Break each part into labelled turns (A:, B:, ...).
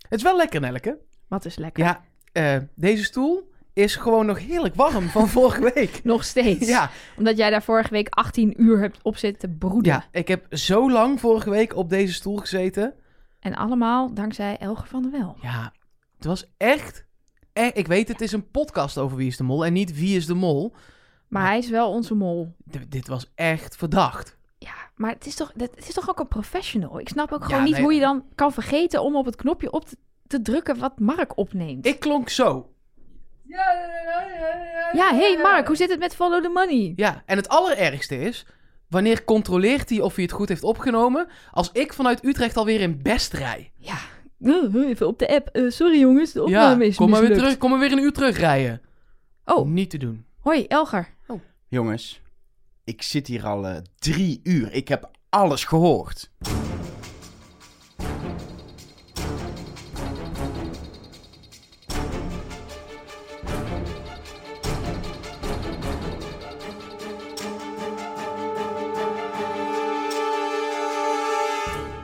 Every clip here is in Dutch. A: Het is wel lekker, Nelke.
B: Wat is lekker.
A: Ja, eh, deze stoel is gewoon nog heerlijk warm van vorige week.
B: Nog steeds.
A: Ja,
B: Omdat jij daar vorige week 18 uur hebt op zitten broeden.
A: ja, ik heb zo lang vorige week op deze stoel gezeten.
B: En allemaal dankzij Elger van der Wel.
A: Ja, het was echt... eh, Ik weet, het is een podcast over Wie is de Mol en niet Wie is de Mol.
B: Maar hij is wel onze mol.
A: D- dit was echt verdacht.
B: Ja, maar het is toch, dat, het is toch ook een professional? Ik snap ook gewoon
A: Ja,
B: niet
A: nee.
B: hoe je dan kan vergeten om op het knopje op te, te drukken wat Mark opneemt.
A: Ik klonk zo.
B: Ja, hey Mark, hoe zit het met Follow the Money?
A: Ja, en het allerergste is, wanneer controleert hij of hij het goed heeft opgenomen, als ik vanuit Utrecht alweer in Best rij.
B: Ja, eh, even op de app. Eh, sorry jongens, de opname
A: ja,
B: is
A: kom maar weer
B: mislukt.
A: terug, kom maar weer een uur terugrijden.
B: Oh.
A: Niet te doen.
B: Hoi Elger.
C: Jongens, ik zit hier al eh, drie uur. Ik heb alles gehoord.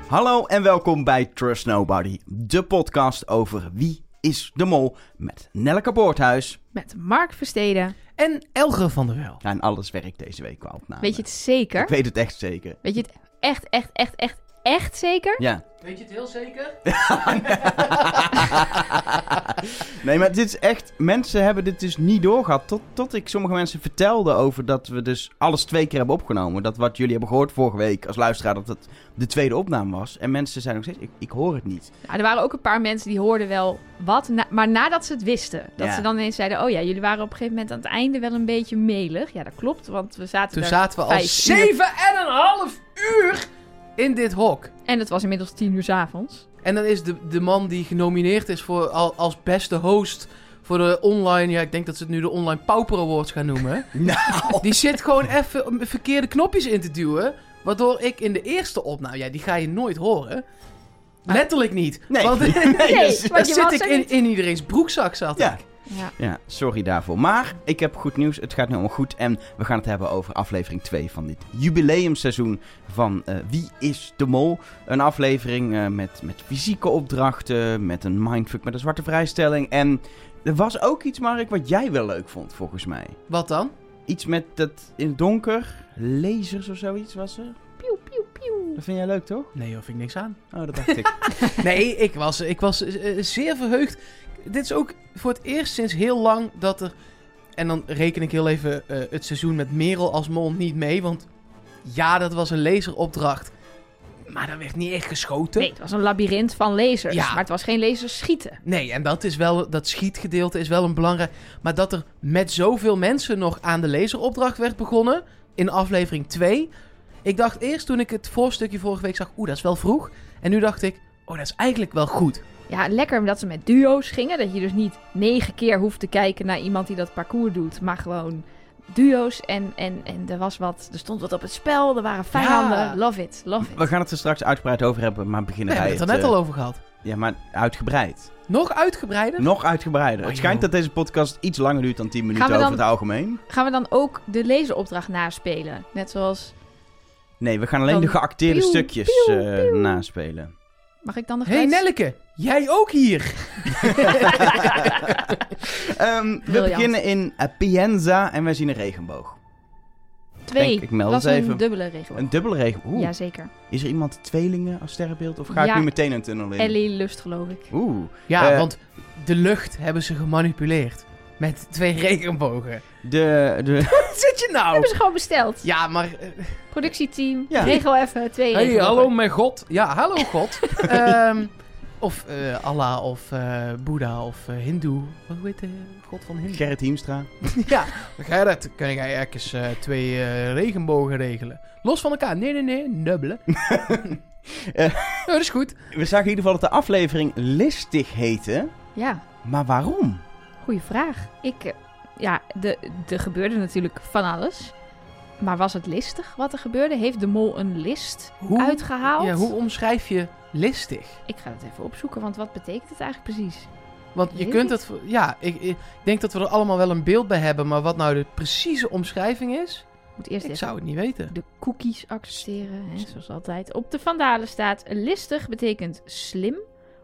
C: Hallo en welkom bij Trust Nobody, de podcast over wie is de mol met Nelleke Boorthuis.
B: Met Mark Versteden.
A: En Elger van der Wel.
C: Ja, en alles werkt deze week Nou, qua opname.
B: Weet je het zeker?
C: Ik weet het echt zeker.
B: Weet je het echt, echt, echt, echt, echt zeker?
C: Ja.
A: Weet je het heel zeker?
C: Nee, maar dit is echt... Mensen hebben dit dus niet doorgehad. Tot, tot ik sommige mensen vertelde over dat we dus alles twee keer hebben opgenomen. Dat wat jullie hebben gehoord vorige week als luisteraar, dat het de tweede opname was. En mensen zijn nog steeds, ik, ik hoor het niet.
B: Nou, er waren ook een paar mensen die hoorden wel wat, na- maar nadat ze het wisten. Dat
C: Ja.
B: ze dan ineens zeiden, oh ja, jullie waren op een gegeven moment aan het einde wel een beetje melig. Ja, dat klopt, want we zaten
A: Toen
B: daar
A: zaten we al
B: vijf uur.
A: zeven en een half uur in dit hok.
B: En het was inmiddels tien uur 's avonds.
A: En dan is de, de man die genomineerd is voor, al- als beste host voor de online... Ja, ik denk dat ze het nu de Online Pauper Awards gaan noemen.
B: Oh.
C: Nou!
A: Die zit gewoon even um, verkeerde knopjes in te duwen. Waardoor ik in de eerste opname... Ja, die ga je nooit horen.
B: Maar-
A: Letterlijk niet.
C: Nee.
A: Want
B: Ah. Nee,
C: dus-
A: dan
B: want je was
A: zit ik
B: er
A: in,
B: niet.
A: in iedereen's broekzak zat
C: Ja.
A: ik.
B: Ja.
C: Ja, sorry daarvoor. Maar ik heb goed nieuws. Het gaat nu allemaal goed. En we gaan het hebben over aflevering 2 van dit jubileumseizoen van eh, Wie is de Mol? Een aflevering eh, met, met fysieke opdrachten, met een mindfuck, met een zwarte vrijstelling. En er was ook iets, Mark, wat jij wel leuk vond, volgens mij.
A: Wat dan?
C: Iets met dat in het donker, lasers of zoiets was er.
B: Pieuw, pieuw, pieuw.
C: Dat vind jij leuk, toch?
A: Nee, hoef ik niks aan.
C: Oh, dat dacht ik.
A: Nee, ik was, ik was eh, eh, zeer verheugd. Dit is ook voor het eerst sinds heel lang dat er... En dan reken ik heel even eh, het seizoen met Merel als mol niet mee. Want ja, dat was een laseropdracht. Maar dat werd niet echt geschoten.
B: Nee, het was een labyrint van lasers,
A: Ja.
B: maar het was geen lasers schieten.
A: Nee, en dat, is wel, dat schietgedeelte is wel een belangrijk. Maar dat er met zoveel mensen nog aan de laseropdracht werd begonnen. In aflevering 2. Ik dacht eerst toen ik het voorstukje vorige week zag. Oeh, dat is wel vroeg. En nu dacht ik. Oh, dat is eigenlijk wel goed.
B: Ja, lekker dat ze met duo's gingen. Dat je dus niet negen keer hoeft te kijken naar iemand die dat parcours doet, maar gewoon duo's. En, en, en er, was wat, er stond wat op het spel, er waren vijanden.
A: Ja.
B: Love it, love it.
C: we gaan het er straks uitgebreid over hebben, maar
A: We
C: beginnen
A: hebben
C: wij
A: het er net
C: eh,
A: al over gehad.
C: Ja, maar uitgebreid.
A: Nog uitgebreider?
C: Nog uitgebreider.
A: Oh,
C: het schijnt
A: joh.
C: dat deze podcast iets langer duurt dan 10 minuten
B: Gaan we
C: over
B: dan-
C: het algemeen.
B: Gaan we dan ook de lezeropdracht naspelen? Net zoals,
C: Nee, we gaan alleen
B: Dan
C: de geacteerde
B: pieuw,
C: stukjes
B: pieuw,
C: eh,
B: pieuw.
C: naspelen.
B: mag ik dan de
A: Hé hey,
B: geluids-
A: Nelleke, jij ook hier?
C: Ehm, we
B: Briljant.
C: beginnen in eh, Pienza en wij zien een regenboog.
B: Twee.
C: Denk, ik meld
B: dat
C: het
B: is
C: even.
B: een dubbele regel.
C: Een dubbele regenboog. Oeh,
B: Jazeker.
C: is er iemand tweelingen als sterrenbeeld? Of ga
B: Ja.
C: ik nu meteen een tunnel in?
B: Ellie Lust, geloof ik.
C: Oeh.
A: Ja,
C: Eh.
A: want de lucht hebben ze gemanipuleerd. Met twee regenbogen.
C: De, de...
A: Wat zit je nou?
B: Hebben ze gewoon besteld.
A: Ja, maar... eh,
B: Productieteam,
C: Ja.
B: regel even twee
A: Hey,
B: regels.
A: hallo mijn god. Ja, hallo god. Ehm, of eh, Allah of eh, Boeddha of eh, Hindoe. Wat hoe heet de god van Hindoe?
C: Gerrit Hiemstra.
A: ja, Gerrit, kun jij ergens eh, twee eh, regenbogen regelen? Los van elkaar. Nee, nee, nee. Dubbelen.
C: Eh.
A: Ja, dat is goed.
C: We zagen in ieder geval dat de aflevering listig heette.
B: Ja,
C: Maar waarom?
B: goede vraag. Ik, eh, ja, de- er gebeurde natuurlijk van alles. Maar was het listig wat er gebeurde? Heeft de mol een list
A: Hoe,
B: uitgehaald?
A: ja, hoe omschrijf je listig?
B: Ik ga het even opzoeken, want wat betekent het eigenlijk precies?
A: Want je
B: Weet
A: kunt
B: ik.
A: het... Ja, ik, ik denk dat we er allemaal wel een beeld bij hebben. Maar wat nou de precieze omschrijving is,
B: Ik Moet eerst
A: ik
B: even
A: zou het niet weten.
B: de cookies accepteren, hè, zoals altijd. Op de Vandalen staat listig betekent slim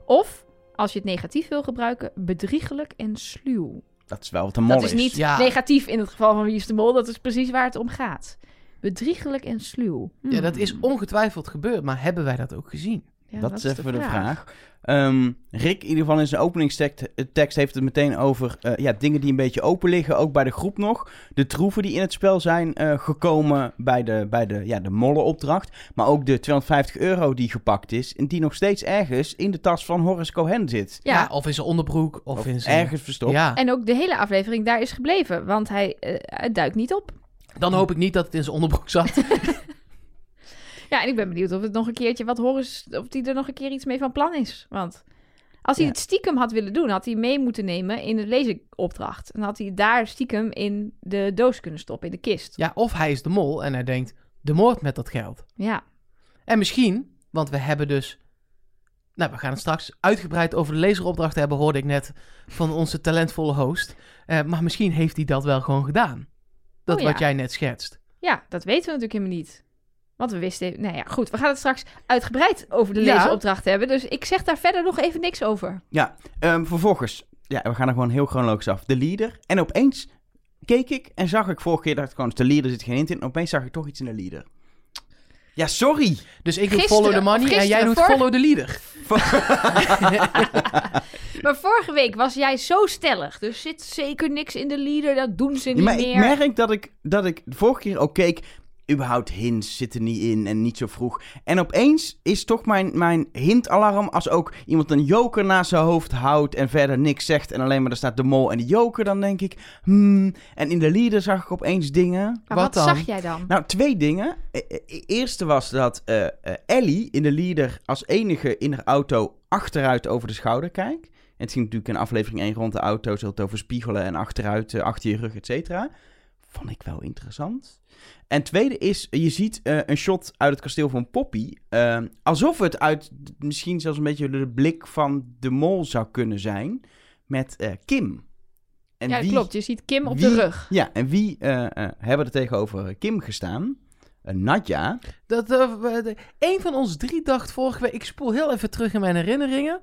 B: of als je het negatief wil gebruiken, bedriegelijk en sluw.
C: Dat is wel wat een mol
B: dat is niet
A: Ja.
B: negatief in het geval van Wie is de Mol. Dat is precies waar het om gaat. Bedriegelijk en sluw.
A: Ja, dat is
C: Hmm.
A: ongetwijfeld gebeurd, maar hebben wij dat ook gezien?
B: Ja,
C: dat, is even de vraag. Ehm, Rick, in ieder geval in zijn openingstekst eh, tekst heeft het meteen over eh, ja, dingen die een beetje open liggen, ook bij de groep nog. De troeven die in het spel zijn eh, gekomen bij de, bij de, ja, de mollenopdracht. Maar ook de 250 euro die gepakt is en die nog steeds ergens in de tas van Horace Cohen zit.
B: Ja,
A: of in zijn onderbroek, of, in zijn...
C: ergens verstopt.
A: Ja,
B: en ook de hele aflevering daar is gebleven. Want hij eh, het duikt niet op.
A: dan hoop ik niet dat het in zijn onderbroek zat.
B: Ja, en ik ben benieuwd of het nog een keertje wat Horace, of die er nog een keer iets mee van plan is. Want als hij
C: Ja.
B: het stiekem had willen doen, had hij mee moeten nemen in de lezenopdracht. En had hij daar stiekem in de doos kunnen stoppen, in de kist.
A: ja, of hij is de mol en hij denkt, de moord met dat geld.
B: Ja,
A: En misschien, want we hebben dus... Nou, we gaan het straks uitgebreid over de lezeropdrachten hebben, hoorde ik net van onze talentvolle host. Eh, maar misschien heeft hij dat wel gewoon gedaan. Dat
B: Oh ja.
A: wat jij net schetst.
B: ja dat weten we natuurlijk helemaal niet. Want we wisten, nou ja, goed, we gaan het straks uitgebreid over de
A: Ja.
B: lezenopdracht hebben. Dus ik zeg daar verder nog even niks over.
C: Ehm, vervolgens, ja, we gaan er gewoon heel chronologisch af. De leader. En opeens keek ik en zag ik vorige keer, dacht ik gewoon, de leader zit geen hint in. En opeens zag ik toch iets in de leader. Ja, sorry.
A: Dus ik doe
B: Gisteren,
A: follow the money
B: of
A: en jij
B: gisteren,
A: doet
B: vorige-
A: follow the leader.
B: Maar vorige week was jij zo stellig. Er zit zeker niks in de leader, dat doen ze niet
C: Ja, maar
B: meer.
C: ik merk dat ik, dat ik de vorige keer ook keek. Überhaupt hints zitten niet in en niet zo vroeg. En opeens is toch mijn, mijn hintalarm als ook iemand een joker naast zijn hoofd houdt en verder niks zegt en alleen maar er staat de mol en de joker, dan denk ik, hmm. En in de leader zag ik opeens dingen.
B: Maar
A: Wat
B: wat,
A: dan?
B: zag jij dan?
C: Nou, twee dingen. E- e- e- Eerste was dat eh, eh, Ellie in de leader als enige in haar auto achteruit over de schouder kijkt. En het ging natuurlijk in aflevering 1 rond de auto's heel het over spiegelen en achteruit, eh, achter je rug, et cetera. Vond ik wel interessant. En tweede is, je ziet eh, een shot uit het kasteel van Poppy. eh, alsof het uit d- misschien zelfs een beetje de blik van de mol zou kunnen zijn. Met eh, Kim. En
B: ja, dat
C: die-
B: klopt. Je ziet Kim op
C: wie-
B: de rug.
C: ja, en wie eh, eh, hebben er tegenover Kim gestaan? Eh, Nadja.
A: Dat, eh, we- de- een van ons drie dacht vorige week, ik spoel heel even terug in mijn herinneringen.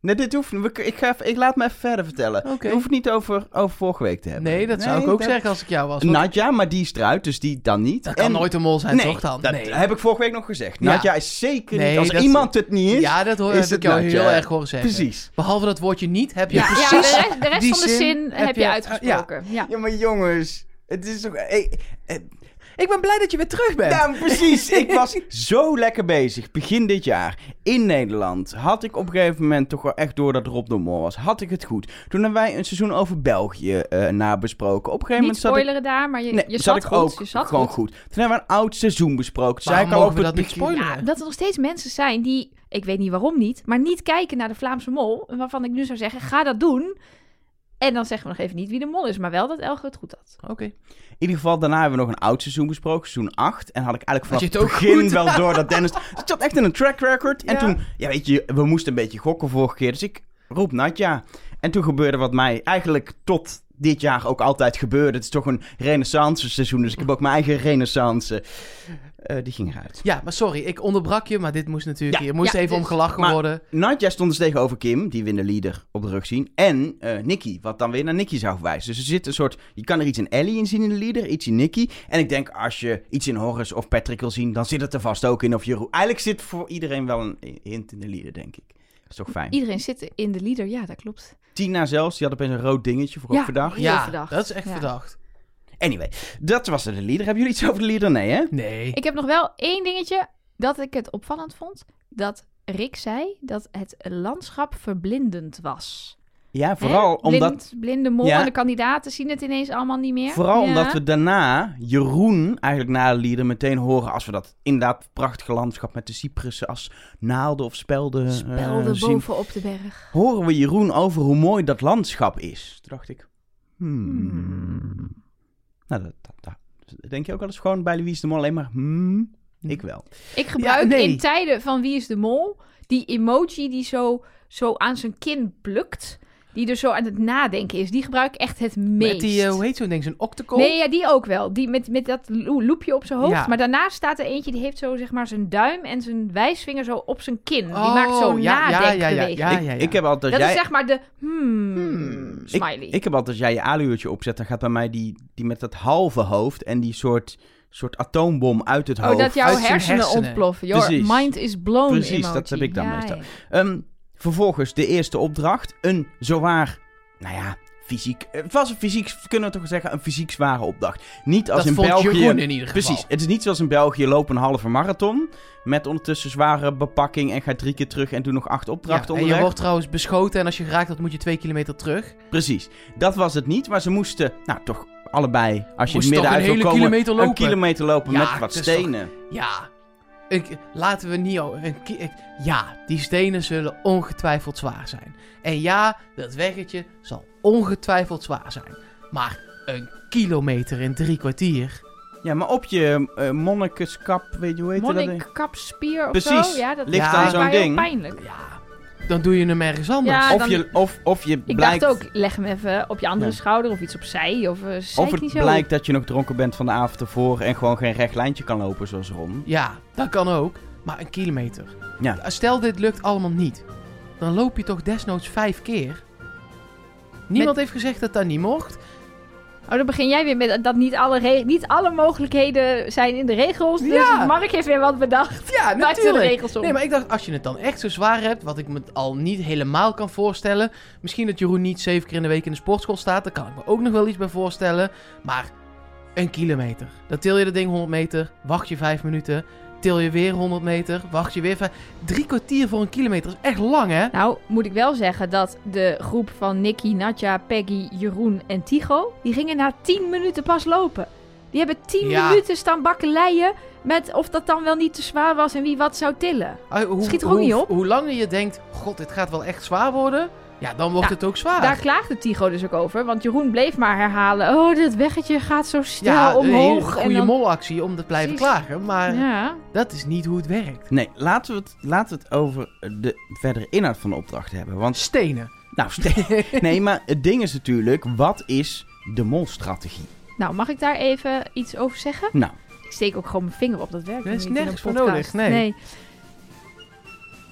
C: Nee, dit hoeft niet. We- Ik, ga even- ik laat me even verder vertellen.
A: Oké.
C: Je hoeft het niet over, over vorige week te hebben.
A: Nee, dat zou ik ook
C: dat-
A: zeggen als ik jou was. want
C: Nadja, maar die is eruit, dus die dan niet.
A: dat kan
C: En-
A: nooit een mol zijn,
C: nee,
A: toch dan?
C: dat
A: nee.
C: heb ik vorige week nog gezegd.
A: Ja.
C: Nadja is zeker
A: Nee,
C: niet. Als
A: dat-
C: iemand het niet is,
A: ja, dat hoor,
C: is
A: heb
C: het
A: ik jou
C: Nadja.
A: heel erg horen zeggen.
C: precies.
A: Behalve dat woordje niet, heb je
B: Ja, ja,
A: precies...
B: de rest, de rest
A: die
B: van de zin, heb, je,
A: ja.
B: uitgesproken. Ja.
C: Ja, maar jongens, het is toch... Hey, eh,
A: Ik ben blij dat je weer terug bent.
C: Nou, precies. ik was zo lekker bezig. Begin dit jaar in Nederland had ik op een gegeven moment toch wel echt door dat Rob de Mol was. Had ik het goed. Toen hebben wij een seizoen over België eh nabesproken. Op een gegeven
B: Niet
C: moment zat ik...
B: spoileren daar, maar je,
C: Nee,
B: je
C: zat
B: zat,
C: ik
B: goed.
C: ook
B: je zat
C: gewoon
B: goed.
C: goed. Toen hebben we een oud seizoen besproken. Toen
A: Waarom
C: zei ik al
A: mogen we
C: over
A: dat
C: het
A: niet
C: begin-
A: spoileren?
B: Dat er nog steeds mensen zijn die, ik weet niet waarom niet, maar niet kijken naar de Vlaamse mol. Waarvan ik nu zou zeggen, ga dat doen. En dan zeggen we nog even niet wie de mol is, maar wel dat Elge het goed had.
A: Oké.
C: In ieder geval, daarna hebben we nog een oud seizoen besproken, seizoen 8. En had ik eigenlijk vanaf
A: Had je
C: het
A: het ook
C: begin
A: goed?
C: wel door dat Dennis... Het zat echt in een track record. En
A: Ja.
C: toen, ja weet je, we moesten een beetje gokken vorige keer. Dus ik roep Nadja. En toen gebeurde wat mij eigenlijk tot dit jaar ook altijd gebeurde. Het is toch een renaissance seizoen, dus ik heb ook mijn eigen renaissance. Eh, die ging eruit.
A: Ja, maar sorry, ik onderbrak je, maar dit moest natuurlijk...
C: Ja,
A: je moest
B: ja,
A: even om
B: dus-
A: gelachen
C: maar-
A: worden.
C: Nadja stond dus tegenover Kim, die we in de leader op de rug zien. En eh Nicky, wat dan weer naar Nicky zou verwijzen. Dus er zit een soort. Je kan er iets in Ellie in zien in de leader, iets in Nicky. En ik denk, als je iets in Horace of Patrick wil zien, dan zit het er vast ook in. Of Jeroen. Eigenlijk zit voor iedereen wel een hint in de leader, denk ik. Dat is toch fijn.
B: Iedereen zit in de leader, ja dat klopt.
C: Tina zelfs, die had opeens een rood dingetje voor
B: Ja.
C: overdag.
B: Heel
A: ja,
B: verdacht.
A: dat is echt
B: Ja.
A: verdacht.
C: Anyway, dat was de leader. Hebben jullie iets over de leader? Nee, hè?
A: Nee.
B: Ik heb nog wel één dingetje dat ik het opvallend vond. Dat Rick zei dat het landschap verblindend was.
C: Ja, vooral
B: Hè?
C: omdat.
B: Blind- blinde mol
C: Ja.
B: en de kandidaten zien het ineens allemaal niet meer.
C: Vooral
B: Ja.
C: omdat we daarna Jeroen eigenlijk na de lieder meteen horen als we dat inderdaad prachtige landschap met de cypressen als naalden of spelden, eh,
B: Spelden
C: zien.
B: boven op de berg.
C: Horen we Jeroen over hoe mooi dat landschap is. Toen dacht ik, hmm.
B: Hmm.
C: Nou, dat, dat, dat- denk je ook wel eens gewoon bij Louise de Mol alleen maar hmm? Ik wel.
B: Ik gebruik
A: Ja, nee.
B: in tijden van Wie is de Mol die emoji die zo, zo aan zijn kin plukt. Die dus zo aan het nadenken is. Die gebruik ik echt het meest.
A: Met die, eh, hoe heet zo'n ding? Zo'n octacle?
B: Nee, ja, die ook wel. Die met, met dat lo- loepje op zijn hoofd.
A: Ja.
B: Maar daarnaast staat er eentje die heeft zo zeg maar zijn duim en zijn wijsvinger zo op zijn kin. Die
A: Oh,
B: maakt zo'n
A: ja, ja, ja, ja,
B: nadenkbeweging.
A: ja,
C: ik, ik heb altijd...
B: Dat
C: jij,
B: is zeg maar de hmm,
A: Hmm.
B: smiley.
C: Ik, ik heb altijd, als jij je aluurtje opzet, dan gaat bij mij die, die met dat halve hoofd en die soort, soort atoombom uit het
B: oh,
C: hoofd.
B: dat jouw
A: uit zijn
B: hersenen,
A: hersenen.
B: ontploffen. Your
C: Precies.
B: mind is blown
C: Precies, dat
B: emoji.
C: heb ik dan
B: Ja,
C: meestal.
B: ja.
C: Ehm, vervolgens de eerste opdracht. Een zowaar, nou ja, fysiek. eh, Het was een fysiek, kunnen we toch zeggen, een fysiek zware opdracht. Niet als
A: dat
C: in
A: vond
C: België.
A: Jeroen in ieder geval.
C: Precies, het is niet zoals in België, loop een halve marathon. Met ondertussen zware bepakking en ga drie keer terug en doe nog acht
A: Ja,
C: opdrachten
A: en je
C: onderweg.
A: wordt trouwens beschoten en als je geraakt wordt moet je twee kilometer terug.
C: Precies, dat was het niet. Maar ze moesten, nou toch allebei, als je
A: Moest
C: het midden
A: toch
C: uit
A: een
C: wil
A: hele
C: komen,
A: kilometer
C: een
A: lopen?
C: kilometer lopen
A: Ja,
C: met wat
A: het is
C: stenen.
A: Ja, ik, laten we niet... o- Een, ki- ik- ja, die stenen zullen ongetwijfeld zwaar zijn. En ja, dat weggetje zal ongetwijfeld zwaar zijn. Maar een kilometer in drie kwartier...
C: Ja, maar op je eh, monnikenskap, weet je hoe heet dat? ding?
B: Monnikkapspier of
C: Precies,
B: zo. Ja, dat
C: ligt
B: lijkt
A: aan
B: mij
C: zo'n
B: heel
C: ding.
B: pijnlijk.
A: Ja, dan doe je hem ergens anders.
B: Ja,
C: Of
B: dan-
C: je, of, of je
B: Ik
C: blijkt...
B: dacht ook, leg hem even op je andere
C: Ja.
B: schouder of iets opzij. Of, eh, zeik
C: Of het
B: niet zo.
C: blijkt dat je nog dronken bent van de avond ervoor en gewoon geen recht lijntje kan lopen zoals Ron.
A: Ja, dat kan ook. Maar een kilometer.
C: Ja.
A: Stel dit lukt allemaal niet. Dan loop je toch desnoods vijf keer? Niemand heeft gezegd dat dat niet mocht.
B: Oh, dan begin jij weer met dat niet alle, re- niet alle mogelijkheden zijn in de regels. Dus
A: Ja.
B: Mark heeft weer wat bedacht.
A: Ja,
B: Maakt er de regels om.
A: Nee, maar ik dacht, als je het dan echt zo zwaar hebt, wat ik me al niet helemaal kan voorstellen. Misschien dat Jeroen niet zeven keer in de week in de sportschool staat, daar kan ik me ook nog wel iets bij voorstellen. Maar een kilometer. Dan til je dat ding 100 meter, wacht je vijf minuten, til je weer 100 meter, wacht je weer vijf... Drie kwartier voor een kilometer is echt lang, hè?
B: Nou, moet ik wel zeggen dat de groep van Nicky, Nadja, Peggy, Jeroen en Tigo... die gingen na 10 minuten pas lopen. Die hebben 10
A: Ja.
B: minuten staan bakkeleien met of dat dan wel niet te zwaar was en wie wat zou tillen.
A: Ah, hoe,
B: Schiet er ook
A: hoe,
B: niet op.
A: Hoe langer je denkt, god, dit gaat wel echt zwaar worden, ja, dan wordt
B: Ja,
A: het ook zwaar.
B: Daar klaagde Tigo dus ook over, want Jeroen bleef maar herhalen... oh, dat weggetje gaat zo snel
A: ja, een hele
B: omhoog.
A: goede
B: dan-
A: molactie om te blijven
B: Precies.
A: klagen, maar
B: Ja.
A: dat is niet hoe het werkt.
C: Nee, laten we het, laten we het over de verdere inhoud van de opdracht hebben. Want,
A: Stenen.
C: nou, ste- nee, maar het ding is natuurlijk, wat is de molstrategie?
B: Nou, mag ik daar even iets over zeggen?
C: Nou,
B: Ik steek ook gewoon mijn vinger op, dat werkt
A: Er is
B: niet in een
A: nergens voor
B: podcast.
A: nodig, nee.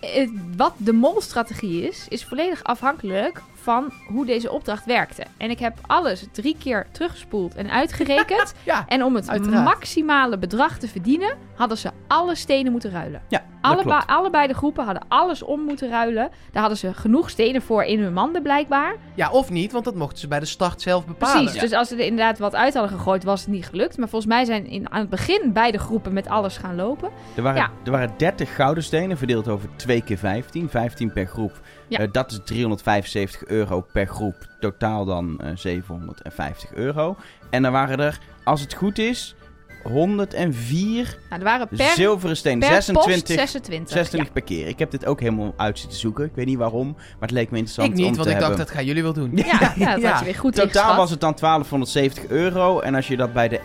B: Eh, wat de molstrategie is, is volledig afhankelijk van hoe deze opdracht werkte. En ik heb alles drie keer teruggespoeld en uitgerekend.
A: Ja,
B: en om het
A: Uiteraard.
B: maximale bedrag te verdienen, hadden ze alle stenen moeten ruilen.
C: ja, dat
B: Allebei-
C: klopt.
B: allebei de groepen hadden alles om moeten ruilen. Daar hadden ze genoeg stenen voor in hun manden blijkbaar.
A: ja, of niet, want dat mochten ze bij de start zelf bepalen.
B: Precies, dus als ze er inderdaad wat uit hadden gegooid, was het niet gelukt. Maar volgens mij zijn in, aan het begin beide groepen met alles gaan lopen.
C: Er waren,
B: Ja.
C: er waren 30 gouden stenen verdeeld over 2 keer 15, 15 per groep.
B: Ja.
C: Eh, dat is 375 euro per groep, totaal dan eh, 750 euro. En dan waren er, als het goed is, 104
B: Nou, er waren per,
C: zilveren stenen.
B: per
C: 26
B: post 26.
C: 26 per keer. Ik heb dit ook helemaal uit zitten zoeken. Ik weet niet waarom, maar het leek me interessant
A: Ik niet,
C: om
A: want
C: te
A: ik dacht,
C: hebben.
A: dat gaan jullie wel doen.
B: Ja, ja, ja, dat
A: Ja.
B: had je weer goed
C: Totaal
B: ingeschat.
C: was het dan 1270 euro. En als je dat bij de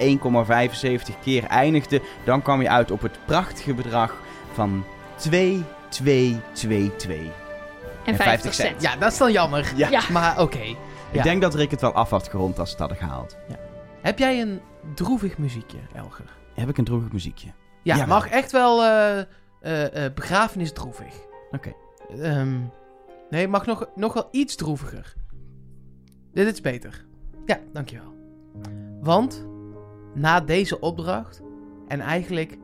C: 1,75 keer eindigde, dan kwam je uit op het prachtige bedrag van 2222.
B: en 50 cent.
A: Ja, dat is dan jammer.
C: Ja.
B: Ja.
A: Maar oké. Ja.
C: Ik denk dat Rick het wel af had gerond als ze het hadden gehaald.
A: Heb jij een droevig muziekje, Elger?
C: Heb ik een droevig muziekje?
A: Ja,
C: Jawel.
A: mag echt wel eh eh, eh, begrafenis droevig.
C: Oké.
A: Ehm, nee, mag nog, nog wel iets droeviger. Dit is beter. Ja, dankjewel. Want na deze opdracht en eigenlijk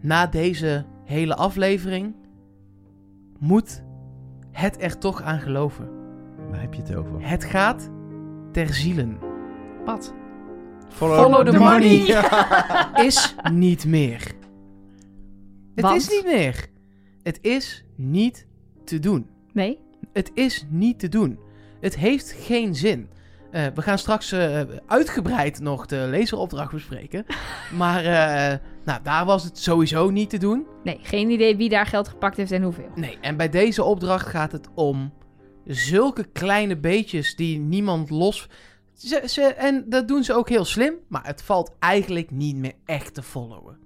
A: na deze hele aflevering moet het er toch aan geloven.
C: Waar heb je het over?
A: Het gaat ter zielen.
B: Wat?
C: Follow,
A: Follow the money.
C: Ja.
A: Is niet meer. Het
B: Want?
A: is niet meer. Het is niet te doen.
B: Nee?
A: Het is niet te doen. Het heeft geen zin. Eh, we gaan straks eh, uitgebreid nog de lezeropdracht bespreken. Maar eh, nou, daar was het sowieso niet te doen.
B: Nee, geen idee wie daar geld gepakt heeft en hoeveel.
A: Nee, en bij deze opdracht gaat het om zulke kleine beetjes die niemand los. Ze, ze, en dat doen ze ook heel slim, maar het valt eigenlijk niet meer echt te followen.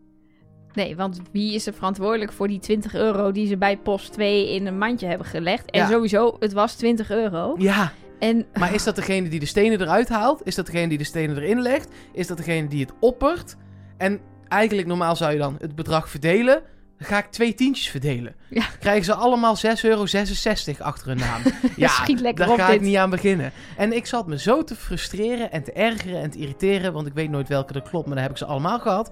B: Nee, want wie is er verantwoordelijk voor die 20 euro die ze bij post 2 in een mandje hebben gelegd? En
A: Ja.
B: sowieso, het was 20 euro.
A: Ja,
B: En
A: Maar is dat degene die de stenen eruit haalt? Is dat degene die de stenen erin legt? Is dat degene die het oppert? En eigenlijk normaal zou je dan het bedrag verdelen. Dan ga ik twee tientjes verdelen.
B: Ja.
A: Krijgen ze allemaal 6,66 euro achter hun naam. ja,
B: Schiet lekker
A: daar
B: op
A: ga ik
B: dit.
A: niet aan beginnen. En ik zat me zo te frustreren en te ergeren en te irriteren. Want ik weet nooit welke er klopt, maar daar heb ik ze allemaal gehad.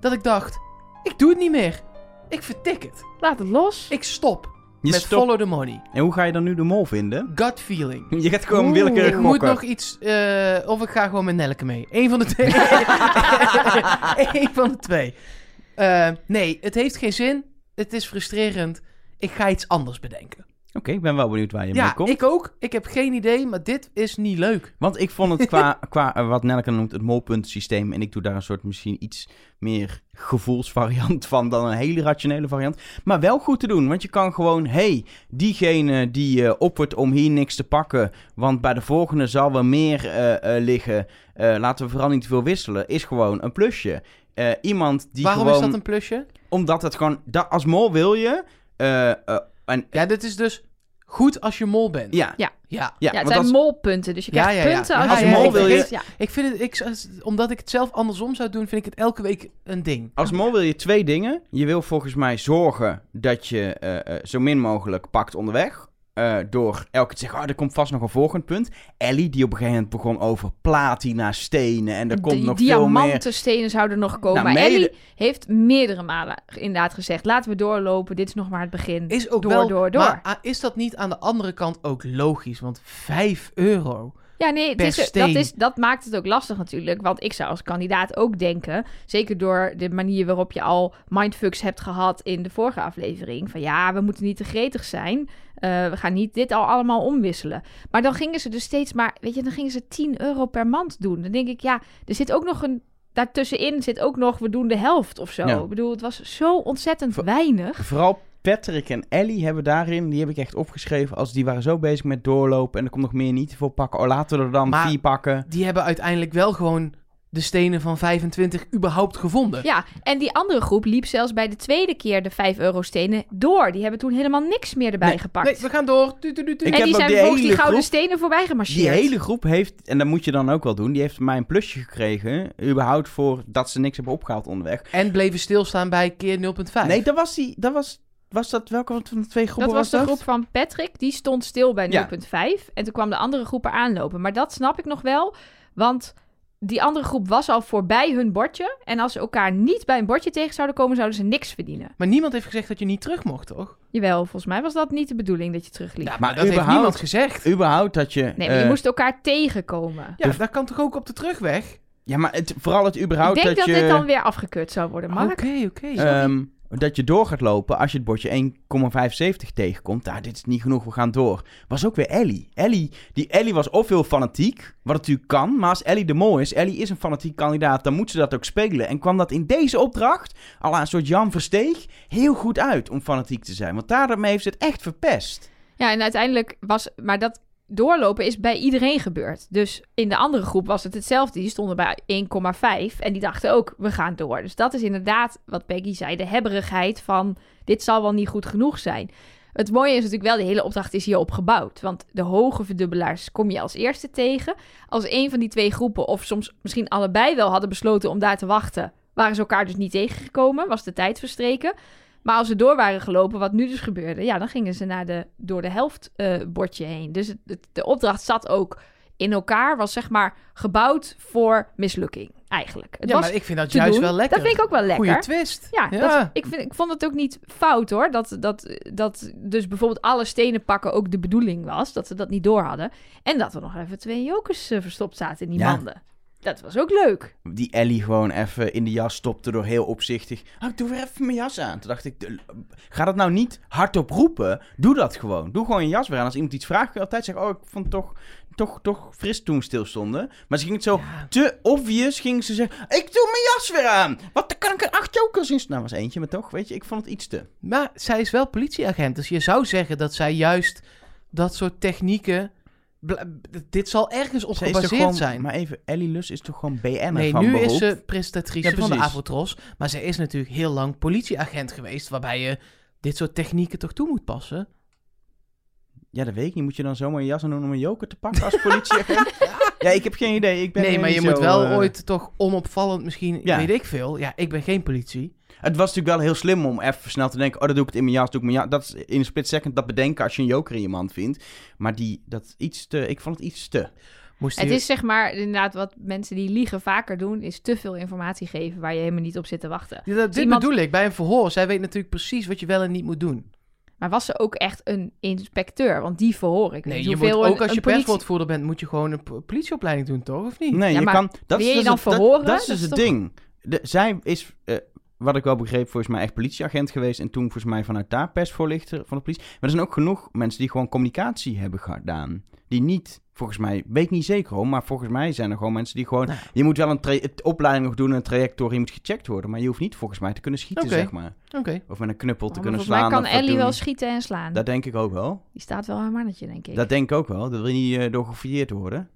A: Dat ik dacht, ik doe het niet meer. Ik vertik het.
B: laat het los.
A: Ik stop
C: Je
A: met
C: stopt.
A: follow the money.
C: En hoe ga je dan nu de mol vinden?
A: Gut feeling.
C: Je gaat gewoon
B: Oeh.
C: willekeurig
A: Ik moet
C: gokken.
A: nog iets. eh, of ik ga gewoon met Nelke mee. Eén van de twee. Eén van de twee. Eh, nee, het heeft geen zin. Het is frustrerend. Ik ga iets anders bedenken.
C: Oké, ik ben wel benieuwd waar je mee
A: ja,
C: komt.
A: ik ook. Ik heb geen idee, maar dit is niet leuk.
C: Want ik vond het qua, qua eh, wat Nelke noemt het molpuntensysteem. En ik doe daar een soort misschien iets meer gevoelsvariant van dan een hele rationele variant. Maar wel goed te doen. Want je kan gewoon, hé, hey, diegene die eh, oppert om hier niks te pakken. Want bij de volgende zal wel meer eh, eh, liggen. eh, laten we vooral niet te veel wisselen. Is gewoon een plusje. Eh, iemand die
A: Waarom
C: gewoon.
A: is dat een plusje?
C: Omdat het gewoon. Dat, als mol wil je. eh, eh, en,
A: Ja, dit is dus goed als je mol bent.
C: ja, ja,
B: Ja.
A: Ja.
B: Ja, het
C: want
B: zijn
C: als-
B: molpunten, dus je
A: Ja,
B: krijgt
A: ja, ja.
B: punten
A: Ja,
B: als
C: ja,
B: je
C: ja,
B: mol
C: ik
B: wil.
C: weet-
B: Ja.
A: Ik vind het, ik, omdat ik het zelf andersom zou doen, vind ik het elke week een ding.
C: Als mol wil je twee dingen. Je wil volgens mij zorgen dat je eh, eh, zo min mogelijk pakt onderweg. Eh, door elke keer te zeggen, oh, er komt vast nog een volgend punt. Ellie, die op een gegeven moment begon over platina, stenen en er komt
B: Die
C: nog veel meer.
B: diamanten, stenen zouden nog komen.
C: Nou,
B: maar
C: mede-
B: Ellie heeft meerdere malen inderdaad gezegd... laten we doorlopen, dit is nog maar het begin.
A: Is ook
B: door,
A: wel,
B: door, door.
A: Maar ah, is dat niet aan de andere kant ook logisch? Want 5 euro.
B: Ja, nee, het
A: per
B: is, dat,
A: steen.
B: is, dat maakt het ook lastig natuurlijk. Want ik zou als kandidaat ook denken... zeker door de manier waarop je al mindfucks hebt gehad... in de vorige aflevering. Van ja, we moeten niet te gretig zijn. Eh, we gaan niet dit al allemaal omwisselen. Maar dan gingen ze dus steeds maar... weet je, dan gingen ze 10 euro per mand doen. Dan denk ik, ja, er zit ook nog een... daartussenin zit ook nog... we doen de helft of zo.
C: Ja.
B: Ik bedoel, het was zo ontzettend
C: Voor-
B: weinig.
C: Vooral Patrick en Ellie hebben daarin, die heb ik echt opgeschreven, als die waren zo bezig met doorlopen en er komt nog meer niet te veel pakken. Oh, laten we er dan
A: Maar-
C: vier pakken.
A: die hebben uiteindelijk wel gewoon de stenen van 25 überhaupt gevonden.
B: Ja, en die andere groep liep zelfs bij de tweede keer de 5 euro stenen door. Die hebben toen helemaal niks meer erbij
C: Nee,
B: gepakt.
A: Nee, we gaan door. Du, du, du, du.
B: en
C: Ik- heb
B: die
C: ook
B: zijn
C: die
B: vervolgens die
C: hele
B: gouden
C: groep-
B: stenen voorbij gemarcheerd.
C: Die hele groep heeft, en dat moet je dan ook wel doen, die heeft mij een plusje gekregen. Überhaupt voor dat ze niks hebben opgehaald onderweg.
A: En bleven stilstaan bij keer 0.5.
C: Nee, dat was die. Dat was, was dat welke van de twee groepen
B: Dat was de
C: dat?
B: groep van Patrick. Die stond stil bij 0.5.
C: Ja.
B: En toen kwam de andere groep er aanlopen. Maar dat snap ik nog wel. Want die andere groep was al voorbij hun bordje. En als ze elkaar niet bij een bordje tegen zouden komen, zouden ze niks verdienen.
A: Maar niemand heeft gezegd dat je niet terug mocht, toch?
B: Jawel, volgens mij was dat niet de bedoeling dat je terugliep.
A: Ja,
C: maar
A: dat heeft
C: überhaupt-
A: niemand gezegd.
C: Überhaupt dat je.
B: Nee, maar je
C: eh,
B: moest elkaar tegenkomen.
A: Ja, dat kan toch ook op de terugweg?
C: Ja, maar het, vooral het überhaupt
B: ik denk dat,
C: je.
B: dit dan weer afgekeurd zou worden,
A: Oké,
B: Mark. Eh,
A: oké.
C: ehm, dat je door gaat lopen als je het bordje 1,75 tegenkomt. Nou, dit is niet genoeg, we gaan door. Was ook weer Ellie. Ellie, die Ellie was of heel fanatiek, wat natuurlijk kan. Maar als Ellie de mol is, Ellie is een fanatiek kandidaat, dan moet ze dat ook spelen. En kwam dat in deze opdracht, al een soort Jan Versteeg, heel goed uit om fanatiek te zijn. Want daarmee heeft ze het echt verpest.
B: Ja, en uiteindelijk was. Maar dat doorlopen is bij iedereen gebeurd. Dus in de andere groep was het hetzelfde. Die stonden bij 1,5 en die dachten ook, we gaan door. Dus dat is inderdaad wat Peggy zei: de hebberigheid van dit zal wel niet goed genoeg zijn. Het mooie is natuurlijk wel, de hele opdracht is hierop gebouwd. Want de hoge verdubbelaars kom je als eerste tegen. Als een van die twee groepen, of soms misschien allebei wel, hadden besloten om daar te wachten, waren ze elkaar dus niet tegengekomen, was de tijd verstreken. Maar als ze door waren gelopen, wat nu dus gebeurde, ja, dan gingen ze naar de, door de helft eh, bordje heen. Dus het- het- de opdracht zat ook in elkaar, was zeg maar gebouwd voor mislukking, eigenlijk. Het
A: Ja,
B: was
A: maar ik vind dat
B: te
A: juist
B: doen.
A: wel lekker.
B: Dat vind ik ook wel lekker.
A: Goeie twist.
B: Ja, Dat, ik, vind, ik vond het ook niet fout hoor. Dat, dat, dat dus bijvoorbeeld alle stenen pakken ook de bedoeling was. Dat ze dat niet door hadden. En dat er nog even twee jokers eh, verstopt zaten in die
C: Ja.
B: manden. Dat was ook leuk.
C: die Ellie gewoon even in de jas stopte door heel opzichtig. Oh, ik doe weer even mijn jas aan. Toen dacht ik, de- ga dat nou niet hardop roepen. Doe dat gewoon. Doe gewoon je jas weer aan. Als iemand iets vraagt, kun je altijd zeggen, oh, ik vond het toch, toch, toch fris toen we stilstonden. Maar ze ging het zo
A: Ja.
C: te obvious, ging ze zeggen, ik doe mijn jas weer aan. Wat, dan kan ik er acht jokers in? Nou, was eentje, maar toch, weet je, ik vond het iets te.
A: Maar zij is wel politieagent, dus je zou zeggen dat zij juist dat soort technieken... bl- Dit zal ergens op
C: Ze is toch
A: gebaseerd
C: gewoon-
A: zijn.
C: Maar even, Ellie Lus is toch gewoon BN'er
A: Nee,
C: van
A: nu
C: beroep?
A: is ze presentatrice
C: Ja,
A: van de
C: precies.
A: Avrotros. Maar ze is natuurlijk heel lang politieagent geweest. Waarbij je dit soort technieken toch toe moet passen.
C: Ja, dat weet ik niet. Moet je dan zomaar je jas aan doen om een joker te pakken als politieagent? ja, ik heb geen idee. Ik ben
A: nee,
C: er
A: maar je
C: niet
A: moet
C: zo,
A: wel
C: eh,
A: ooit toch onopvallend misschien,
C: Ja.
A: weet ik veel. Ja, ik ben geen politie.
C: Het was natuurlijk wel heel slim om even snel te denken... oh, dat doe ik het in mijn jas, doe ik mijn jas. Dat is in een split second dat bedenken als je een joker in je hand vindt. Maar die, dat iets te... Ik vond het iets te.
A: Moest
B: Het
A: hij-
B: is zeg maar inderdaad wat mensen die liegen vaker doen, is te veel informatie geven waar je helemaal niet op zit te wachten.
A: Ja, dat, dit
B: iemand-
A: bedoel ik, bij een verhoor. Zij weet natuurlijk precies wat je wel en niet moet doen.
B: Maar was ze ook echt een inspecteur? Want die verhoor ik.
A: Nee,
B: niet
A: je moet
B: hoeveel
A: ook
B: een-
A: als je
B: een politie-
A: perswoordvoerder bent, moet je gewoon een po- politieopleiding doen, toch? Of niet?
C: Nee,
B: Ja,
C: je
B: maar
C: kan... Dat
B: wil
C: is
B: je
C: dus
B: dan
C: het- dat-
B: verhoren?
C: Dat is
B: Dat
C: dus
B: is
C: het
B: toch-
C: ding. De- zij is... eh, wat ik wel begreep, volgens mij echt politieagent geweest. En toen volgens mij vanuit daar persvoorlichter van de politie. Maar er zijn ook genoeg mensen die gewoon communicatie hebben gedaan. Die niet, volgens mij, weet ik niet zeker hoor. Maar volgens mij zijn er gewoon mensen die gewoon...
A: Nou.
C: Je moet wel een tra- het opleiding nog doen, een traject door. Je moet gecheckt worden. Maar je hoeft niet volgens mij te kunnen schieten,
A: Oké.
C: zeg maar.
A: Oké.
C: Of met een knuppel te
B: Oh, Maar
C: kunnen
B: volgens
C: slaan.
B: mij kan
C: of wat
B: Ellie
C: doen.
B: wel schieten en slaan.
C: Dat denk ik ook wel.
B: Die staat wel haar mannetje, denk ik.
C: Dat denk ik ook wel. Dat wil niet eh, door gefouilleerd worden.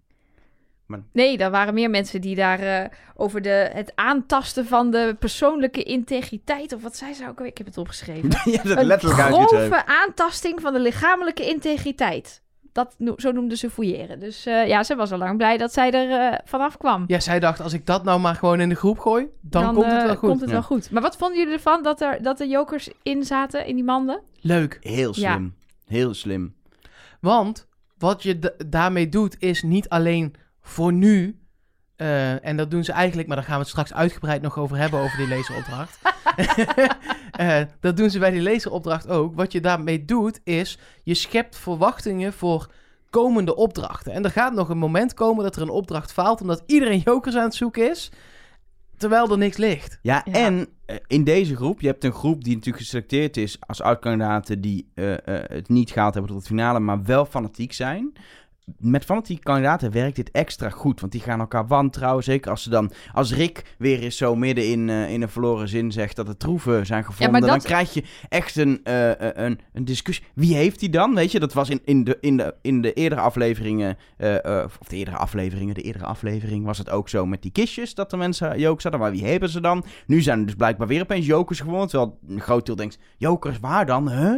B: Nee, daar waren meer mensen die daar eh, over de, het aantasten van de persoonlijke integriteit. Of wat zei ze ook? alweer? Ik heb het opgeschreven.
C: je hebt het
B: een
C: letterlijk uitgeschreven.
B: grove aantasting van de lichamelijke integriteit. Dat, no- zo noemden ze fouilleren. Dus eh, ja, ze was al lang blij dat zij er eh, vanaf kwam.
A: Ja, zij dacht, als ik dat nou maar gewoon in de groep gooi, dan, komt het
B: eh,
A: wel goed.
B: komt het
C: Ja.
B: wel goed. Maar wat vonden jullie ervan dat er, dat er jokers in zaten, in die manden?
A: Leuk.
C: Heel slim. Heel slim.
A: Want wat je da- daarmee doet, is niet alleen voor nu. eh, en dat doen ze eigenlijk, maar daar gaan we het straks uitgebreid nog over hebben, over die laseropdracht. Eh, dat doen ze bij die laseropdracht ook. Wat je daarmee doet, is je schept verwachtingen voor komende opdrachten. En er gaat nog een moment komen dat er een opdracht faalt, omdat iedereen jokers aan het zoeken is, terwijl er niks ligt.
C: Ja,
B: Ja.
C: en eh, in deze groep, je hebt een groep die natuurlijk geselecteerd is als oud-kandidaten die eh, eh, het niet gehaald hebben tot het finale, maar wel fanatiek zijn. Met fanatieke kandidaten werkt dit extra goed, want die gaan elkaar wantrouwen. Zeker als ze dan, als Rick weer eens zo midden in, eh, in een verloren zin zegt dat er troeven zijn gevonden,
B: dat-
C: dan krijg je echt een, eh, eh, een, een discussie. Wie heeft die dan? Weet je, dat was in, in, de, in, de, in de eerdere afleveringen, eh, eh, of de eerdere afleveringen, de eerdere aflevering was het ook zo met die kistjes dat de mensen jokers hadden. Maar wie hebben ze dan? Nu zijn er dus blijkbaar weer opeens jokers geworden. Terwijl een groot deel denkt, jokers waar dan? Huh?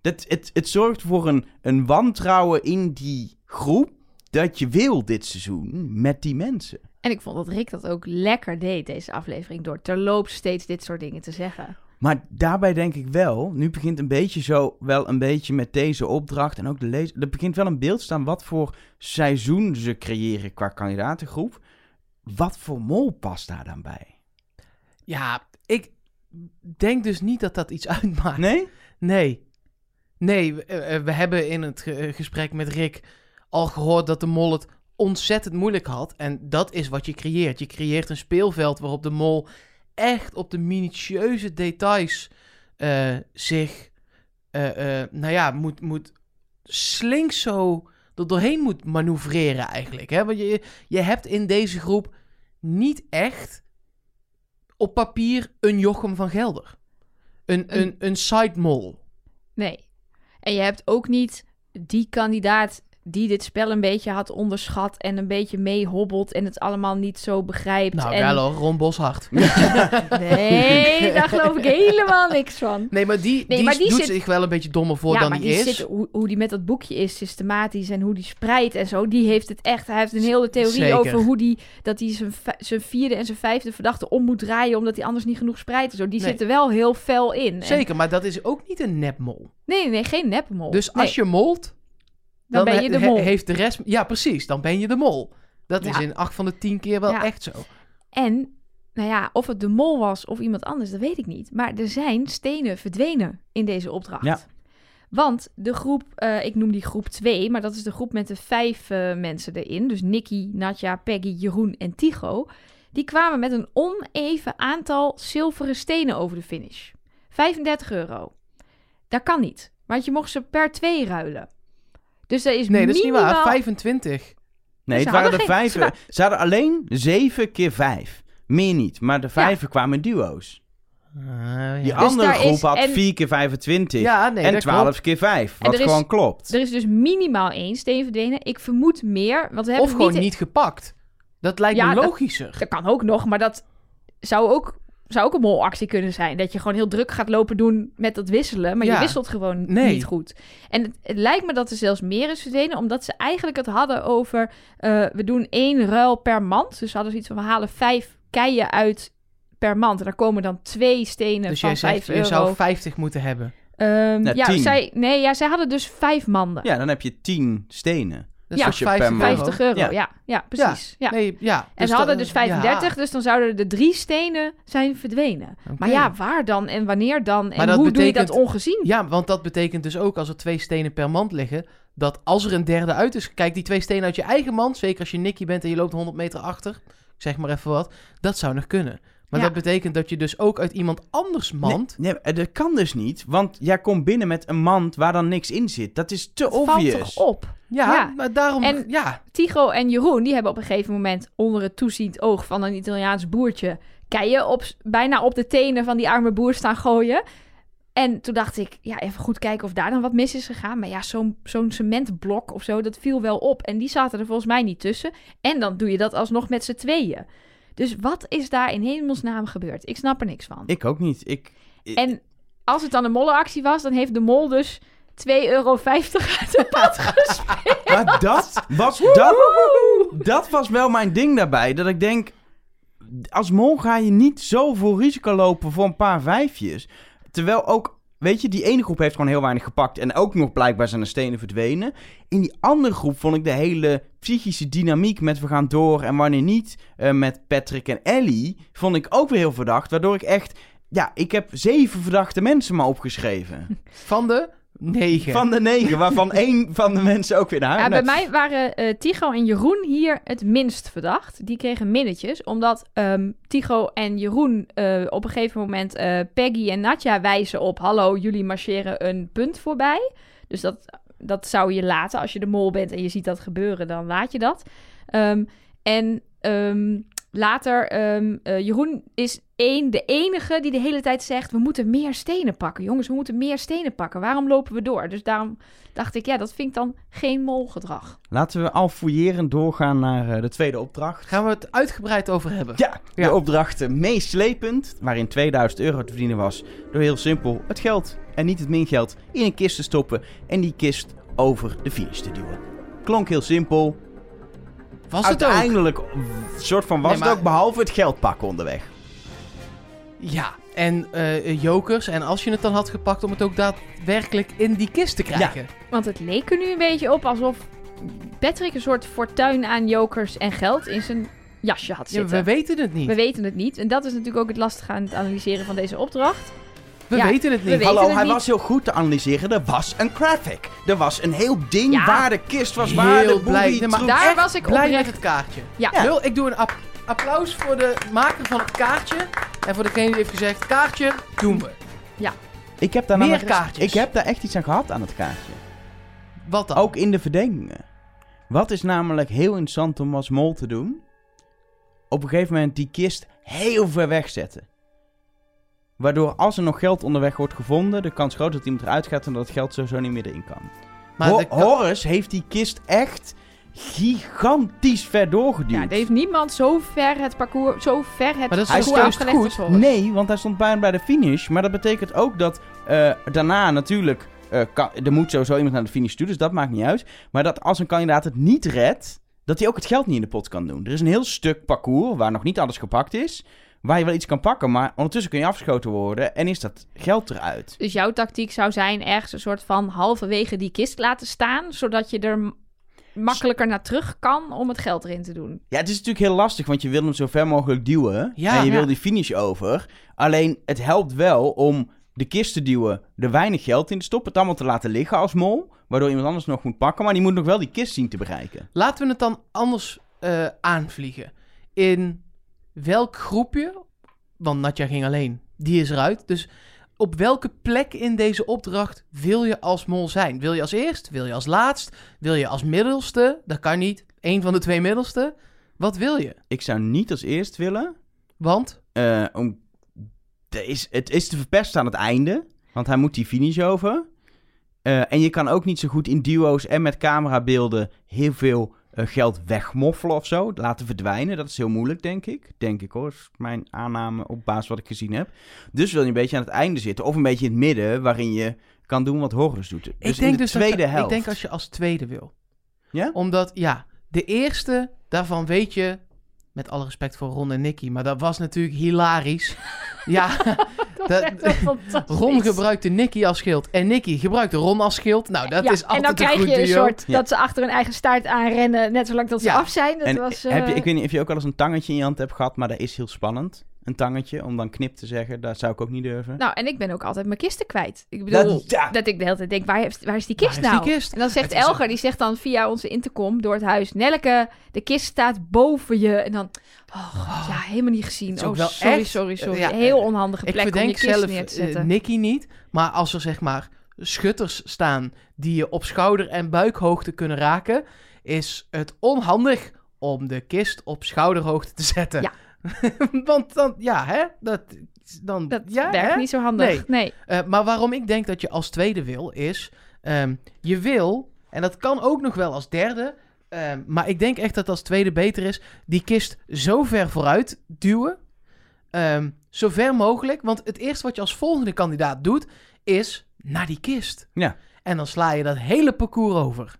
C: Dat, het, het zorgt voor een, een wantrouwen in die groep dat je wil dit seizoen met die mensen.
B: En ik vond dat Rick dat ook lekker deed, deze aflevering, door terloops steeds dit soort dingen te zeggen.
C: Maar daarbij denk ik wel, nu begint een beetje zo, wel een beetje met deze opdracht en ook de lezer, er begint wel een beeld te staan wat voor seizoen ze creëren qua kandidatengroep. Wat voor mol past daar dan bij?
A: Ja, ik denk dus niet dat dat iets uitmaakt.
C: Nee?
A: Nee. Nee, we, eh, we hebben in het ge- eh, gesprek met Rick al gehoord dat de mol het ontzettend moeilijk had. En dat is wat je creëert. Je creëert een speelveld waarop de mol echt op de minutieuze details eh, zich, eh, eh, nou ja, moet, moet slinks zo er doorheen moet manoeuvreren eigenlijk. Hè? Want je, je hebt in deze groep niet echt op papier een Jochem van Gelder. Een,
B: Een-
A: een, een side mol.
B: Nee. En je hebt ook niet die kandidaat die dit spel een beetje had onderschat en een beetje meehobbelt en het allemaal niet zo begrijpt.
A: Nou,
B: en...
A: wel hoor, Ron Boshart.
B: Nee, daar geloof ik helemaal niks van.
A: Nee, maar die,
B: Nee,
A: die,
B: maar die
A: doet
B: zit-
A: zich wel een beetje dommer voor
B: ja,
A: dan
B: maar
A: die is.
B: Zit, hoe, hoe die met dat boekje is, systematisch en hoe die spreidt en zo, die heeft het echt. Hij heeft een hele theorie
A: Zeker.
B: over hoe die, dat hij zijn, vij- zijn vierde en zijn vijfde verdachte om moet draaien, omdat hij anders niet genoeg spreidt en zo. Die
A: Nee.
B: zit er wel heel fel in. En-
A: Zeker, maar dat is ook niet een nepmol.
B: nee, nee, nee, geen nepmol.
A: Dus als je molt,
B: dan ben je de
A: he-
B: mol.
A: heeft de rest... Ja, precies, dan ben je de mol. Dat is
B: Ja.
A: in acht van de tien keer wel
B: Ja.
A: echt zo.
B: En, nou ja, of het de mol was of iemand anders, dat weet ik niet. Maar er zijn stenen verdwenen in deze opdracht.
C: Ja.
B: Want de groep, eh, ik noem die groep 2, maar dat is de groep met de vijf eh, mensen erin. Dus Nicky, Nadja, Peggy, Jeroen en Tycho. Die kwamen met een oneven aantal zilveren stenen over de finish. 35 euro. Dat kan niet, want je mocht ze per twee ruilen. Dus er is
A: Nee, dat is niet waar.
B: minimaal-
A: 25.
C: Nee,
B: Ze
C: het waren
B: hadden
C: de
B: geen-
C: vijf.
B: ze wa-
C: Ze hadden alleen zeven keer vijf. Meer niet. Maar de vijven kwamen in duo's. Die
A: Ah, ja.
C: andere
B: Dus daar
C: groep
B: is-
C: had
B: en-
C: vier keer 25.
A: Ja, nee,
C: en
A: dat
C: twaalf
A: klopt.
C: keer vijf. Wat
B: er is-
C: gewoon klopt.
B: Er is dus minimaal één steen verdwenen. Ik vermoed meer, want we hebben
A: Of gewoon
B: niet
A: niet gepakt. Dat lijkt
B: Ja,
A: me
B: dat-
A: logischer.
B: Dat kan ook nog, maar dat zou ook zou ook een molactie kunnen zijn. Dat je gewoon heel druk gaat lopen doen met dat wisselen. Maar
A: Ja.
B: je wisselt gewoon
A: Nee.
B: niet goed. En het, het lijkt me dat er zelfs meer is verdwenen. Omdat ze eigenlijk het hadden over... eh, we doen één ruil per mand. Dus ze hadden zoiets van... We halen vijf keien uit per mand. En daar komen dan twee stenen
A: Dus jij
B: van
A: zegt,
B: vijf
A: je
B: euro.
A: zou 50 moeten hebben.
B: Ehm,
C: Nee,
B: ja,
C: tien.
B: zij, nee, ja, zij hadden dus vijf manden.
C: Ja, dan heb je 10 stenen.
A: Dat
B: Ja,
A: is
C: je
A: toch 50
C: per maand.
A: euro?
B: 50 euro,
C: Ja.
B: ja. Ja, precies. Ja.
A: Nee, ja.
B: En ze hadden
A: dat-
B: dus 35,
A: ja.
B: dus dan zouden de drie stenen zijn verdwenen. Maar
A: Oké.
B: ja, waar dan en wanneer dan? En
A: Maar
B: hoe
A: dat
B: doe je dat
A: betekent-
B: ongezien?
A: Ja, want dat betekent dus ook als er twee stenen per mand liggen, dat als er een derde uit is, kijk die twee stenen uit je eigen mand, zeker als je Nicky bent en je loopt 100 meter achter, ik zeg maar even wat, dat zou nog kunnen. Maar
B: Ja.
A: dat betekent dat je dus ook uit iemand anders mand.
C: Nee, nee, dat kan dus niet, want jij komt binnen met een mand waar dan niks in zit. Dat is te
B: Het valt
C: obvious.
B: toch op?
A: ja,
B: Ja.
A: maar daarom,
B: En-
A: ja,
B: Tigo en Jeroen, die hebben op een gegeven moment onder het toeziend oog van een Italiaans boertje keien op, bijna op de tenen van die arme boer staan gooien. En toen dacht ik, ja, even goed kijken of daar dan wat mis is gegaan. Maar ja, zo'n zo'n cementblok of zo, dat viel wel op. En die zaten er volgens mij niet tussen. En dan doe je dat alsnog met z'n tweeën. Dus wat is daar in hemelsnaam gebeurd? Ik snap er niks van.
C: Ik ook niet. Ik, ik-
B: En als het dan een mollenactie was, dan heeft de mol dus 2,50 euro uit de pot gespeeld.
C: Maar Ah, dat was, dat, dat was wel mijn ding daarbij. Dat ik denk, als mol ga je niet zoveel risico lopen voor een paar vijfjes. Terwijl ook, weet je, die ene groep heeft gewoon heel weinig gepakt. En ook nog blijkbaar zijn de stenen verdwenen. In die andere groep vond ik de hele psychische dynamiek met we gaan door en wanneer niet. eh, met Patrick en Ellie vond ik ook weer heel verdacht. Waardoor ik echt, ja, ik heb zeven verdachte mensen maar opgeschreven.
A: van de negen.
C: Van de negen, waarvan één van de mensen ook weer naar huis.
B: Ja, bij
C: Nee.
B: mij waren eh, Tigo en Jeroen hier het minst verdacht. Die kregen minnetjes, omdat ehm, Tigo en Jeroen eh, op een gegeven moment eh, Peggy en Natja wijzen op... Hallo, jullie marcheren een punt voorbij. Dus dat, dat zou je laten. Als je de mol bent en je ziet dat gebeuren, dan laat je dat. Ehm, en ehm, later, ehm, eh, Jeroen is één, de enige die de hele tijd zegt... we moeten meer stenen pakken. Jongens, we moeten meer stenen pakken. Waarom lopen we door? Dus daarom dacht ik, ja, dat vind ik dan geen molgedrag.
C: Laten we al fouillerend doorgaan naar eh, de tweede opdracht.
A: Gaan we het uitgebreid over hebben?
C: Ja, de
A: Ja.
C: opdracht eh, meeslepend, waarin 2000 euro te verdienen was, door heel simpel het geld en niet het mingeld in een kist te stoppen en die kist over de finish te duwen. Klonk heel simpel.
A: Was het ook?
C: Uiteindelijk w- soort van was
A: Nee, maar-
C: het ook, behalve het geld pakken onderweg.
A: Ja, en eh, jokers. En als je het dan had gepakt, om het ook daadwerkelijk in die kist te krijgen.
B: Want het leek er nu een beetje op alsof Patrick een soort fortuin aan jokers en geld in zijn jasje had
A: Ja,
B: zitten.
A: we weten het niet.
B: we
A: We,
B: weten het niet. En dat is natuurlijk ook het lastige aan het analyseren van deze opdracht. ja,
A: weten het
B: we
A: niet.
B: weten-
C: Hallo,
B: het
C: hij
B: niet.
C: was heel goed te analyseren. Er was een graphic. Er was een heel ding
B: Ja.
C: waar de kist was, waar
A: Heel
C: de
A: blij.
C: boelie
A: Nee, maar
C: troep-
B: Daar
A: echt
B: was ik
A: Blij met
B: oprecht.
A: het kaartje.
B: Ja.
C: Ja.
A: Wil, ik doe een app- applaus voor de maker van het kaartje. En voor degene die heeft gezegd, kaartje, doen we.
C: Ik heb daar
A: Meer
C: namelijk-
A: kaartjes.
C: Ik heb daar echt iets aan gehad aan het kaartje.
A: Wat dan?
C: Ook in de verdenkingen. Wat is namelijk heel interessant om als mol te doen? Op een gegeven moment die kist heel ver weg zetten. Waardoor als er nog geld onderweg wordt gevonden, de kans groot is dat iemand eruit gaat en dat het geld sowieso niet meer erin kan.
A: maar
C: Ho-
A: de ka-
C: Horace heeft die kist echt gigantisch ver doorgeduwd.
B: Ja, er heeft niemand zo ver het parcours, zo ver het
A: Maar dat is
C: Hij
B: parcours
A: goed
C: stond
B: afgelegd als
C: goed.
B: Horace.
C: Nee, want hij stond bijna bij de finish. Maar dat betekent ook dat eh, daarna natuurlijk... eh, kan- er moet sowieso iemand naar de finish toe, dus dat maakt niet uit. Maar dat als een kandidaat het niet redt... dat hij ook het geld niet in de pot kan doen. Er is een heel stuk parcours waar nog niet alles gepakt is... waar je wel iets kan pakken, maar ondertussen kun je afgeschoten worden... en is dat geld eruit.
B: Dus jouw tactiek zou zijn ergens een soort van halverwege die kist laten staan, zodat je er m- makkelijker naar terug kan om het geld erin te doen.
C: Ja, het is natuurlijk heel lastig, want je wil hem zo ver mogelijk duwen.
A: Ja,
C: en je
A: ja.
C: wil die finish over. Alleen, het helpt wel om de kist te duwen, er weinig geld in te stoppen, het allemaal te laten liggen als mol. Waardoor iemand anders nog moet pakken, maar die moet nog wel die kist zien te bereiken.
A: Laten we het dan anders eh, aanvliegen. In welk groepje, want Natja ging alleen, die is eruit. Dus op welke plek in deze opdracht wil je als mol zijn? Wil je als eerst? Wil je als laatst? Wil je als middelste? Dat kan niet. Eén van de twee middelste. Wat wil je?
C: Ik zou niet als eerst willen.
A: Want
C: eh, om... er is, het is te verpest aan het einde, want hij moet die finish over. Eh, en je kan ook niet zo goed in duo's en met camerabeelden heel veel eh, geld wegmoffelen of zo. Laten verdwijnen. Dat is heel moeilijk, denk ik. Denk ik hoor. Is mijn aanname op basis wat ik gezien heb. Dus wil je een beetje aan het einde zitten. Of een beetje in het midden, waarin je kan doen wat Horus doet. Dus in de
A: dat
C: tweede
A: je-
C: helft.
A: Ik denk als je als tweede wil.
C: Ja?
A: Omdat, ja, de eerste, daarvan weet je, met alle respect voor Ron en Nicky, maar dat was natuurlijk hilarisch. ja,
B: Dat,
A: Dat-
B: is echt wel fantastisch.
A: Ron gebruikte Nicky als schild en Nicky gebruikte Ron als schild. Nou, dat
B: Ja,
A: is altijd
B: en dan
A: een
B: krijg
A: goed
B: je een
A: duo.
B: soort
C: Ja.
B: dat ze achter hun eigen staart aanrennen, net zolang dat ze
A: Ja.
B: af zijn. Dat
C: en
B: was,
C: heb je,
B: eh,
C: ik weet niet of je ook al eens een tangetje in je hand hebt gehad, maar dat is heel spannend. Een tangetje, om dan knip te zeggen, dat zou ik ook niet durven.
B: Nou, en ik ben ook altijd mijn kisten kwijt. Ik bedoel,
C: Dat-
B: dat,
C: ja.
B: ik de hele tijd denk, waar, heeft- waar is die kist
A: Nou, Waar is die
B: nou?
A: kist?
B: En dan zegt
A: Het is-
B: Elger, die zegt dan via onze intercom door het huis... Nelke, de kist staat boven je. En dan, oh, god, ja, helemaal niet gezien.
A: Het is
B: Oh,
A: ook wel
B: sorry,
A: echt-
B: sorry, sorry.
A: ja,
B: Heel
A: eh,
B: onhandige
A: Ik
B: plek om je
A: bedenk
B: kist
A: zelf
B: neer te
A: eh,
B: zetten.
A: Nicky niet, maar als er zeg maar schutters staan die je op schouder- en buikhoogte kunnen raken, is het onhandig om de kist op schouderhoogte te zetten.
B: Ja.
A: Want dan, ja, hè? Dat, dan,
B: dat
A: ja,
B: werkt
A: hè?
B: niet zo handig.
A: Nee.
B: Nee.
A: Eh, maar waarom ik denk dat je als tweede wil, is ehm, je wil, en dat kan ook nog wel als derde, ehm, maar ik denk echt dat als tweede beter is, die kist zo ver vooruit duwen, ehm, zo ver mogelijk. Want het eerste wat je als volgende kandidaat doet, is naar die kist.
C: Ja.
A: En dan sla je dat hele parcours over.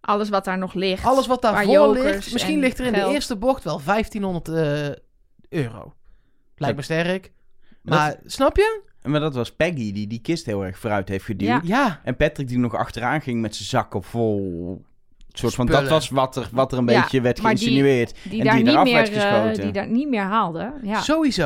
B: Alles wat daar nog ligt.
A: Alles wat
B: Waar
A: daarvoor
B: jokers
A: ligt, misschien
B: en
A: ligt er in de
B: geld.
A: eerste bocht wel 1500 eh, euro. Lijkt me sterk.
C: Dat-
A: Maar snap je?
C: Maar dat was Peggy die die kist heel erg vooruit heeft geduwd.
B: Ja.
A: Ja.
C: En Patrick die nog achteraan ging met zijn zakken vol... Soort van, dat
A: Spullen.
C: was wat er, wat er een
B: Ja,
C: beetje werd
B: maar die- Dus
C: geïnsinueerd.
B: die,
C: en
B: daar
C: die
B: niet
C: eraf
B: meer,
C: werd
B: eh,
C: geschoten.
B: die daar niet meer haalde. Ja.
A: Sowieso.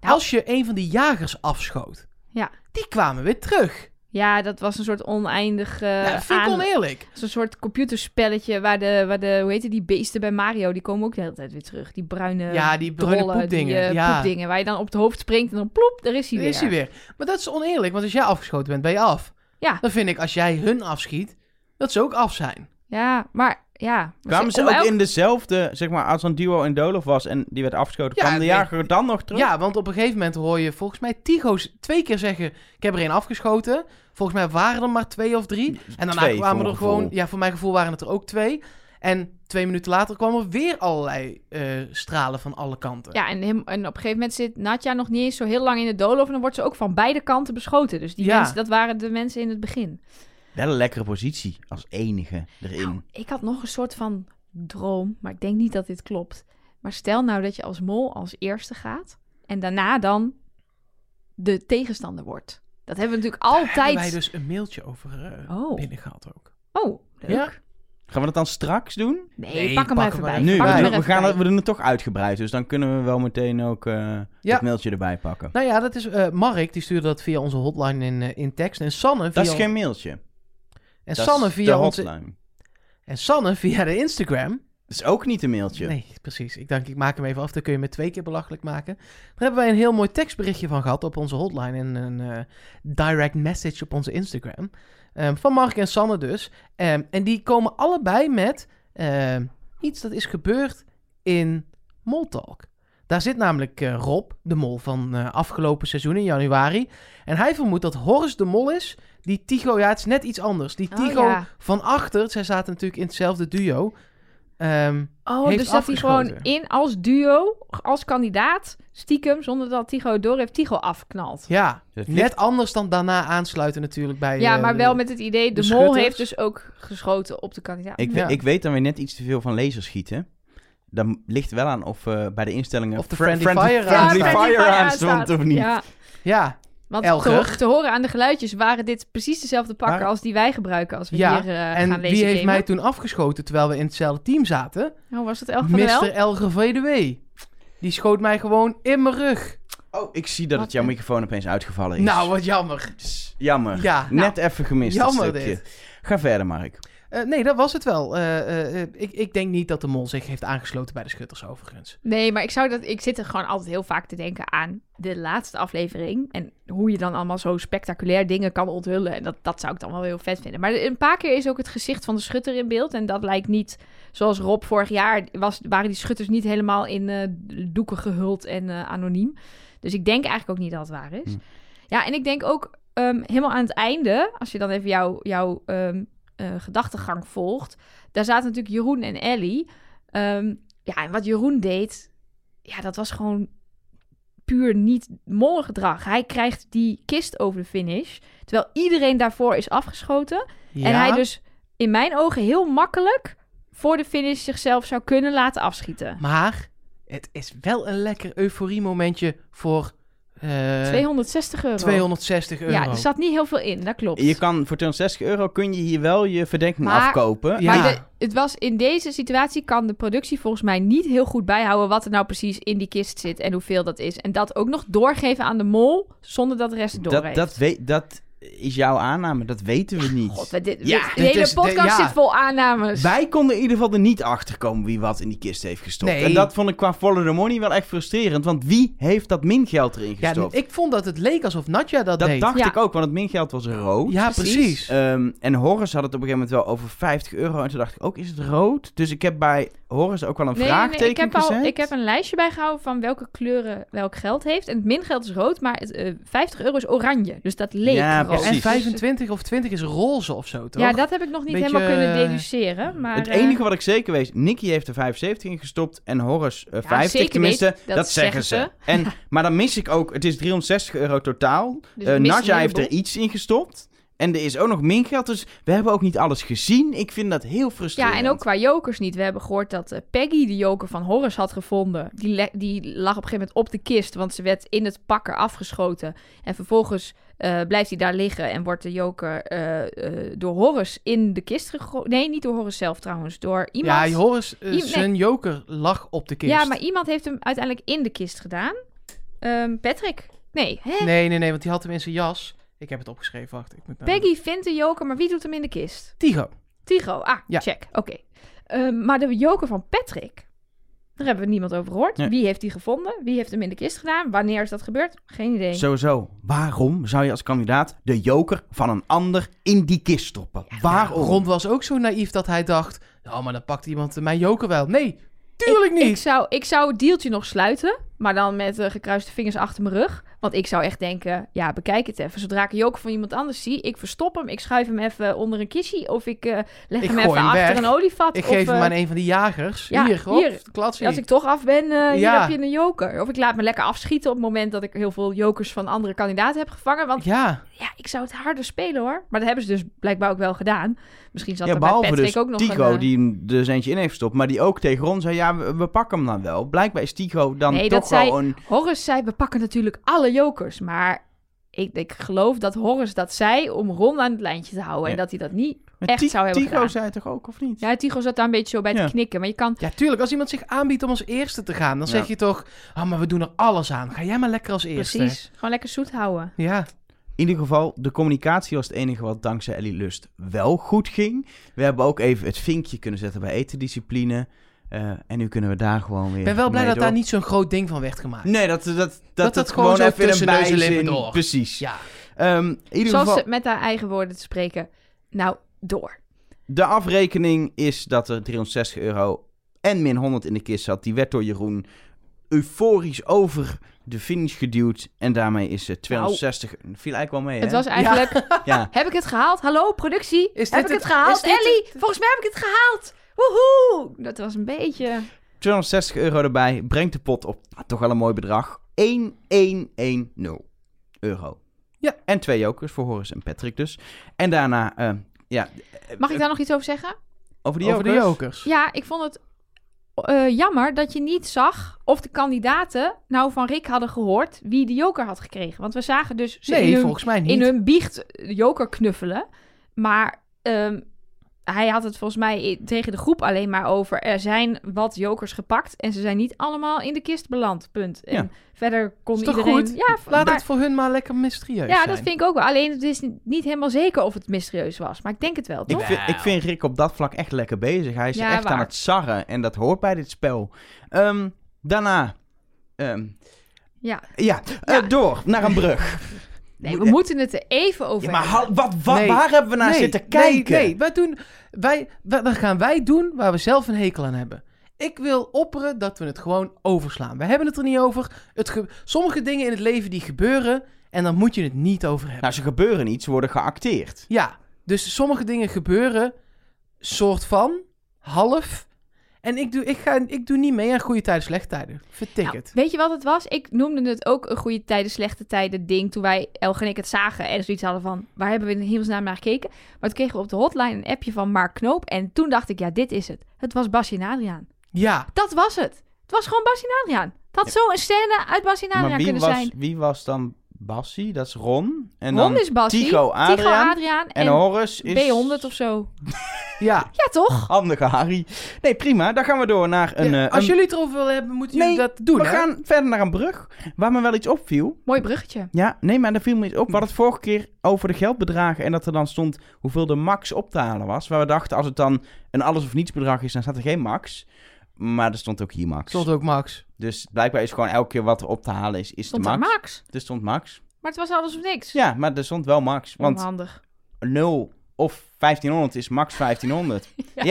B: Nou-
A: Als je een van die jagers afschoot,
B: Ja.
A: die kwamen weer terug.
B: ja, dat was een soort oneindig... eh,
A: ja, dat vind ik
B: aan-
A: oneerlijk.
B: Zo'n soort computerspelletje waar de, waar de, hoe heet het, die beesten bij Mario, die komen ook de hele tijd weer terug. Die bruine
A: Ja, die bruine
B: drollen,
A: poepdingen.
B: eh, Die, eh,
A: ja,
B: poepdingen, waar je dan op het hoofd springt en dan ploep, daar is hij
A: Daar
B: weer.
A: is hij weer. Maar dat is oneerlijk, want als jij afgeschoten bent, ben je af.
B: Ja.
A: Dan vind ik, als jij hun afschiet, dat ze ook af zijn.
B: Ja, maar ja. Maar
C: Kwamen ze
B: om
C: ook
B: elk-
C: in dezelfde, zeg maar, als een duo in Dolof was en die werd afgeschoten,
A: Ja,
C: kwam de
A: nee.
C: jager dan nog terug?
A: Ja, want op een gegeven moment hoor je volgens mij Tigo's twee keer zeggen... ik heb er één afgeschoten. Volgens mij waren er maar twee of drie. En daarna
C: Twee, voor
A: kwamen
C: mijn
A: er gewoon...
C: gevoel.
A: Ja, voor mijn gevoel waren het er ook twee. En twee minuten later kwamen er weer allerlei eh, stralen van alle kanten.
B: Ja, en, hem- en op een gegeven moment zit Nadja nog niet eens zo heel lang in de doolhof en dan wordt ze ook van beide kanten beschoten. Dus die
A: Ja.
B: mensen, dat waren de mensen in het begin.
C: Wel een lekkere positie, als enige erin.
B: Nou, Ik had nog een soort van droom, maar ik denk niet dat dit klopt. Maar stel nou dat je als mol als eerste gaat en daarna dan de tegenstander wordt. Dat hebben we natuurlijk
A: Daar
B: altijd.
A: hebben wij dus een mailtje over eh
B: Oh.
A: binnengehaald ook.
B: Oh, leuk.
A: Ja.
C: Gaan we dat dan straks doen?
B: Nee,
A: Nee,
B: pak hem
A: pak
B: maar even
A: hem
B: bij.
A: even
C: Nu,
B: Pak
A: maar
B: hem
C: we,
B: er
A: doe-
C: we,
B: even
C: gaan,
B: bij.
C: het- we doen het toch uitgebreid, dus dan kunnen we wel meteen ook eh
A: Ja.
C: het mailtje erbij pakken.
A: Nou ja, dat is eh, Mark, die stuurde dat via onze hotline in, eh, in tekst. En Sanne via,
C: Dat is geen mailtje.
A: en
C: dat
A: Sanne
C: is de
A: via onze,
C: hotline.
A: En Sanne via de Instagram.
C: Dat is ook niet een mailtje.
A: Nee, precies. Ik denk, ik maak hem even af. Dan kun je me twee keer belachelijk maken. Daar hebben wij een heel mooi tekstberichtje van gehad op onze hotline. En een eh, direct message op onze Instagram. Ehm, van Mark en Sanne dus. Ehm, en die komen allebei met ehm, iets dat is gebeurd in Moltalk. Daar zit namelijk eh, Rob, de mol van eh, afgelopen seizoen in januari. En hij vermoedt dat Horst de mol is. Die Tigo, ja het is net iets anders. Die
B: Oh,
A: Tigo
B: ja.
A: van achter, zij zaten natuurlijk in hetzelfde duo. Ehm,
B: Oh,
A: heeft
B: dus dat hij gewoon
A: afgeschoten.
B: in als duo, als kandidaat, stiekem, zonder dat Tigo het door heeft, Tigo afknalt.
A: Ja,
C: Het ligt-
A: net anders dan daarna aansluiten natuurlijk bij...
B: Ja,
A: eh,
B: maar
A: de-
B: wel met het idee, de,
A: de
B: mol
A: schutters.
B: heeft dus ook geschoten op de kandidaat.
C: Ik, we-
A: Ja.
C: ik weet dan weer net iets te veel van lasers schieten. Dan ligt wel aan of eh, bij de instellingen...
A: Of de
C: fri-
A: friendly fire
B: Ja,
A: friendly
B: Friendly
C: fire
B: aanstaat.
C: aanstond of niet.
B: Ja,
A: Ja,
B: want
A: Elger.
B: te, ho- te horen aan de geluidjes waren dit precies dezelfde pakken
C: Maar-
B: als die wij gebruiken als we
A: Ja,
B: hier eh,
A: en
B: gaan
A: wie
B: lezen
A: heeft mij
B: gamen.
A: toen afgeschoten terwijl we in hetzelfde team zaten?
B: Oh, was dat Elger van der Wel?
A: Mr. Elger VDW. Die schoot mij gewoon in mijn rug.
C: Oh, ik zie dat
B: Wat
C: het jouw
B: een-
C: microfoon opeens uitgevallen is.
A: Nou, wat jammer.
C: Jammer.
A: Ja, nou,
C: Net even gemist
A: jammer
C: dat stukje. Ga verder, Mark.
A: Eh, nee, dat was het wel. Eh, eh, eh, ik, ik denk niet dat de mol zich heeft aangesloten bij de schutters overigens.
B: Nee, maar ik, zou dat, ik zit er gewoon altijd heel vaak te denken aan de laatste aflevering. En hoe je dan allemaal zo spectaculair dingen kan onthullen. En dat, dat zou ik dan wel heel vet vinden. Maar een paar keer is ook het gezicht van de schutter in beeld. En dat lijkt niet, zoals Rob vorig jaar, was, waren die schutters niet helemaal in eh, doeken gehuld en eh, anoniem. Dus ik denk eigenlijk ook niet dat het waar is.
C: Hm.
B: Ja, en ik denk ook ehm, helemaal aan het einde, als je dan even jouw jouw ehm, eh, gedachtegang volgt. Daar zaten natuurlijk Jeroen en Ellie. Ehm, ja, en wat Jeroen deed, ja, dat was gewoon puur niet mooi gedrag. Hij krijgt die kist over de finish, terwijl iedereen daarvoor is afgeschoten. En hij dus in mijn ogen heel makkelijk voor de finish zichzelf zou kunnen laten afschieten.
A: Maar het is wel een lekker euforie-momentje voor eh,
B: 260 euro.
A: 260 euro.
B: Ja, er zat niet heel veel in, dat klopt.
C: Je kan voor 260 euro kun je hier wel je verdenking
B: Maar-
C: afkopen.
A: Ja.
B: Maar de- het was in deze situatie kan de productie volgens mij niet heel goed bijhouden wat er nou precies in die kist zit en hoeveel dat is. En dat ook nog doorgeven aan de mol zonder dat de rest het
C: dat,
B: doorheeft.
C: dat, weet, dat is jouw aanname, dat weten we niet.
B: God, dus- we- dit,
C: Ja,
B: dit- de
A: dit
B: hele
A: is- dit-
B: podcast
A: ja.
B: zit vol aannames.
C: Wij konden in ieder geval er niet achter komen wie wat in die kist heeft gestopt.
A: Nee.
C: En dat vond ik qua Follow the Money wel echt frustrerend. Want wie heeft dat mingeld erin
A: Ja,
C: gestopt?
A: ik vond dat het leek alsof Nadja dat,
C: dat
A: deed.
C: dacht
B: Ja.
C: ik ook, want het mingeld was rood.
A: ja,
B: precies.
A: precies.
C: Ehm, en Horus had het op een gegeven moment wel over 50 euro. En toen dacht ik ook, is het rood? Dus ik heb bij Horus ook wel een vraagteken
B: ik heb,
C: gezet.
B: al, ik heb een lijstje bijgehouden van welke kleuren welk geld heeft. En het mingeld is rood, maar het, eh, 50 euro is oranje. Dus dat leek
C: Ja,
B: rood.
A: En
C: precies.
A: 25 of 20 is roze of zo, toch?
B: Ja, dat heb ik nog niet
A: Beetje,
B: helemaal kunnen
A: eh,
B: deduceren. Maar,
C: het
B: eh,
C: enige wat ik zeker weet, Nicky heeft er 75 in gestopt en Horus eh,
B: Ja,
C: 50
B: zeker
C: tenminste.
B: weet,
C: dat,
B: dat
C: zeggen ze.
B: zeggen
C: En, maar dan mis ik ook, het is 360 euro totaal.
B: Dus
C: Eh
B: ik mis een
C: Nadja heeft er
B: heleboel.
C: iets in gestopt. En er is ook nog mingeld, dus we hebben ook niet alles gezien. Ik vind dat heel frustrerend.
B: ja, en ook qua jokers niet. We hebben gehoord dat eh, Peggy de joker van Horus had gevonden. Die, le- die lag op een gegeven moment op de kist, want ze werd in het pakken afgeschoten. En vervolgens eh, blijft hij daar liggen en wordt de joker eh, eh, door Horus in de kist gegooid. Nee, niet door Horus zelf trouwens, door iemand.
A: Ja, Joris, eh,
B: Iem- nee.
A: zijn joker lag op de kist.
B: Ja, maar iemand heeft hem uiteindelijk in de kist gedaan. Ehm, Patrick? Nee, hè?
A: Nee, nee, nee, want die had hem in zijn jas. Ik heb het opgeschreven, wacht. Ik moet nou-
B: Peggy vindt de joker, maar wie doet hem in de kist?
A: Tigo.
B: Tigo. Ah,
A: Ja.
B: check. Oké. Ehm, maar de joker van Patrick, daar hebben we niemand over gehoord.
C: Nee.
B: Wie heeft die gevonden? Wie heeft hem in de kist gedaan? Wanneer is dat gebeurd? Geen idee.
C: Sowieso, waarom zou je als kandidaat de joker van een ander in die kist stoppen? waarom?
A: Ron was ook zo naïef dat hij dacht... Nou, maar dan pakt iemand mijn joker wel. Nee,
B: Ik-
A: tuurlijk niet.
B: Ik zou, ik zou het deeltje nog sluiten, maar dan met eh, gekruiste vingers achter mijn rug. Want ik zou echt denken, ja, bekijk het even. Zodra ik een joker van iemand anders zie, ik verstop hem, ik schuif hem even onder een kistje. Of ik eh, leg
A: Ik
B: hem
A: gooi
B: even
A: hem
B: achter
A: weg.
B: een olievat.
A: Ik
B: of,
A: geef hem
B: eh,
A: aan een van die jagers.
B: ja,
A: hier, hop,
B: hier.
A: klatsie.
B: als ik toch af ben, eh, hier
A: Ja.
B: heb je een joker. Of ik laat me lekker afschieten op het moment dat ik heel veel jokers van andere kandidaten heb gevangen. Want
A: Ja,
B: ja, ik zou het harder spelen hoor. Maar dat hebben ze dus blijkbaar ook wel gedaan. Misschien zat
C: ja,
B: er bij
C: behalve
B: Patrick
C: dus
B: ook nog
C: Tigo,
B: een... eh,
C: die hem er dus eentje in heeft gestopt. Maar die ook tegen Ron zei, ja, we, we pakken hem dan wel. Blijkbaar is Tigo dan
B: Nee,
C: toch
B: dat zei-
C: wel een...
B: Horus zei, we pakken natuurlijk alle jokers. Maar ik, ik geloof dat Horus dat zei om Ron aan het lijntje te houden. En
C: Ja.
B: dat hij dat niet...
C: Maar
B: echt
C: Ti-
B: zou hebben
C: Tigo
B: gedaan.
C: zei het toch ook, of niet?
B: Ja, Tigo zat daar een beetje zo bij
C: Ja.
B: te knikken. Maar je kan...
A: ja, tuurlijk. Als iemand zich aanbiedt om als eerste te gaan, dan
C: Ja.
A: zeg je toch... Ah, maar we doen er alles aan. Ga jij maar lekker als eerste.
B: Precies, gewoon lekker zoet houden.
A: Ja,
C: In ieder geval, de communicatie was het enige wat dankzij Ellie Lust wel goed ging. We hebben ook even het vinkje kunnen zetten bij etendiscipline. Eh, en nu kunnen we daar gewoon weer
A: ik ben wel blij
C: mee
A: dat daar
C: door.
A: niet zo'n groot ding van werd gemaakt.
C: Nee, dat dat, dat,
A: dat
C: dat, het
A: gewoon
C: gewoon,
A: zo
C: even in een
A: tussen neus en lippen
C: bijzin...
A: door.
C: Precies.
A: Ja,
C: Ehm, in ieder
B: Zoals
C: geval...
B: ze met haar eigen woorden te spreken. Nou, door.
C: De afrekening is dat er 360 euro en min 100 in de kist zat. Die werd door Jeroen euforisch over de finish geduwd. En daarmee is Nou, het 260. Viel eigenlijk wel mee,
B: Het
C: hè?
B: was eigenlijk...
C: Ja.
B: Heb ik het gehaald? Hallo, productie?
A: Is
B: heb
A: dit
B: ik het
A: het- is
B: gehaald?
A: dit
B: Ellie, volgens mij heb ik het gehaald. Woehoe! Dat was een beetje...
C: 260 euro erbij. Brengt de pot op. ah, toch wel een mooi bedrag. 1110 euro.
A: Ja.
C: En twee jokers voor Horus en Patrick dus. En daarna... eh, ja,
B: Mag
A: eh.
B: ik daar nog iets over zeggen?
C: over die
A: over de
C: jokers?
A: jokers.
B: Ja, ik vond het eh, jammer dat je niet zag of de kandidaten nou van Rick hadden gehoord wie de joker had gekregen. Want we zagen dus ze
A: Nee,
B: in, hun,
A: volgens mij niet.
B: in hun biecht de joker knuffelen. Maar ehm, hij had het volgens mij i- tegen de groep alleen maar over er zijn wat jokers gepakt en ze zijn niet allemaal in de kist beland. Punt. En
C: Ja.
B: verder kon
A: Is toch
B: iedereen...
A: goed?
B: Ja,
A: Laat
B: maar-
A: het voor hun maar lekker mysterieus
B: ja,
A: zijn.
B: dat vind ik ook wel. Alleen het is niet helemaal zeker of het mysterieus was. Maar ik denk het wel,
C: Ik
B: toch?
C: vind, ik vind Rick op dat vlak echt lekker bezig. Hij is
B: Nou. Ja,
C: echt
B: waar.
C: aan het sarren en dat hoort bij dit spel. Ehm, daarna. ehm,
B: Ja.
C: ja, eh,
B: Ja.
C: door naar een brug. Eh,
B: Nee, we moeten het er even over
C: Ja, maar
B: hebben.
C: hal- wat, wat,
A: Nee.
C: waar hebben we naar zitten kijken?
A: Nee, nee. Wij doen, wij, wij, dan gaan wij doen waar we zelf een hekel aan hebben. Ik wil opperen dat we het gewoon overslaan. We hebben het er niet over. Het ge- sommige dingen in het leven die gebeuren en dan moet je het niet over hebben.
C: Nou, ze gebeuren niet, ze worden geacteerd.
A: Ja, Dus sommige dingen gebeuren soort van, half. En ik doe, ik ga, ik doe niet mee aan goede tijden, slechte tijden. Vertik
B: Nou,
A: het.
B: weet je wat het was? Ik noemde het ook een goede tijden, slechte tijden ding toen wij Elge en ik het zagen en zoiets hadden van waar hebben we in hemelsnaam naar gekeken? Maar toen kregen we op de hotline een appje van Mark Knoop en toen dacht ik ja dit is het. Het was Basje en Adriaan.
A: Ja,
B: Dat was het. Het was gewoon Basje en Adriaan. Het had zo een scène uit Basje en
C: maar
B: Adriaan
C: wie
B: Nou, kunnen
C: was,
B: zijn.
C: wie was dan Bassie? Dat is Ron. En
B: Ron
C: dan
B: is Bassie,
C: Tycho Adriaan.
B: Tycho Adriaan
C: en,
B: en,
C: Horus is...
B: B100 of zo.
A: ja.
B: Ja toch?
C: Handige Harry. Nee, prima. Dan gaan we door naar een...
A: Ja,
C: eh,
A: Als
C: een-
A: jullie het erover willen hebben, moeten
C: Nee,
A: jullie dat doen.
C: we
A: hè?
C: gaan verder naar een brug, waar me wel iets opviel.
B: Mooi bruggetje.
C: Ja, nee, maar daar viel me iets op. We hadden het vorige keer over de geldbedragen en dat er dan stond hoeveel er max op te halen was. Waar we dachten, als het dan een alles of niets bedrag is, dan staat er geen max. Maar er stond ook hier max.
A: Stond ook Max.
C: Dus blijkbaar is gewoon elke keer wat er op te halen is, is
B: Stond
C: de
B: daar
C: max.
B: Max.
C: Er stond max.
B: Maar het was alles of niks.
C: Ja, maar er stond wel max. Want
B: Onhandig.
C: 0 of 1500 is max 1500.
B: Ja.
C: ja.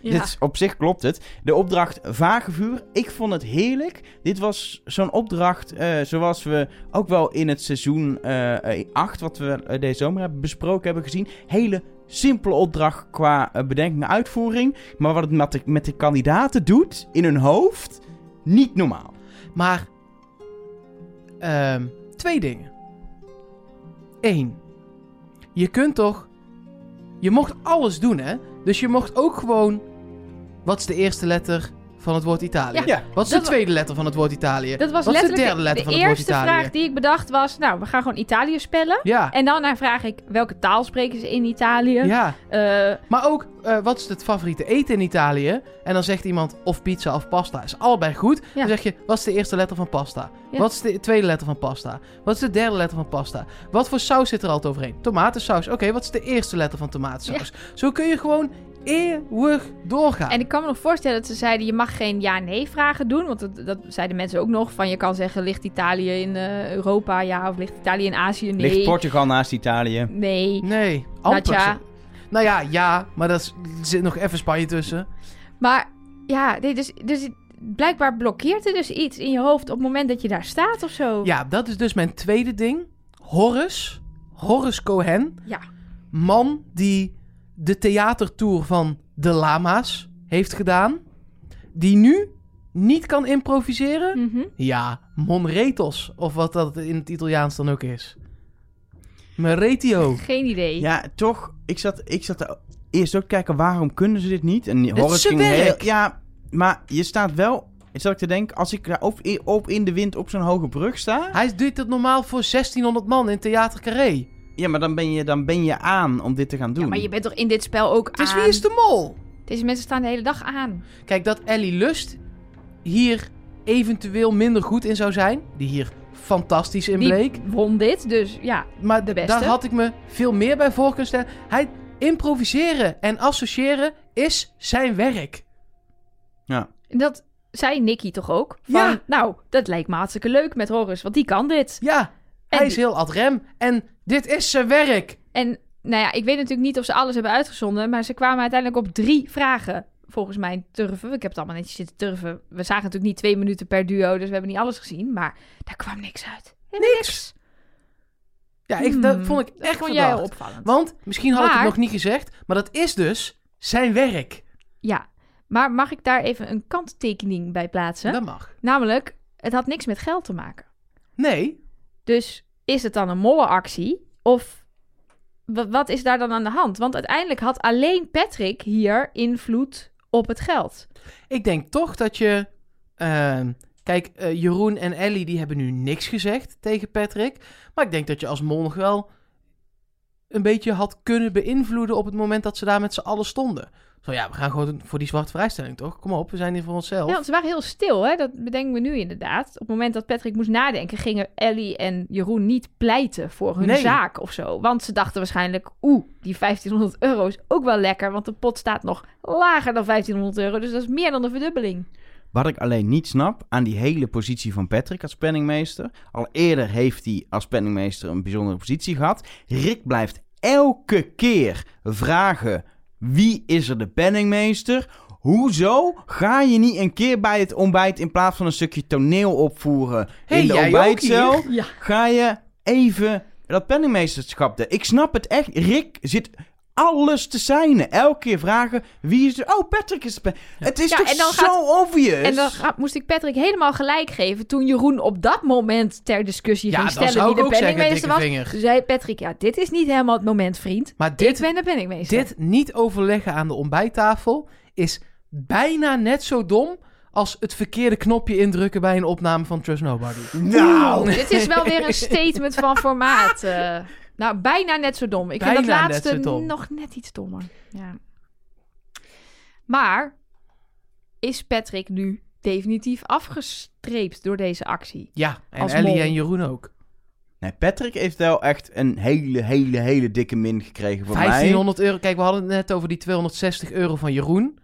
B: Ja.
C: Dit is- op zich klopt het. De opdracht Vagevuur, ik vond het heerlijk. Dit was zo'n opdracht eh, zoals we ook wel in het seizoen eh, eh, 8, wat we eh, deze zomer hebben besproken, hebben gezien. Hele simpele opdracht qua eh, bedenking en uitvoering. Maar wat het met de, met de kandidaten doet in hun hoofd, niet normaal.
A: Maar ehm, twee dingen. Eén. Je kunt toch. Je mocht alles doen, hè? Dus je mocht ook gewoon. Wat is de eerste letter van het woord Italië?
C: Ja.
A: Wat is de
B: dat wa-
A: tweede letter van het woord Italië?
B: Dat was
A: Wat is de
B: letterlijk
A: derde letter van het woord
B: eerste
A: Italië?
B: vraag die ik bedacht was, nou, we gaan gewoon Italië spellen.
A: Ja.
B: En daarna vraag ik, welke taal spreken ze in Italië?
A: Ja.
B: Eh,
A: Maar ook, eh, wat is het favoriete eten in Italië? En dan zegt iemand of pizza of pasta. Is allebei goed. Dan zeg je, wat is de eerste letter van pasta?
B: Ja.
A: Wat is de tweede letter van pasta? Wat is de derde letter van pasta? Wat voor saus zit er altijd overheen? Tomatensaus. Oké, wat is de eerste letter van tomatensaus? Zo kun je gewoon eeuwig doorgaan.
B: en ik kan me nog voorstellen dat ze zeiden, je mag geen ja-nee vragen doen. Want dat, dat zeiden mensen ook nog, van je kan zeggen, ligt Italië in eh, Europa, ja, of ligt Italië in Azië, nee.
C: Ligt Portugal naast Italië.
B: Nee.
A: Nee, amper.
B: Nadja.
A: zo. Nou ja, ja, maar dat is- er zit nog even Spanje tussen.
B: Maar ja, nee, dus, dus het- blijkbaar blokkeert er dus iets in je hoofd op het moment dat je daar staat of zo.
A: Ja, dat is dus mijn tweede ding. Horus. Horus Cohen.
B: Ja.
A: Man die de theatertour van de Lama's heeft gedaan. Die nu niet kan improviseren.
B: Mhm.
A: Ja, monretos. Of wat dat in het Italiaans dan ook is. Meretio.
B: Geen idee.
C: Ja, toch. Ik zat, ik zat er eerst ook te kijken, waarom kunnen ze dit niet? En
A: Het is
C: Horus ging
A: zijn
C: heel-
A: werk.
C: Ja, maar je staat wel... Zat ik te denken, als ik daar op, in- op in de wind op zo'n hoge brug sta...
A: Hij doet dat normaal voor 1600 man in Theater Carré.
C: Ja, maar dan ben je, dan ben je aan om dit te gaan doen.
B: Ja, maar je bent toch in dit spel ook
A: Dus
B: aan?
A: wie is de mol?
B: Deze mensen staan de hele dag aan.
A: Kijk, dat Ellie Lust hier eventueel minder goed in zou zijn. Die hier fantastisch in
B: Die
A: bleek.
B: won dit, dus ja.
A: Maar
B: de beste.
A: daar had ik me veel meer bij voor kunnen stellen. Hij improviseren en associëren is zijn werk.
B: En Dat zei Nicky toch ook? Van,
A: Ja.
B: Nou, dat lijkt me hartstikke leuk met Horus, want die kan dit.
A: Ja,
B: En
A: hij is
B: die-
A: heel ad rem. En dit is zijn werk.
B: En nou ja, ik weet natuurlijk niet of ze alles hebben uitgezonden, maar ze kwamen uiteindelijk op drie vragen. Volgens mij turven. Ik heb het allemaal netjes zitten turven. We zagen natuurlijk niet twee minuten per duo, dus we hebben niet alles gezien. Maar daar kwam niks uit. Helemaal
A: Niks. Ja, ik, dat
B: Hmm.
A: vond ik
B: Dat
A: echt
B: vond jij
A: verdacht.
B: opvallend.
A: Want, misschien had ik
B: Maar-
A: het nog niet gezegd, maar dat is dus zijn werk.
B: Ja, maar mag ik daar even een kanttekening bij plaatsen?
A: Dat mag.
B: Namelijk, het had niks met geld te maken.
A: Nee,
B: Dus is het dan een mollenactie? Of wa- wat is daar dan aan de hand? Want uiteindelijk had alleen Patrick hier invloed op het geld.
A: ik denk toch dat je... ehm, kijk, eh, Jeroen en Ellie die hebben nu niks gezegd tegen Patrick. Maar ik denk dat je als mol nog wel een beetje had kunnen beïnvloeden op het moment dat ze daar met z'n allen stonden. Zo ja, we gaan gewoon voor die zwarte vrijstelling, toch? Kom op, we zijn hier voor onszelf.
B: Ja, want ze waren heel stil, hè? dat bedenken we nu inderdaad. Op het moment dat Patrick moest nadenken, gingen Ellie en Jeroen niet pleiten voor hun
A: Nee.
B: zaak of zo. Want ze dachten waarschijnlijk, oeh, die 1500 euro is ook wel lekker, want de pot staat nog lager dan 1500 euro. Dus dat is meer dan de verdubbeling.
C: Wat ik alleen niet snap aan die hele positie van Patrick als penningmeester. Al eerder heeft hij als penningmeester een bijzondere positie gehad. Rick blijft elke keer vragen: wie is er de penningmeester? Hoezo ga je niet een keer bij het ontbijt in plaats van een stukje toneel opvoeren
A: Hey,
C: in de
A: jij ook
C: ontbijtcel?
A: hier?
B: Ja.
C: Ga je even dat penningmeesterschap. De... Ik snap het echt. Rick zit alles te zijn. Elke keer vragen wie is de... Oh, Patrick is de... pe- Het is
B: Ja,
C: toch
B: en dan
C: zo
B: gaat-
C: obvious?
B: En dan ga- moest ik Patrick helemaal gelijk geven toen Jeroen op dat moment ter discussie
A: Ja,
B: ging
A: dat
B: stellen
A: zou
B: wie
A: ik
B: de
A: ook zeggen,
B: penningmeester
A: dikke
B: was.
A: vinger.
B: Toen zei Patrick, ja, dit is niet helemaal het moment, vriend.
A: Maar
B: Dit, ik
A: dit,
B: ben de penningmeester.
A: dit niet overleggen aan de ontbijttafel is bijna net zo dom als het verkeerde knopje indrukken bij een opname van Trust Nobody.
C: Nou,
B: Oeh, dit is wel weer een statement van formaat. eh. nou, bijna net zo dom. Ik vind dat
A: Bijna net
B: laatste
A: zo dom.
B: nog net iets dommer. Ja. Maar is Patrick nu definitief afgestreept door deze actie?
A: Ja, en
B: Als
A: Ellie
B: mol.
A: en Jeroen ook.
C: Nee, Patrick heeft wel echt een hele, hele, hele dikke min gekregen voor mij.
A: 1500 euro. Kijk, we hadden het net over die 260 euro van Jeroen.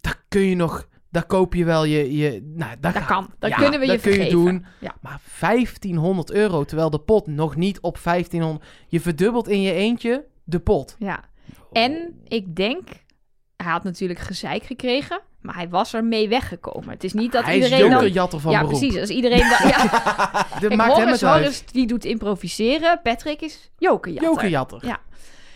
A: Daar kun je nog... Daar koop je wel je... je nou, daar
B: Dat
A: ga-
B: kan. Dat
A: ja,
B: kunnen we
A: dat
B: je
A: kun je
B: vergeven.
A: doen.
B: Ja.
A: Maar 1500 euro, terwijl de pot nog niet op 1500... Je verdubbelt in je eentje de pot.
B: Ja. En ik denk, hij had natuurlijk gezeik gekregen, maar hij was ermee weggekomen. Het is niet dat
A: Hij is
B: iedereen dan...
A: jokerjatter van
B: ja,
A: beroep.
B: precies. Als iedereen dan... Ja,
A: Dat
B: kijk,
A: maakt hem het
B: Horace,
A: uit.
B: Horace, die doet improviseren. Patrick is jokerjatter.
A: Jokerjatter.
B: Ja.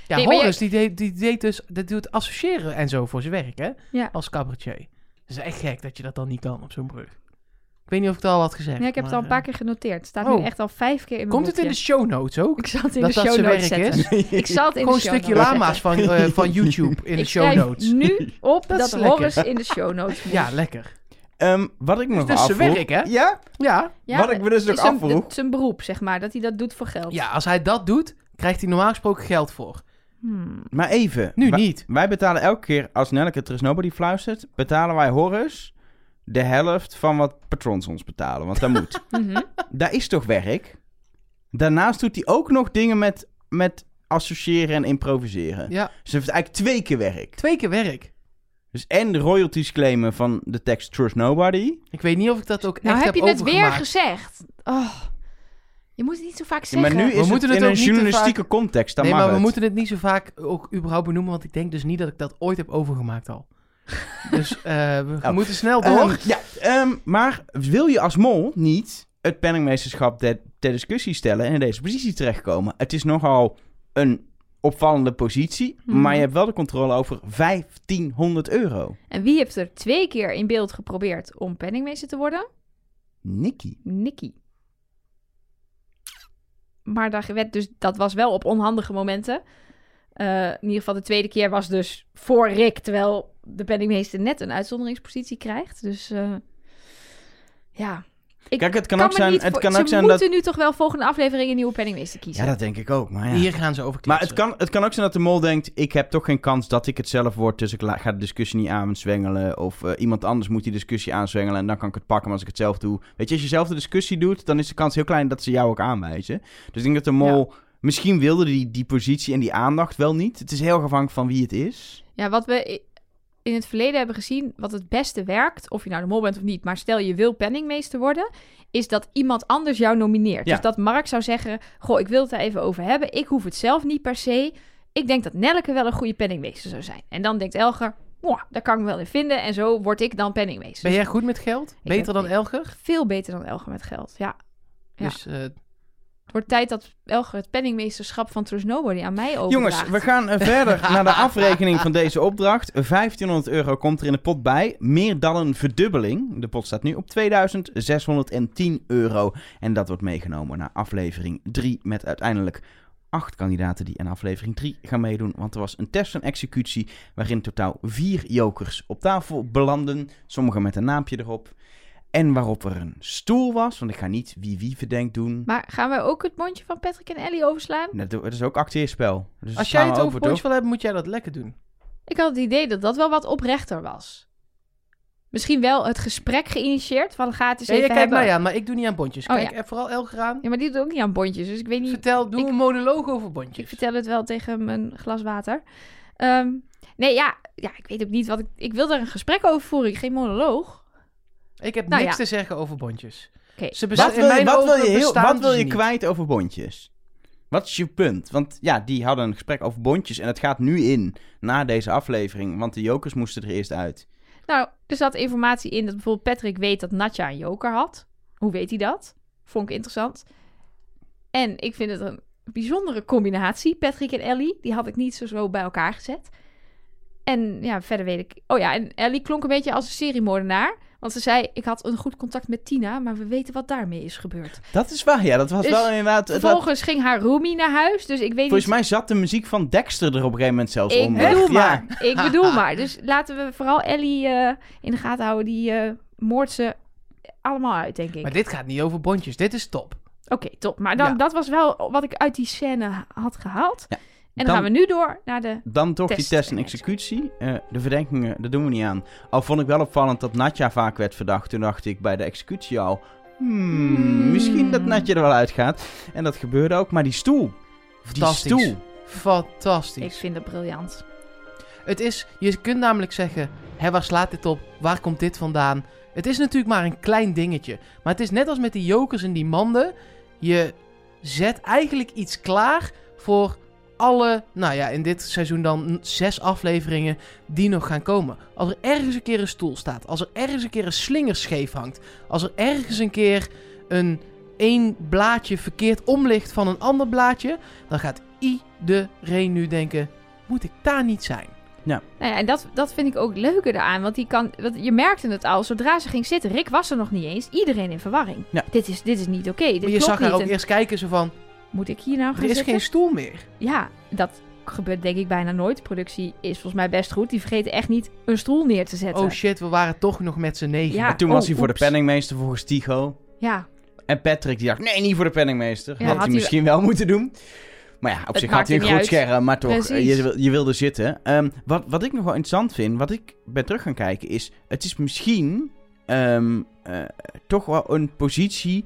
A: Ja,
B: Nee, maar
A: Horace, die, deed, die deed dus... Dat doet associëren en zo voor zijn werk, hè?
B: Ja.
A: Als cabaretier. Dat is echt gek dat je dat dan niet kan op zo'n brug. Ik weet niet of ik het al had gezegd.
B: Ja, ik heb het
A: maar,
B: al een paar
A: eh,
B: keer genoteerd. Het staat nu
A: Oh.
B: echt al vijf keer in mijn
A: Komt het in de
B: boekje.
A: show notes ook?
B: Ik zal het in
A: dat
B: de
A: dat
B: show
A: zijn
B: notes
A: werk
B: zetten.
A: is?
B: Ik zal het in
A: Gewoon
B: de
A: een
B: show
A: stukje
B: notes
A: lama's
B: zetten.
A: van, eh, van YouTube in de
B: ik
A: show
B: schrijf
A: notes.
B: nu op
A: Dat
B: dat,
A: is lekker.
B: Horace in de show notes moet.
A: Ja, lekker.
C: Ehm, wat ik me
A: Dus
C: dus
A: het is zijn
C: afvroeg...
A: werk, hè?
C: Ja,
A: Ja.
B: Ja,
C: Wat ik me dus
B: het
C: ook
B: is zijn-
C: afvroeg-
B: het is Zijn beroep, zeg maar. Dat hij dat doet voor geld.
A: ja, als hij dat doet, krijgt hij normaal gesproken geld voor.
B: Hmm.
C: maar even.
A: Nu
C: Wa-
A: niet.
C: Wij betalen elke keer, als Nelke Trust Nobody fluistert, betalen wij Horus de helft van wat patrons ons betalen. Want dat moet.
B: Mhm.
C: Daar is toch werk? Daarnaast doet hij ook nog dingen met, met associëren en improviseren.
A: Ja,
C: Ze heeft eigenlijk twee keer werk.
A: twee keer werk.
C: Dus en de royalties claimen van de tekst Trust Nobody.
A: Ik weet niet of ik dat ook
B: Nou
A: echt
B: heb
A: heb
B: je het weer
A: overgemaakt.
B: gezegd. Oh, je moet het niet zo vaak
C: Ja,
B: zeggen.
C: maar nu is
A: moeten het
C: het
A: ook
C: in een
A: niet te
C: journalistieke context. Dan
A: Nee,
C: mag
A: maar we
C: het.
A: moeten het niet zo vaak ook überhaupt benoemen, want ik denk dus niet dat ik dat ooit heb overgemaakt al. dus eh, we
C: Oh.
A: moeten snel door.
C: Ehm, ja, ehm, maar wil je als mol niet het penningmeesterschap ter, ter discussie stellen en in deze positie terechtkomen? Het is nogal een opvallende positie,
B: Mhm.
C: maar je hebt wel de controle over 1500 euro.
B: En wie heeft er twee keer in beeld geprobeerd om penningmeester te worden?
C: Nicky.
B: Nicky. Maar daar werd dus, dat was wel op onhandige momenten. Eh, in ieder geval de tweede keer was dus voor Rick, terwijl de penningmeester net een uitzonderingspositie krijgt. Dus eh, ja. Ik
C: Kijk, het kan,
B: kan
C: ook
B: me
C: zijn,
B: niet
C: het
B: voor-
C: kan
B: ze
C: ook zijn dat...
B: moeten nu toch wel volgende aflevering een nieuwe penningmeester kiezen.
C: Ja, dat denk ik ook, maar ja.
A: Hier gaan ze over
C: Maar
A: kletsen.
C: het kan, het kan ook zijn dat de mol denkt: ik heb toch geen kans dat ik het zelf word, dus ik la- ga de discussie niet aanzwengelen. Of eh, iemand anders moet die discussie aanzwengelen en dan kan ik het pakken. Maar als ik het zelf doe. Weet je, als je zelf de discussie doet, dan is de kans heel klein dat ze jou ook aanwijzen. Dus ik denk dat de mol. Misschien wilde die, die positie en die aandacht wel niet. Het is heel afhankelijk van wie het is.
B: Ja, wat we i- in het verleden hebben gezien, wat het beste werkt, of je nou de mol bent of niet, maar stel je wil penningmeester worden, is dat iemand anders jou nomineert.
C: Ja.
B: Dus dat Mark zou zeggen, goh, ik wil het daar even over hebben, ik hoef het zelf niet per se. Ik denk dat Nelleke wel een goede penningmeester zou zijn. En dan denkt Elger, "Mwah, daar kan ik me wel in vinden en zo word ik dan penningmeester.
A: Ben jij goed met geld? Beter
B: weet
A: dan
B: niet.
A: Elger?
B: Veel beter dan Elger met geld, ja. Ja.
A: Dus eh,
B: Het wordt tijd dat Elger het penningmeesterschap van Trust Nobody aan mij overdraagt.
C: Jongens, we gaan eh, verder naar de afrekening van deze opdracht. 1500 euro komt er in de pot bij. Meer dan een verdubbeling. De pot staat nu op 2610 euro. En dat wordt meegenomen naar aflevering 3. Met uiteindelijk acht kandidaten die aan aflevering 3 gaan meedoen. Want er was een test en executie. Waarin in totaal vier jokers op tafel belanden. Sommigen met een naampje erop. En waarop er een stoel was. Want ik ga niet wie wie verdenkt doen.
B: Maar gaan we ook het mondje van Patrick en Ellie overslaan?
C: Dat dat is ook acteerspel. Dus
A: als
C: dat gaan
A: jij het
C: we
A: over
C: toch?
A: potje wil hebben, moet jij dat lekker doen.
B: Ik had het idee dat dat wel wat oprechter was. Misschien wel het gesprek geïnitieerd van gaat eens
A: Ja,
B: even
A: jij kijkt
B: hebben.
A: mij aan, maar ik doe niet aan bondjes.
B: Oh,
A: Kijk,
B: ja.
A: eh, vooral Elger aan.
B: Ja, maar die doet ook niet aan bondjes, dus ik weet niet.
A: Vertel, doe
B: ik-
A: een monoloog over
B: Ik
A: bondjes.
B: vertel het wel tegen mijn glas water. Ehm, nee, ja, ja, ik weet ook niet wat ik. Ik wil daar een gesprek over voeren, geen monoloog.
A: Ik heb
B: Nou
A: niks
B: ja.
A: te zeggen over bondjes.
B: Oké.
A: Ze besta-
C: Wat
A: in
C: wil, je,
A: mijn
C: wat wil
A: ogen
C: je, heel,
A: bestaan
C: wat wil
A: ze
C: je
A: niet.
C: kwijt over bondjes? Wat is je punt? Want ja, die hadden een gesprek over bondjes en het gaat nu in na deze aflevering, want de jokers moesten er eerst uit.
B: Nou, er zat informatie in dat bijvoorbeeld Patrick weet dat Natja een joker had. Hoe weet hij dat? Vond ik interessant. En ik vind het een bijzondere combinatie. Patrick en Ellie, die had ik niet zo, zo bij elkaar gezet. En ja, verder weet ik... Oh ja, en Ellie klonk een beetje als een seriemoordenaar. Want ze zei, ik had een goed contact met Tina, maar we weten wat daarmee is gebeurd.
C: Dat is waar, ja. Dat was
B: Dus
C: wel inderdaad... het had-
B: Vervolgens ging haar roomie naar huis, dus ik weet
C: volgens
B: niet...
C: mij zat de muziek van Dexter er op een gegeven moment zelfs
B: Ik
C: onder.
B: bedoel
C: Ja.
B: maar, ik bedoel maar. Dus laten we vooral Ellie eh, in de gaten houden. Die eh, moordt ze allemaal uit, denk ik.
A: Maar dit gaat niet over bondjes. Dit is top.
B: Oké, top. Maar dan,
A: Ja.
B: dat was wel wat ik uit die scène had gehaald.
C: Ja,
B: En dan,
C: dan-
B: gaan we nu door naar de...
C: Dan toch die
B: Test
C: test en
B: en
C: executie. Eh, de verdenkingen, daar doen we niet aan. Al vond ik wel opvallend dat Natja vaak werd verdacht. Toen dacht ik bij de executie al... hmm,
B: Hmm.
C: misschien dat Natja er wel uitgaat. En dat gebeurde ook. Maar die stoel. Die
A: Fantastisch.
C: stoel.
A: Fantastisch.
B: Ik vind het briljant.
A: Het is, je kunt namelijk zeggen, hè, waar slaat dit op? Waar komt dit vandaan? Het is natuurlijk maar een klein dingetje. Maar het is net als met die jokers en die manden. Je zet eigenlijk iets klaar voor alle, nou ja, in dit seizoen dan zes afleveringen die nog gaan komen. Als er ergens een keer een stoel staat, als er ergens een keer een slinger scheef hangt, als er ergens een keer een één blaadje verkeerd omlicht van een ander blaadje, dan gaat iedereen nu denken, moet ik daar niet zijn?
B: Nou ja, en dat, dat vind ik ook leuker eraan. Want die kan, want je merkte het al, zodra ze ging zitten... Rick was er nog niet eens. Iedereen in verwarring.
C: Ja.
B: Dit, is, dit is niet oké. Dit
A: Maar je
B: klopt
A: zag haar
B: niet.
A: ook
B: En
A: eerst kijken, zo van,
B: Moet ik hier nou
A: er
B: gaan
A: is
B: zitten?
A: geen stoel meer.
B: Ja, dat gebeurt denk ik bijna nooit. De productie is volgens mij best goed. Die vergeten echt niet een stoel neer te zetten.
A: Oh shit, we waren toch nog met z'n negen.
B: Ja.
C: En toen
B: Oh,
C: was hij voor de
B: oeps.
C: penningmeester volgens Tycho.
B: ja,
C: En Patrick die dacht, nee, niet voor de penningmeester.
B: Ja,
C: had,
B: had
C: hij
B: hij-
C: misschien wel moeten doen. Maar ja, op
B: Het
C: zich had
B: maakt
C: hij een
B: hem
C: groot
B: niet uit.
C: scherm, maar toch, eh,
B: Precies.
C: je, wil- je wilde zitten. Ehm, wat, wat ik nog wel interessant vind, wat ik ben terug gaan kijken, is... Het is misschien ehm, eh, toch wel een positie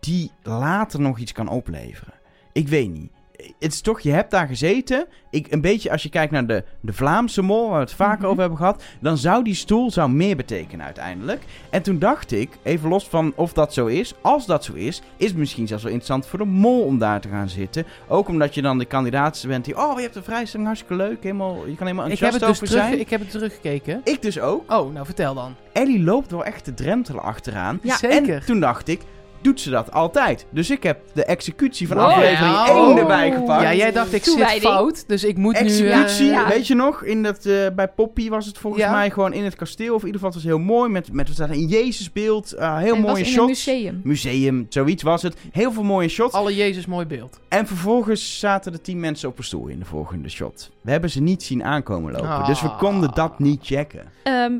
C: die later nog iets kan opleveren. Ik weet niet. Het is toch, je hebt daar gezeten. Ik, een beetje als je kijkt naar de, de Vlaamse mol, waar we het vaker
B: Mhm.
C: over hebben gehad. Dan zou die stoel zou meer betekenen uiteindelijk. En toen dacht ik, even los van of dat zo is. Als dat zo is, is het misschien zelfs wel interessant voor de mol om daar te gaan zitten. Ook omdat je dan de kandidaat bent die... Oh, je hebt een vrijstelling, hartstikke leuk. Helemaal, je kan helemaal
A: ik, heb
C: enthousiast
A: het dus
C: over
A: terug,
C: zijn.
A: ik heb het teruggekeken.
C: Ik dus ook.
A: Oh, nou vertel dan.
C: Ellie loopt wel echt te drentelen achteraan.
B: Ja,
A: Zeker.
C: En toen dacht ik, doet ze dat altijd? Dus ik heb de executie van
B: Wow.
C: aflevering
A: Ja.
C: 1
A: Oh.
C: erbij gepakt.
A: Ja, jij dacht ik zit
B: Toewijding.
A: fout, dus ik moet nu... eh,
C: Executie,
B: ja.
C: weet je nog? In dat, eh, bij Poppy was het volgens
A: Ja.
C: mij gewoon in het kasteel. Of in ieder geval, het was heel mooi. Met, met wat een Jezusbeeld. eh, heel
B: het
C: mooie
B: was in een
C: shots.
B: museum.
C: Museum, zoiets was het. Heel veel mooie shots.
A: alle Jezus mooi beeld.
C: En vervolgens zaten er tien mensen op een stoel in de volgende shot. We hebben ze niet zien aankomen lopen.
A: Ah.
C: Dus we konden dat niet checken.
B: Ehm,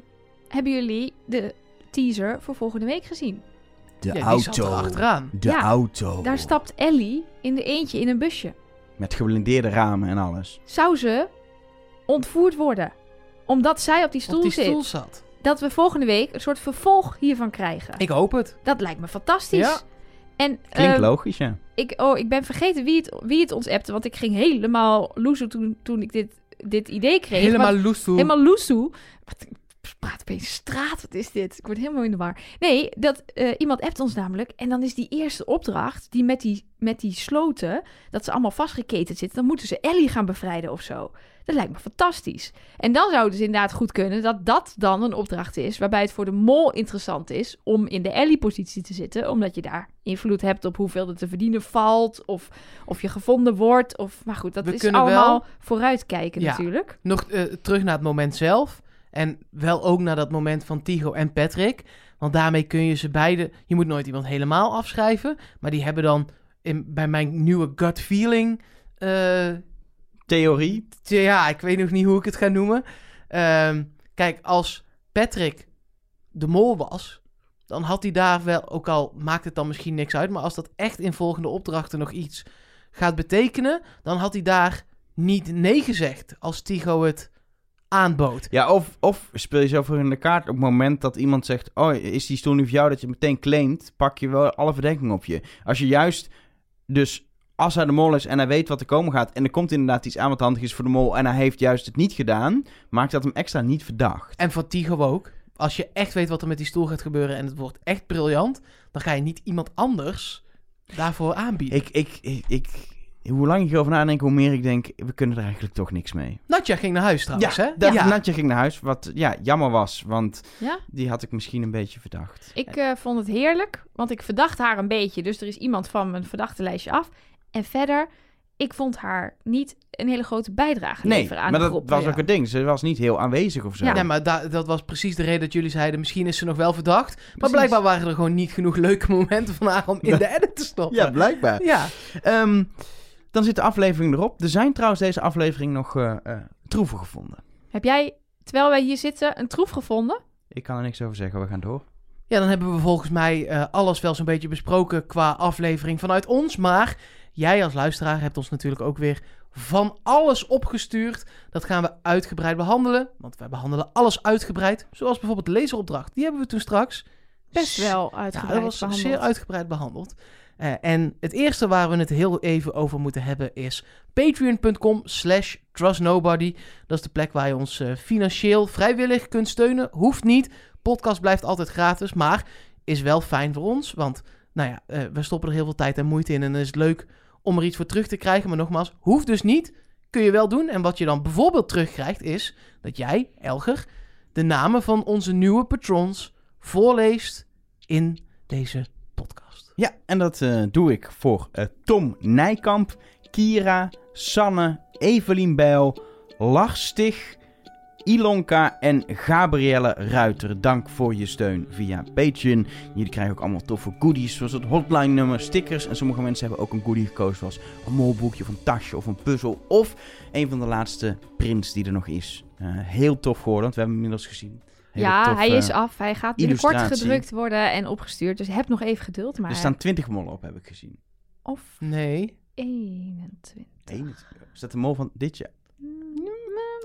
B: hebben jullie de teaser voor volgende week gezien?
C: De
A: Ja, die zat er
C: auto.
A: achteraan.
C: De
B: Ja,
A: Oh.
C: auto.
B: Daar stapt Ellie in de eentje in een busje.
C: Met geblindeerde ramen en alles.
B: Zou ze ontvoerd worden? Omdat zij op die stoel,
A: Op die stoel
B: zit.
A: zat.
B: Dat we volgende week een soort vervolg hiervan krijgen.
A: Ik hoop het.
B: Dat lijkt me fantastisch.
A: Ja.
B: En
C: Klinkt
B: ehm,
C: logisch, ja.
B: ik, oh, ik ben vergeten wie het, wie het ons appte. Want ik ging helemaal loezen toen, toen ik dit, dit idee kreeg.
A: Helemaal
B: want-
A: loesoe.
B: Helemaal loesoe. Wat, ik praat opeens straat, wat is dit? Ik word helemaal in de war. Nee, dat, eh, iemand appt ons namelijk. En dan is die eerste opdracht, die met, die met die sloten, dat ze allemaal vastgeketend zitten. Dan moeten ze Ellie gaan bevrijden of zo. Dat lijkt me fantastisch. En dan zou het dus inderdaad goed kunnen dat dat dan een opdracht is... waarbij het voor de mol interessant is om in de Ellie-positie te zitten... omdat je daar invloed hebt op hoeveel er te verdienen valt... of, of je gevonden wordt. Of, maar goed, dat
A: We
B: is
A: kunnen wel-
B: allemaal vooruitkijken
A: Ja.
B: natuurlijk.
A: Nog eh, terug naar het moment zelf. En wel ook naar dat moment van Tigo en Patrick. Want daarmee kun je ze beide... Je moet nooit iemand helemaal afschrijven. Maar die hebben dan in, bij mijn nieuwe gut feeling... eh,
C: Theorie.
A: Tja, ja, ik weet nog niet hoe ik het ga noemen. Ehm, kijk, als Patrick de mol was, dan had hij daar wel, ook al maakt het dan misschien niks uit, maar als dat echt in volgende opdrachten nog iets gaat betekenen, dan had hij daar niet nee gezegd als Tigo het aanbood.
C: Ja, of, of speel je zo voor in de kaart op het moment dat iemand zegt... Oh, is die stoel nu voor jou dat je het meteen claimt? Pak je wel alle verdenking op je. Als je juist dus... Als hij de mol is en hij weet wat er komen gaat... en er komt inderdaad iets aan wat handig is voor de mol... en hij heeft juist het niet gedaan... maakt dat hem extra niet verdacht.
A: En van Tigo ook. Als je echt weet wat er met die stoel gaat gebeuren en het wordt echt briljant, dan ga je niet iemand anders daarvoor aanbieden.
C: Ik, ik, ik, ik- hoe lang ik erover nadenk, hoe meer ik denk... we kunnen er eigenlijk toch niks mee.
A: Natja ging naar huis trouwens, hè?
C: dat Natje ging naar huis, wat ja, jammer was... want
B: Ja?
C: die had ik misschien een beetje verdacht.
B: Ik eh, vond het heerlijk, want ik verdacht haar een beetje. Dus er is iemand van mijn verdachte lijstje af. En verder, ik vond haar niet een hele grote bijdrage
C: Nee,
B: leveren aan
C: maar
B: de
C: dat
B: groep.
C: was
A: ja.
C: ook het ding. Ze was niet heel aanwezig of zo.
A: Ja, maar da- dat was precies de reden dat jullie zeiden... misschien is ze nog wel verdacht. Maar
C: Precies.
A: blijkbaar waren er gewoon niet genoeg leuke momenten van haar... om in de edit te stoppen.
C: Ja, blijkbaar.
A: ja.
C: Ehm, dan zit de aflevering erop. Er zijn trouwens deze aflevering nog eh, eh, troeven gevonden.
B: Heb jij, terwijl wij hier zitten, een troef gevonden? Ik
C: Ik kan er niks over zeggen, we gaan door.
A: Ja, dan hebben we volgens mij eh, alles wel zo'n beetje besproken qua aflevering vanuit ons. Maar jij als luisteraar hebt ons natuurlijk ook weer van alles opgestuurd. Dat gaan we uitgebreid behandelen. Want wij behandelen alles uitgebreid. Zoals bijvoorbeeld de lezeropdracht. Die hebben we toen straks.
B: Best wel
A: Ja,
B: uitgebreid
A: Nou, dat was
B: behandeld.
A: zeer uitgebreid behandeld. Eh, en het eerste waar we het heel even over moeten hebben is patreon.com slash trustnobody. Dat is de plek waar je ons eh, financieel vrijwillig kunt steunen. Hoeft niet. Podcast blijft altijd gratis, maar is wel fijn voor ons. Want nou ja, eh, we stoppen er heel veel tijd en moeite in en dan is het leuk om er iets voor terug te krijgen. Maar nogmaals, hoeft dus niet. Kun je wel doen. En wat je dan bijvoorbeeld terugkrijgt is dat jij, Elger, de namen van onze nieuwe patrons voorleest in deze podcast.
C: Ja, en dat eh, doe ik voor eh, Tom Nijkamp, Kira, Sanne, Evelien Bijl, Lars Stig, Ilonka en Gabrielle Ruiter. Dank voor je steun via Patreon. Jullie krijgen ook allemaal toffe goodies, zoals het hotline nummer, stickers. En sommige mensen hebben ook een goodie gekozen, zoals een molboekje of een tasje of een puzzel. Of een van de laatste prints die er nog is. Eh, heel tof geworden, want we hebben hem inmiddels gezien. Hele
B: ja,
C: tof,
B: hij
C: eh,
B: is af. Hij gaat binnenkort
C: illustratie.
B: gedrukt worden en opgestuurd. Dus heb nog even geduld. Maar
C: Er staan 20 mollen op, heb ik gezien.
B: Of
A: Nee.
B: 21.
C: 21. Is dat de mol van dit jaar?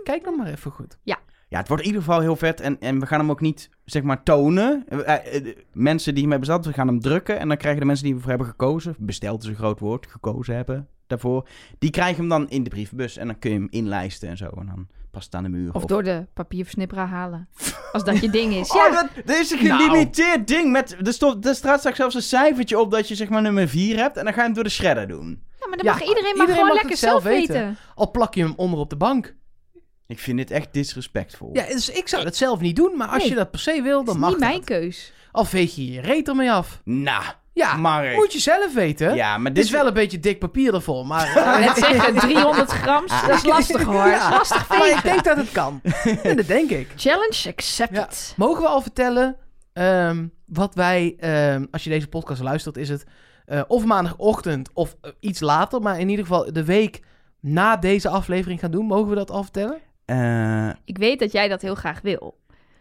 A: Kijk dan maar even goed.
C: Ja, het wordt in ieder geval heel vet. En, en we gaan hem ook niet, zeg maar, tonen. Eh, eh, eh, mensen die hiermee besteld, we gaan hem drukken. En dan krijgen de mensen die ervoor hebben gekozen, besteld is een groot woord, gekozen hebben daarvoor. Die krijgen hem dan in de brievenbus. En dan kun je hem inlijsten en zo. En dan past het aan de muur.
B: Of door de papierversnipperaar halen. Als dat je ding is.
C: Oh,
B: Ja,
C: dat, dat is een
A: Nou.
C: gelimiteerd ding. Met, er, stond, er staat straks zelfs een cijfertje op dat je zeg maar nummer 4 hebt. En dan ga je hem door de shredder doen.
B: Ja, maar dan
A: Ja,
B: mag iedereen, maar
A: iedereen
B: gewoon
A: mag
B: lekker
A: het
B: zelf
A: zelf
B: weten.
A: Al plak je hem onder op de bank.
C: Ik vind dit echt disrespectvol.
A: Ja, dus ik zou dat zelf niet doen, maar als
B: Nee.
A: je dat per se wil,
B: Het
A: dan
B: is niet
A: mag dat.
B: mijn keus.
A: Al veeg je je reet ermee af.
C: Nou,
A: Ja,
C: Mark.
A: moet je zelf weten.
C: Ja, maar
A: Dit
C: dit
A: is wel een beetje dik papier ervoor, maar... eh,
B: Ik wou net zeggen, 300 gram,
A: Ah,
B: dat is lastig hoor. Dat is
A: Ja.
B: lastig
A: maar ik
B: vegen.
A: denk dat het kan. En dat denk ik.
B: Challenge accepted.
A: Mogen we al vertellen ehm, wat wij, ehm, als je deze podcast luistert, is het eh, of maandagochtend of eh, iets later, maar in ieder geval de week na deze aflevering gaan doen. Mogen we dat al vertellen?
C: Eh,
B: Ik weet dat jij dat heel graag wil.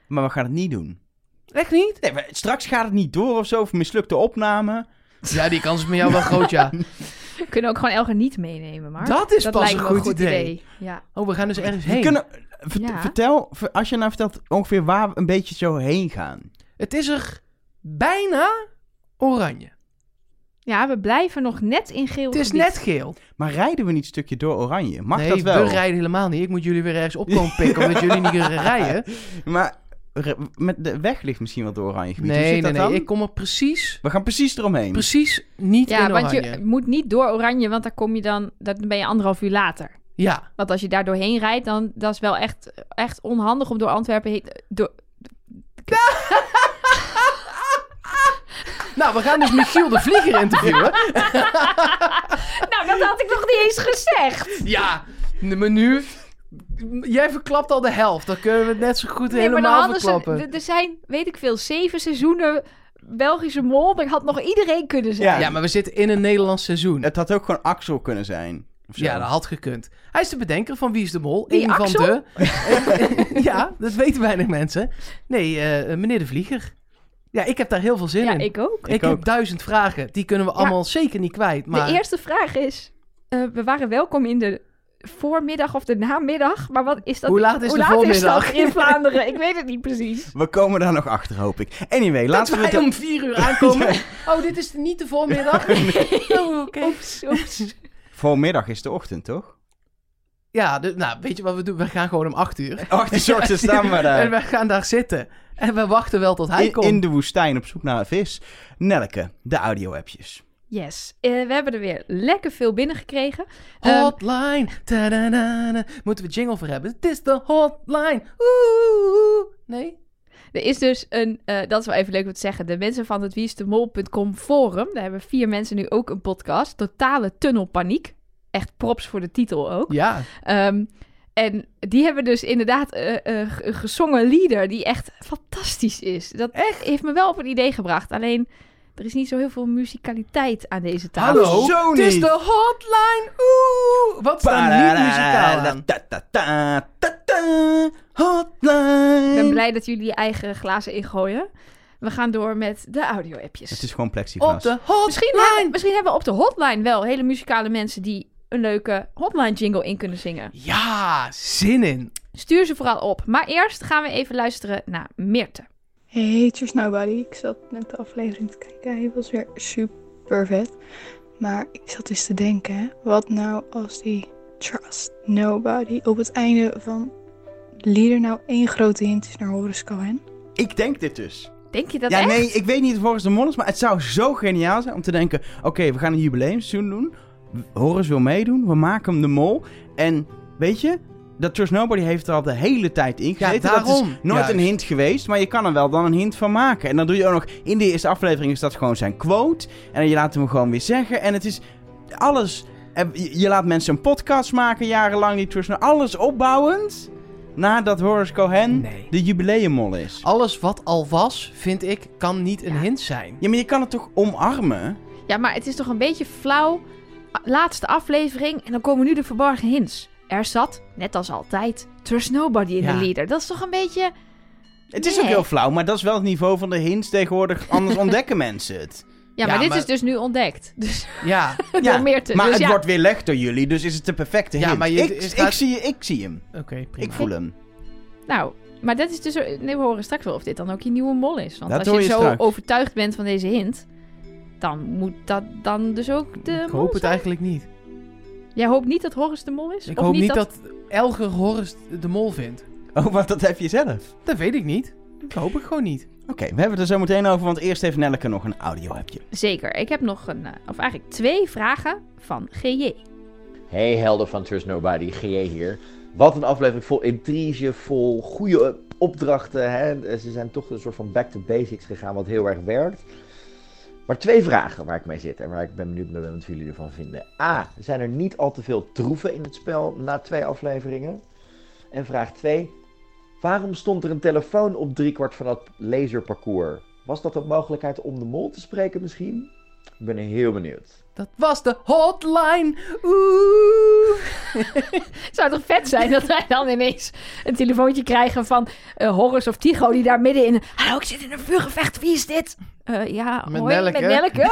C: maar we gaan het niet doen.
A: Echt niet?
C: Nee, maar straks gaat het niet door of zo, of mislukt de opname.
A: Ja, die kans is met jou wel groot, ja.
B: We kunnen ook gewoon Elger niet meenemen, maar
A: Dat is pas
B: lijkt
A: een
B: me
A: goed idee.
B: Ja.
A: Oh, we gaan dus ergens
C: We
A: heen.
C: kunnen, vert-
B: Ja.
C: Vertel, ver- als je nou vertelt ongeveer waar we een beetje zo heen gaan.
A: Het is er bijna oranje.
B: ja, we blijven nog net in geel
A: Het is
B: gebied.
A: net geel.
C: Maar rijden we niet een stukje door Oranje? Mag
A: nee,
C: dat wel?
A: we rijden helemaal niet. Ik moet jullie weer ergens op komen pikken, omdat jullie niet kunnen rijden.
C: Maar r- met de weg ligt misschien wel door Oranje gebied. Hoe
A: Nee,
C: zit
A: nee,
C: dat
A: nee.
C: dan?
A: Ik kom er precies,
C: We gaan precies eromheen.
A: precies niet
B: Ja,
A: in
B: want
A: oranje.
B: je moet niet door oranje, want dan kom je dan, dan ben je anderhalf uur later.
A: Ja,
B: Want als je daar doorheen rijdt, dan dat is wel echt, echt onhandig om door Antwerpen heen... Door...
A: Nou, we gaan dus Michiel de Vlieger interviewen.
B: Nou, dat had ik nog niet eens gezegd.
A: Ja, n- maar nu... Jij verklapt al de helft. Dan kunnen we het net zo goed helemaal verklappen.
B: ze... d- Er zijn, weet ik veel, zeven seizoenen Belgische mol. Dat had nog iedereen kunnen zijn.
C: d-
A: Ja, maar we zitten in een Nederlands seizoen.
C: Het had ook gewoon Axel kunnen zijn. of zo.
A: Ja, dat had gekund. Hij is de bedenker van Wie is de Mol.
B: Wie,
A: Eén van
B: Axel?
A: de... ja, dat weten weinig mensen. Nee, eh, meneer de Vlieger. Ja, ik heb daar heel veel zin
B: Ja,
A: in.
B: ik ook.
A: Ik
C: Ik
A: heb
C: ook.
A: duizend vragen. Die kunnen we allemaal zeker niet kwijt. Maar
B: De eerste vraag is: eh, we waren welkom in de voormiddag of de namiddag, maar wat is dat?
A: Hoe laat is de voormiddag?
B: dat in Vlaanderen? Ik weet het niet precies.
C: We komen daar nog achter, hoop ik. Anyway, laten
A: laten
C: we
A: wij
C: het...
A: om vier uur aankomen. Oh, dit is niet de voormiddag? Oh, oké.
B: Oeps, oeps.
C: Voormiddag is de ochtend, toch?
A: Ja, de- nou, weet je wat we doen? We gaan gewoon om acht uur.
C: Acht uur Oh, ochtend staan we
A: En
C: daar.
A: we gaan daar zitten. En we wachten wel tot hij
C: In,
A: komt.
C: in de woestijn op zoek naar vis. Nelke, de audio-appjes.
B: Yes, Eh, we hebben er weer lekker veel binnengekregen. Ehm,
A: Hotline. ta-da-da-da. Moeten we jingle voor hebben? Het is de hotline. Oeh. Nee?
B: er is dus een, eh, dat is wel even leuk om te zeggen, de mensen van het wiestemol.com forum, daar hebben vier mensen nu ook een podcast, Totale Tunnelpaniek. echt props voor de titel ook.
A: Ja,
B: Ehm, en die hebben dus inderdaad eh, eh, g- een gezongen lieder die echt fantastisch is. Dat echt? heeft me wel op een idee gebracht. Alleen, er is niet zo heel veel muzikaliteit aan deze tafel.
A: Hallo?
C: Zo
A: Het is
C: niet.
A: de hotline. Oeh, wat staat niet muzikaal aan?
C: Ta- ta- ta- ta- ta- Hotline.
B: Ik ben blij dat jullie je eigen glazen ingooien. We gaan door met de
C: Het
B: audio-appjes. Oh,
C: is gewoon plexiglas.
A: Op de hotline.
B: Misschien, hebben, misschien hebben we op de hotline wel hele muzikale mensen die een leuke hotline-jingle in kunnen zingen.
A: Ja, zin in.
B: Stuur ze vooral op. Maar eerst gaan we even luisteren naar Meerte.
D: Hey, Tears Nobody. Ik zat net de aflevering te kijken. Hij was weer super vet. Maar ik zat dus te denken, hè, wat nou als die Trust Nobody op het einde van het lieder nou één grote hint is naar Horace Cohen?
C: Ik denk dit dus.
B: Denk je dat
C: ja,
B: echt?
C: nee, ik weet niet volgens de molens, maar het zou zo geniaal zijn om te denken... Oké, we gaan een jubileumseizoen doen. Horus wil meedoen. We maken hem de mol. En weet je, dat Trust Nobody heeft er al de hele tijd in gezeten. Dat is
A: daarom.
C: nooit
A: Juist.
C: een hint geweest, maar je kan er wel dan een hint van maken. En dan doe je ook nog... In de eerste aflevering is dat gewoon zijn quote. En je laat hem gewoon weer zeggen. En het is alles... En Je je laat mensen een podcast maken jarenlang. Die Trust Nobody... Alles opbouwend... Nadat Horace Cohen
A: Nee.
C: de jubileummol is.
A: Alles wat al was, vind ik, kan niet een
B: Ja.
A: hint zijn.
C: Ja, maar je kan het toch omarmen?
B: Ja, maar het is toch een beetje flauw. A- Laatste aflevering en dan komen nu de verborgen hints. Er zat, net als altijd, Trust Nobody in
A: Ja.
B: de leader. Dat is toch een beetje...
C: Het is
B: Nee.
C: ook heel flauw, maar dat is wel het niveau van de hints tegenwoordig. Anders ontdekken mensen het.
B: Ja, maar dit
A: maar-
B: is dus nu ontdekt. Dus
A: Ja,
C: Ja,
B: door meer te...
C: maar
B: dus
C: het
B: ja,
C: wordt weer leg door jullie, dus is het de perfecte
A: Ja,
C: hint.
A: maar je-
C: ik,
A: het
C: ik
A: gaat-
C: zie, ik zie hem.
A: oké, prima.
C: Ik voel hem.
B: Nou, maar dat is dus... Nee, we horen straks wel of dit dan ook je nieuwe mol is. Want
C: Dat
B: als
C: hoor
B: je
C: je
B: zo
C: straks.
B: overtuigd bent van deze hint... Dan moet dat dan dus ook de
A: ik
B: mol
A: hoop het
B: zijn.
A: eigenlijk niet.
B: Jij hoopt niet dat Horus de mol is?
A: Ik
B: Of
A: hoop niet dat... Elger Horst de mol vindt.
C: Oh, want dat heb je zelf.
A: Dat weet ik niet. Dat hoop ik gewoon niet.
C: Oké, we hebben het er zo meteen over, want eerst heeft Nelleke nog een audio-appje.
B: Zeker. Ik heb nog een... eh, Of eigenlijk twee vragen van GJ.
E: Hey helden van Trust Nobody, GJ hier. Wat een aflevering vol intrige, vol goede eh, opdrachten. Hè? Ze zijn toch een soort van back to basics gegaan, wat heel erg werkt. Maar twee vragen waar ik mee zit en waar ik ben benieuwd naar ben wat jullie ervan vinden. A. Zijn er niet al te veel troeven in het spel na twee afleveringen? En vraag 2. Waarom stond er een telefoon op driekwart van dat laserparcours? Was dat een mogelijkheid om de mol te spreken misschien? Ik ben heel benieuwd.
A: Dat was de hotline. Oeh.
B: Het zou toch vet zijn dat wij dan ineens een telefoontje krijgen van eh Horus of Tycho die daar middenin... Hallo, ik zit in een vuurgevecht, wie is dit? Eh, ja,
A: Met
B: hoi,
A: Nelleke.
B: met Nelleke.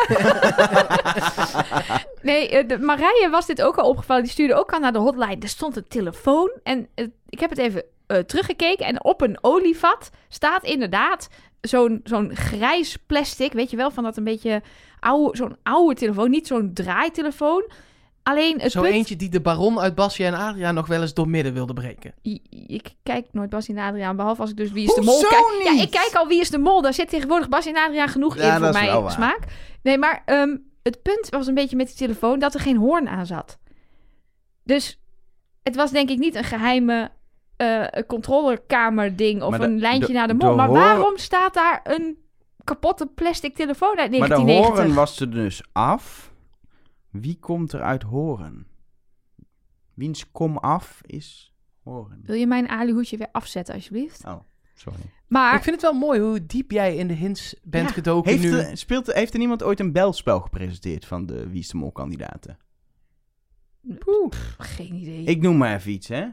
B: nee, eh, de, Marije was dit ook al opgevallen. Die stuurde ook al naar de hotline. Er stond een telefoon en eh, ik heb het even eh, teruggekeken. En op een olievat staat inderdaad zo'n zo'n grijs plastic. Weet je wel, van dat een beetje oude, zo'n oude telefoon. Niet zo'n draaitelefoon. Alleen het
A: Zo
B: punt...
A: eentje die de baron uit Basje en Adria nog wel eens doormidden wilde breken.
B: I- Ik kijk nooit Bas en Adriaan, behalve als ik dus Wie is de Mol
C: Hoezo
B: kijk. Ja,
C: niet?
B: ik kijk al Wie is de Mol. Daar zit tegenwoordig Bas en Adriaan genoeg
C: Ja,
B: in voor
C: dat is wel
B: mijn
C: waar.
B: smaak. Nee, maar ehm, het punt was een beetje met die telefoon dat er geen hoorn aan zat. Dus het was denk ik niet een geheime eh controlekamer ding of
C: Maar de-
B: een lijntje
C: de-
B: naar de
C: de
B: Mol. Maar
C: hoorn-
B: waarom staat daar een kapotte plastic telefoon uit
C: Maar de
B: 1990?
C: horen was er dus af. Wie komt er uit horen? Wiens kom af is horen.
B: Wil je mijn alihoedje weer afzetten alsjeblieft?
C: Oh, sorry.
B: Maar
A: Ik vind het wel mooi hoe diep jij in de hints bent
B: Ah. Ja.
A: gedoken
C: Heeft
A: nu.
C: er, speelt, er- heeft er niemand ooit een belspel gepresenteerd van de Wie is de Mol kandidaten?
A: Oeh.
B: geen idee. Ik...
C: Ik noem maar even iets, hè?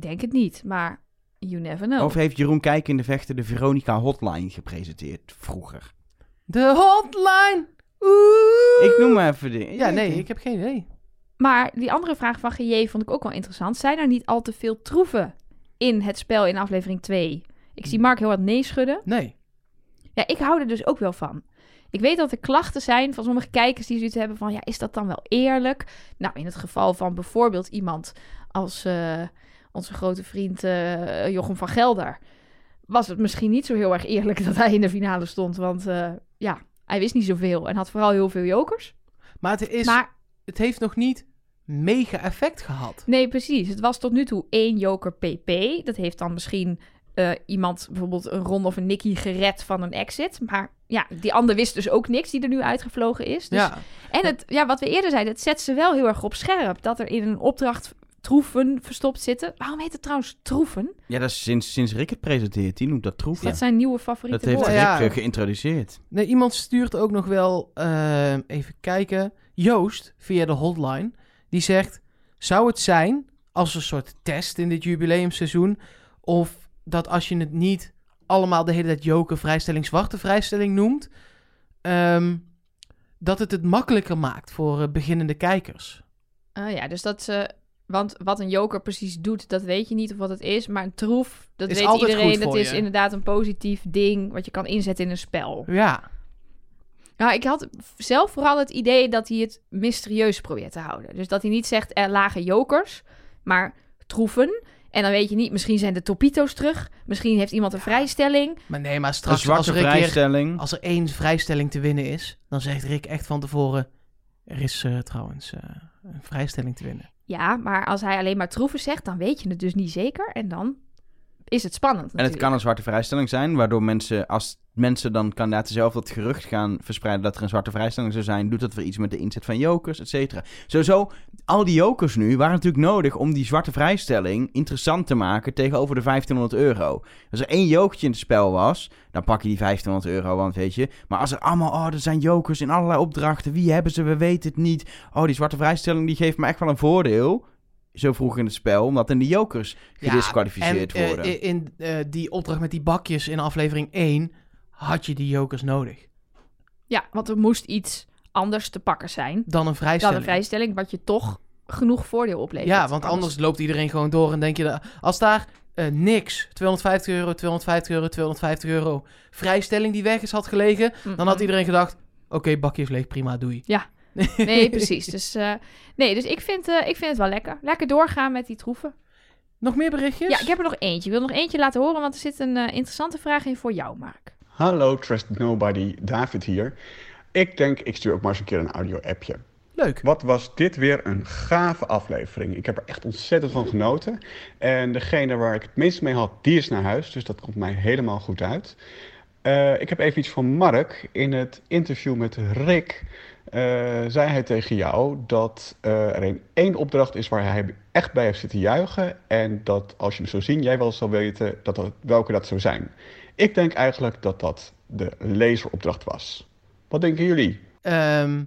B: denk het niet, maar you never
A: Oh.
B: know.
C: Of heeft Jeroen Kijk in de Vechten de Veronica Hotline gepresenteerd vroeger?
A: De hotline. Oeh.
C: Ik noem maar even de...
A: Ja, nee, ik heb geen idee.
B: Maar die andere vraag van GJ vond ik ook wel interessant. Zijn er niet al te veel troeven in het spel in aflevering 2? Ik zie Mark heel wat nee schudden.
A: Nee.
B: Ja, ik hou er dus ook wel van. Ik weet dat er klachten zijn van sommige kijkers die zoiets hebben van... ja, is dat dan wel eerlijk? Nou, in het geval van bijvoorbeeld iemand als eh, onze grote vriend eh, Jochem van Gelder... was het misschien niet zo heel erg eerlijk dat hij in de finale stond. Want eh, ja, hij wist niet zoveel en had vooral heel veel jokers.
A: Maar het, is,
B: Maar
A: het heeft nog niet mega effect gehad.
B: Nee, precies. Het was tot nu toe één joker PP. Dat heeft dan misschien eh, iemand, bijvoorbeeld een Ron of een Nicky, gered van een exit. Maar ja, die ander wist dus ook niks, die er nu uitgevlogen is. Dus
A: ja.
B: en het, ja, wat we eerder zeiden, het zet ze wel heel erg op scherp. Dat er in een opdracht troeven verstopt zitten. Waarom heet het trouwens troeven?
C: Ja, dat is sinds, sinds Rick het presenteert. Die noemt dat troef.
B: Dat zijn nieuwe favoriete
C: Dat heeft
B: woorden.
A: woord. Ja.
C: Rick eh, geïntroduceerd.
A: Nee, iemand stuurt ook nog wel, eh, even kijken, Joost via de hotline. Die zegt, zou het zijn als een soort test in dit jubileumseizoen... of dat als je het niet allemaal de hele tijd joker vrijstelling, zwarte vrijstelling noemt... ehm, dat het het makkelijker maakt voor eh, beginnende kijkers.
B: Ah ja, dus dat ze... Want wat een joker precies doet, dat weet je niet of wat het is. Maar een troef, dat
A: Is
B: weet
A: altijd goed
B: iedereen.
A: voor
B: Dat is
A: je.
B: inderdaad een positief ding wat je kan inzetten in een spel.
A: Ja,
B: Nou, ik had zelf vooral het idee dat hij het mysterieus probeert te houden. Dus dat hij niet zegt er lagen jokers, maar troeven. En dan weet je niet, misschien zijn de topito's terug. Misschien heeft iemand een vrijstelling.
A: maar nee, maar
C: Een
A: straks als
C: zwarte
A: er, een keer,
C: vrijstelling.
A: als er één vrijstelling te winnen is... dan zegt Rick echt van tevoren... er is eh, trouwens eh, een vrijstelling te winnen.
B: Ja, maar als hij alleen maar troeven zegt, dan weet je het dus niet zeker. En dan is het spannend.
C: En het kan een zwarte vrijstelling zijn, waardoor mensen, als mensen dan kandidaten zelf dat gerucht gaan verspreiden dat er een zwarte vrijstelling zou zijn, doet dat weer iets met de inzet van jokers, et cetera. Sowieso, al die jokers nu waren natuurlijk nodig om die zwarte vrijstelling interessant te maken tegenover de 1500 euro. Als er één jokertje in het spel was, dan pak je die 1500 euro, want weet je. Maar als er allemaal, oh, er zijn jokers in allerlei opdrachten, wie hebben ze, we weten het niet. Oh, die zwarte vrijstelling die geeft me echt wel een voordeel. Zo vroeg in het spel, omdat dan die jokers
A: Ja,
C: gedisqualificeerd
A: en, eh,
C: worden.
A: in eh, die opdracht met die bakjes in aflevering 1 had je die jokers nodig.
B: Ja, want er moest iets anders te pakken zijn
A: Dan een
B: dan
A: vrijstelling.
B: een vrijstelling, wat je toch genoeg voordeel oplevert.
A: ja, want anders loopt iedereen gewoon door en denk je, dat- als daar eh, niks, 250 euro, 250 euro, 250 euro vrijstelling die weg is had gelegen,
B: Mm-mm.
A: dan had iedereen gedacht, oké, bakje is leeg, prima, doei.
B: Nee, precies. Dus, eh, nee, dus ik, vind, eh, ik vind het wel lekker. Lekker doorgaan met die troeven.
A: Nog meer berichtjes?
B: Ja, ik heb er nog eentje. Ik wil nog eentje laten horen, want er zit een eh, interessante vraag in voor jou, Mark.
F: Hallo Trust Nobody, David hier. Ik denk, ik stuur ook maar eens een keer een audio-appje.
A: Leuk.
F: Wat was dit weer een gave aflevering. Ik heb er echt ontzettend van genoten. En degene waar ik het minst mee had, die is naar huis. Dus dat komt mij helemaal goed uit. Eh, ik heb even iets van Mark. In het interview met Rick eh, zei hij tegen jou dat eh, er een één opdracht is waar hij echt bij heeft zitten juichen. En dat als je hem zou zien, jij wel zou weten dat dat, welke dat zou zijn. Ik denk eigenlijk dat dat de laseropdracht was. Wat denken jullie?
A: Ehm,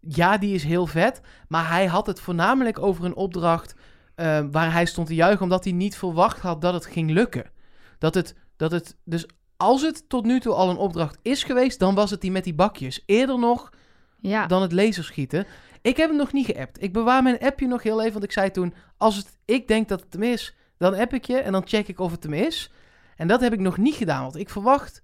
A: ja, die is heel vet. Maar hij had het voornamelijk over een opdracht ehm, waar hij stond te juichen, omdat hij niet verwacht had dat het ging lukken. Dat het, dat het, dus als het tot nu toe al een opdracht is geweest, dan was het die met die bakjes. Eerder nog
B: Ja,
A: dan het laserschieten. Ik heb hem nog niet geappt. Ik bewaar mijn appje nog heel even, want ik zei toen, als het, ik denk dat het hem is, dan app ik je en dan check ik of het hem is. En dat heb ik nog niet gedaan, want ik verwacht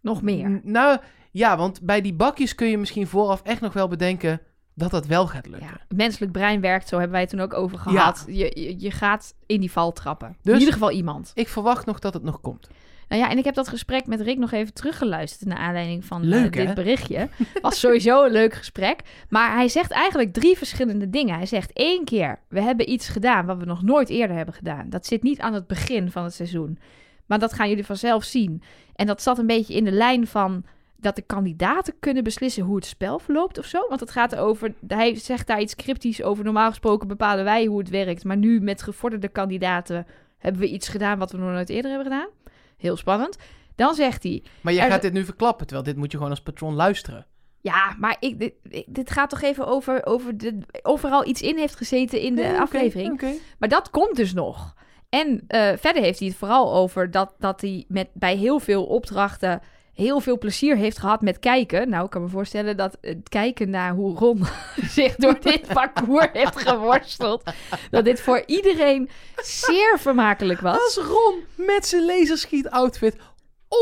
B: nog meer.
A: N- Nou, ja, want bij die bakjes kun je misschien vooraf echt nog wel bedenken dat dat wel gaat lukken.
B: Ja, het menselijk brein werkt, zo hebben wij het toen ook over gehad. Je, je, je gaat in die val trappen.
A: Dus-
B: in ieder geval iemand.
A: Ik verwacht nog dat het nog komt.
B: Nou ja, en ik heb dat gesprek met Rick nog even teruggeluisterd naar aanleiding van eh,
A: Leuk, hè?
B: dit berichtje. Was sowieso een leuk gesprek. Maar hij zegt eigenlijk drie verschillende dingen. Hij zegt één keer, we hebben iets gedaan wat we nog nooit eerder hebben gedaan. Dat zit niet aan het begin van het seizoen. Maar dat gaan jullie vanzelf zien. En dat zat een beetje in de lijn van dat de kandidaten kunnen beslissen hoe het spel verloopt of zo. Want het gaat over, hij zegt daar iets cryptisch over. Normaal gesproken bepalen wij hoe het werkt. Maar nu met gevorderde kandidaten hebben we iets gedaan wat we nog nooit eerder hebben gedaan. Heel spannend. Dan zegt hij,
A: Maar je
B: Er-
A: gaat dit nu verklappen, terwijl dit moet je gewoon als patroon luisteren.
B: ja, maar ik, dit, ik- dit gaat toch even over, over de, overal iets in heeft gezeten in de
A: Nee, oké,
B: aflevering.
A: oké.
B: Maar dat komt dus nog. En eh, verder heeft hij het vooral over dat, dat hij met, bij heel veel opdrachten heel veel plezier heeft gehad met kijken. Nou, ik kan me voorstellen dat het kijken naar hoe Ron zich door dit parcours heeft geworsteld, dat dit voor iedereen zeer vermakelijk was.
A: Als Ron met zijn laserschiet-outfit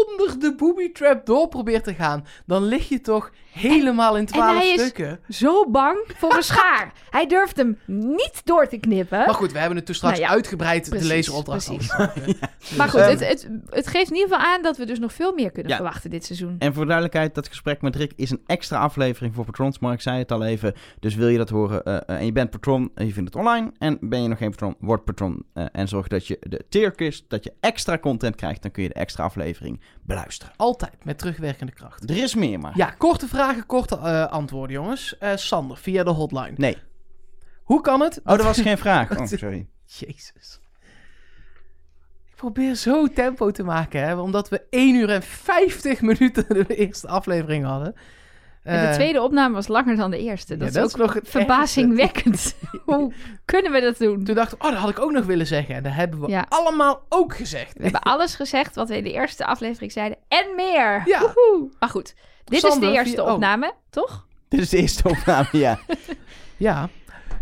A: onder de booby trap door probeert te gaan, dan lig je toch helemaal in twaalf
B: hij is-
A: stukken.
B: Zo bang voor een schaar. Hij durft hem niet door te knippen.
A: Maar goed, we hebben het toen straks
B: Nou ja,
A: uitgebreid
B: precies,
A: de lezeropdracht
B: precies.
A: al.
B: Maar goed,
C: Ehm,
B: het, het, het geeft in ieder geval aan dat we dus nog veel meer kunnen
C: Ja.
B: verwachten dit seizoen.
C: En voor duidelijkheid, dat gesprek met Rick is een extra aflevering voor patrons. Mark zei het al even, dus wil je dat horen eh, eh, en je bent patron en je vindt het online. En ben je nog geen patron, word patron. eh, en zorg dat je de tierkist, dat je extra content krijgt. Dan kun je de extra aflevering beluisteren.
A: Altijd met terugwerkende kracht.
C: Er is meer maar.
A: Ja, korte vragen, korte eh, antwoorden, jongens. Eh, Sander, via de hotline.
C: Nee.
A: Hoe kan het?
C: Oh, dat was geen vraag. Oh, sorry.
A: Jezus. Ik probeer zo tempo te maken, hè, omdat we 1 uur en 50 minuten de eerste aflevering hadden.
B: En de
A: Eh,
B: tweede opname was langer dan de eerste. Dat,
A: ja,
B: is ook
A: nog het
B: verbazingwekkend. Hoe kunnen we dat doen?
A: ergste. Toen dacht ik, oh, dat had ik ook nog willen zeggen. En dat hebben we
B: Ja.
A: allemaal ook gezegd.
B: We hebben alles gezegd wat we in de eerste aflevering zeiden. En meer!
A: Ja.
B: Woehoe. Maar goed, dit
A: Sander,
B: is de eerste
A: via- oh.
B: opname, toch?
C: Dit is de eerste opname, ja.
A: Ja.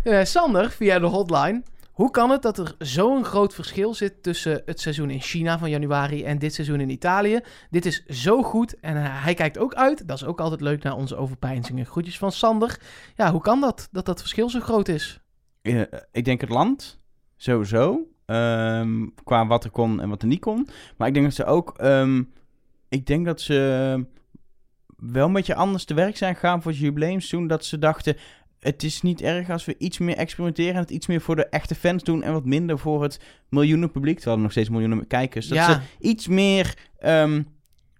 A: Eh, Sander, via de hotline. Hoe kan het dat er zo'n groot verschil zit tussen het seizoen in China van januari en dit seizoen in Italië? Dit is zo goed en eh, hij kijkt ook uit. Dat is ook altijd leuk naar onze overpeinzingen. Groetjes van Sander. Ja, hoe kan dat, dat dat verschil zo groot is?
C: Eh, ik denk het land, sowieso. Ehm, qua wat er kon en wat er niet kon. Maar ik denk dat ze ook... ehm, ik denk dat ze wel een beetje anders te werk zijn gegaan voor het jubileumseizoen. Dat ze dachten, het is niet erg als we iets meer experimenteren... en het iets meer voor de echte fans doen... en wat minder voor het miljoenen publiek. Terwijl er nog steeds miljoenen kijkers. Dat
A: ja,
C: ze iets meer... ehm,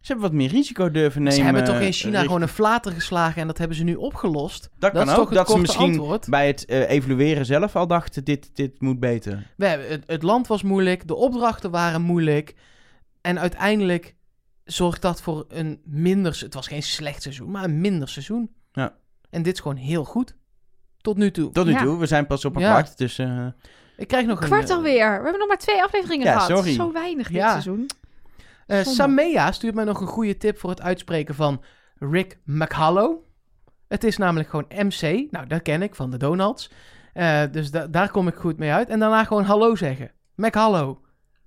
C: ze hebben wat meer risico durven nemen.
A: ze hebben toch in China
C: eh,
A: gewoon een flater geslagen en dat hebben ze nu opgelost.
C: Dat,
A: dat
C: kan
A: is
C: ook,
A: toch het
C: dat ze
A: korte
C: misschien
A: antwoord?
C: bij het eh, evalueren zelf al dachten, dit, dit moet beter.
A: We hebben, het, het land was moeilijk, de opdrachten waren moeilijk. En uiteindelijk zorgt dat voor een minder... se- Het was geen slecht seizoen, maar een minder seizoen.
C: Ja.
A: En dit is gewoon heel goed. Tot nu toe.
C: Tot nu
B: Ja.
C: toe, we zijn pas op een
A: Ja.
C: kwart, dus... eh,
A: Ik krijg nog
B: Kwart
A: een... eh,
B: alweer. We hebben nog maar twee afleveringen
C: Ja,
B: gehad.
C: sorry.
B: Zo weinig dit
A: Ja.
B: seizoen.
A: eh,
B: Zonde.
A: Samea stuurt mij nog een goede tip voor het uitspreken van Rick McHallow. Het is namelijk gewoon MC. Nou, dat ken ik van de Donalds. Eh, dus da- daar kom ik goed mee uit. En daarna gewoon hallo zeggen. McHallow.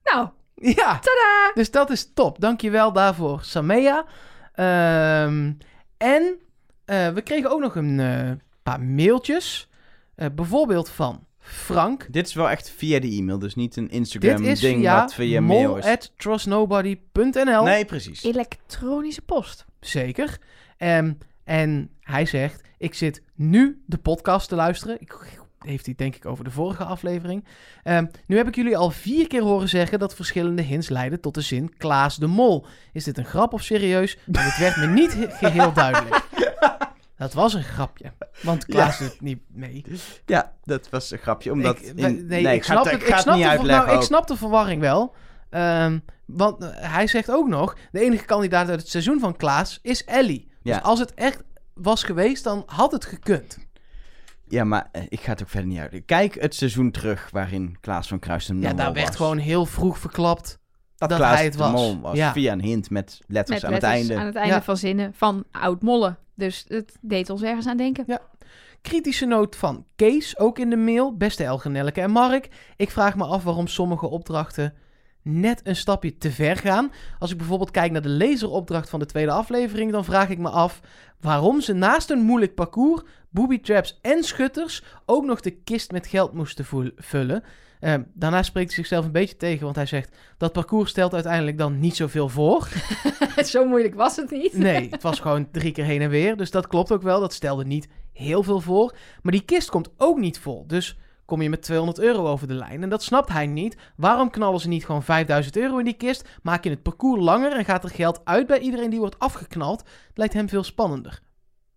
B: Nou,
A: Ja. Tada! Dus dat is top. Dankjewel daarvoor, Samea. Ehm, en eh, we kregen ook nog een eh, paar mailtjes. Eh, bijvoorbeeld van Frank.
C: dit is wel echt via de e-mail, dus niet een Instagram
A: Dit is
C: ding
A: via,
C: wat via mail is.
A: trustnobody.nl.
C: Nee, precies.
B: elektronische post.
A: Zeker. Ehm, en hij zegt, ik zit nu de podcast te luisteren. Ik, heeft hij het denk ik over de vorige aflevering. Ehm, nu heb ik jullie al vier keer horen zeggen dat verschillende hints leiden tot de zin Klaas de Mol. Is dit een grap of serieus? Maar dit werd me niet he- geheel duidelijk. Dat was een grapje, want Klaas doet niet mee.
C: Ja, dat was een grapje, omdat...
A: Ik-
C: in-
A: nee, ik
C: ga
A: snap
C: het-
A: het-
C: ik
A: ik
C: ga
A: snap
C: het niet
A: de ver-
C: uitleggen
A: nou, ik
C: ook.
A: snap de verwarring wel. Ehm, want eh, hij zegt ook nog: de enige kandidaat uit het seizoen van Klaas is Ellie.
C: Ja.
A: Dus als het echt was geweest, dan had het gekund.
C: Ja, maar eh, ik ga het ook verder niet uitleggen. Kijk het seizoen terug waarin Klaas van Kruis de
A: ja,
C: mol
A: daar werd
C: Nou, was.
A: gewoon heel vroeg verklapt dat,
C: Klaas
A: hij het
C: de
A: was.
C: mol was,
A: Ja.
C: via een hint met letters
B: Met
C: aan
B: letters
C: het einde.
B: aan het einde
A: Ja.
B: van zinnen van oud mollen. Dus het deed ons ergens aan denken.
A: Kritische noot van Kees, ook in de mail. Beste Elge, Nelleke en Mark. Ik vraag me af waarom sommige opdrachten net een stapje te ver gaan. Als ik bijvoorbeeld kijk naar de laseropdracht van de tweede aflevering... dan vraag ik me af waarom ze naast een moeilijk parcours... booby traps en schutters ook nog de kist met geld moesten voel- vullen. Eh, daarna spreekt hij zichzelf een beetje tegen, want hij zegt... dat parcours stelt uiteindelijk dan niet zoveel voor.
B: Zo moeilijk was het niet.
A: Nee, het was gewoon drie keer heen en weer. Dus dat klopt ook wel. Dat stelde niet heel veel voor. Maar die kist komt ook niet vol. Dus kom je met 200 euro over de lijn. En dat snapt hij niet. Waarom knallen ze niet gewoon 5000 euro in die kist? Maak je het parcours langer en gaat er geld uit bij iedereen die wordt afgeknald? Het lijkt hem veel spannender.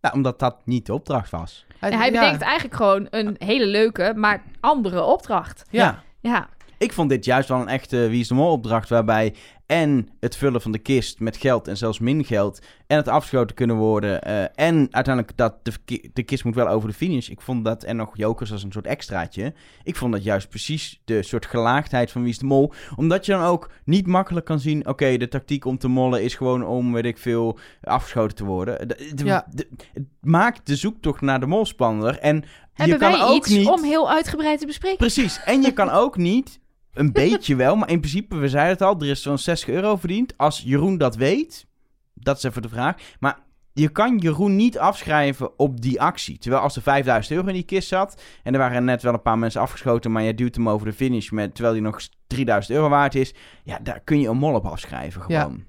C: Nou, omdat dat niet de opdracht was.
B: En hij
A: ja,
B: bedenkt eigenlijk gewoon een hele leuke, maar andere opdracht.
A: Ja.
B: Ja,
C: Ik vond dit juist wel een echte Wie is de Mol opdracht waarbij en het vullen van de kist met geld en zelfs min geld en het afgeschoten kunnen worden eh, en uiteindelijk dat de, ki- de kist moet wel over de finish. Ik vond dat en nog jokers als een soort extraatje. Ik vond dat juist precies de soort gelaagdheid van Wie is de Mol, omdat je dan ook niet makkelijk kan zien. Oké, de tactiek om te mollen is gewoon om weet ik veel afgeschoten te worden. De- de-
A: Ja.
C: de- het maakt de zoektocht naar de mol spannender en
B: hebben
C: je kan
B: wij
C: ook
B: iets
C: niet
B: om heel uitgebreid te bespreken?
C: Precies. En je kan ook niet Een beetje wel, maar in principe, we zeiden het al, er is zo'n 60 euro verdiend. Als Jeroen dat weet, dat is even de vraag. Maar je kan Jeroen niet afschrijven op die actie. Terwijl als er 5000 euro in die kist zat, en er waren net wel een paar mensen afgeschoten, maar je duwt hem over de finish, met, terwijl die nog 3000 euro waard is. Ja, daar kun je een mol op afschrijven
A: Ja.
C: gewoon.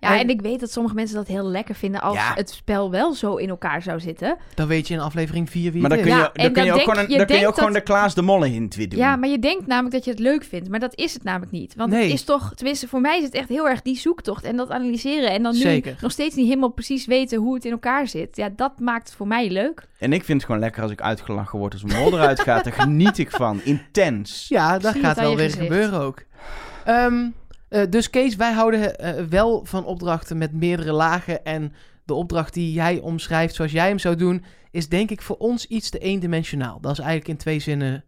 B: Ja,
A: En-
B: en ik weet dat sommige mensen dat heel lekker vinden als
C: Ja.
B: het spel wel zo in elkaar zou zitten.
A: Dan weet je in aflevering 4 wie
C: Maar
A: het
C: dan kun je,
B: Ja,
C: dan
B: en
C: kun je
B: dan
C: ook, gewoon,
B: denk-
C: een-
B: je
C: dan kun je ook
B: denkt
C: gewoon de Klaas de Molle hint weer doen.
B: Ja, maar je denkt namelijk dat je het leuk vindt, maar dat is het namelijk niet. Want
A: Nee.
B: het is toch, tenminste voor mij is het echt heel erg die zoektocht en dat analyseren. En dan nu
A: Zeker.
B: nog steeds niet helemaal precies weten hoe het in elkaar zit. Ja, dat maakt het voor mij leuk.
C: En ik vind het gewoon lekker als ik uitgelachen word als een mol eruit gaat. Daar geniet ik van. Intens.
A: Ja, dat
B: zie
A: gaat
B: het aan
A: wel
B: je
A: weer
B: gezicht.
A: gebeuren ook. Ehm, eh, dus Kees, wij houden eh, wel van opdrachten met meerdere lagen. En de opdracht die jij omschrijft zoals jij hem zou doen, is denk ik voor ons iets te eendimensionaal. Dat is eigenlijk in twee zinnen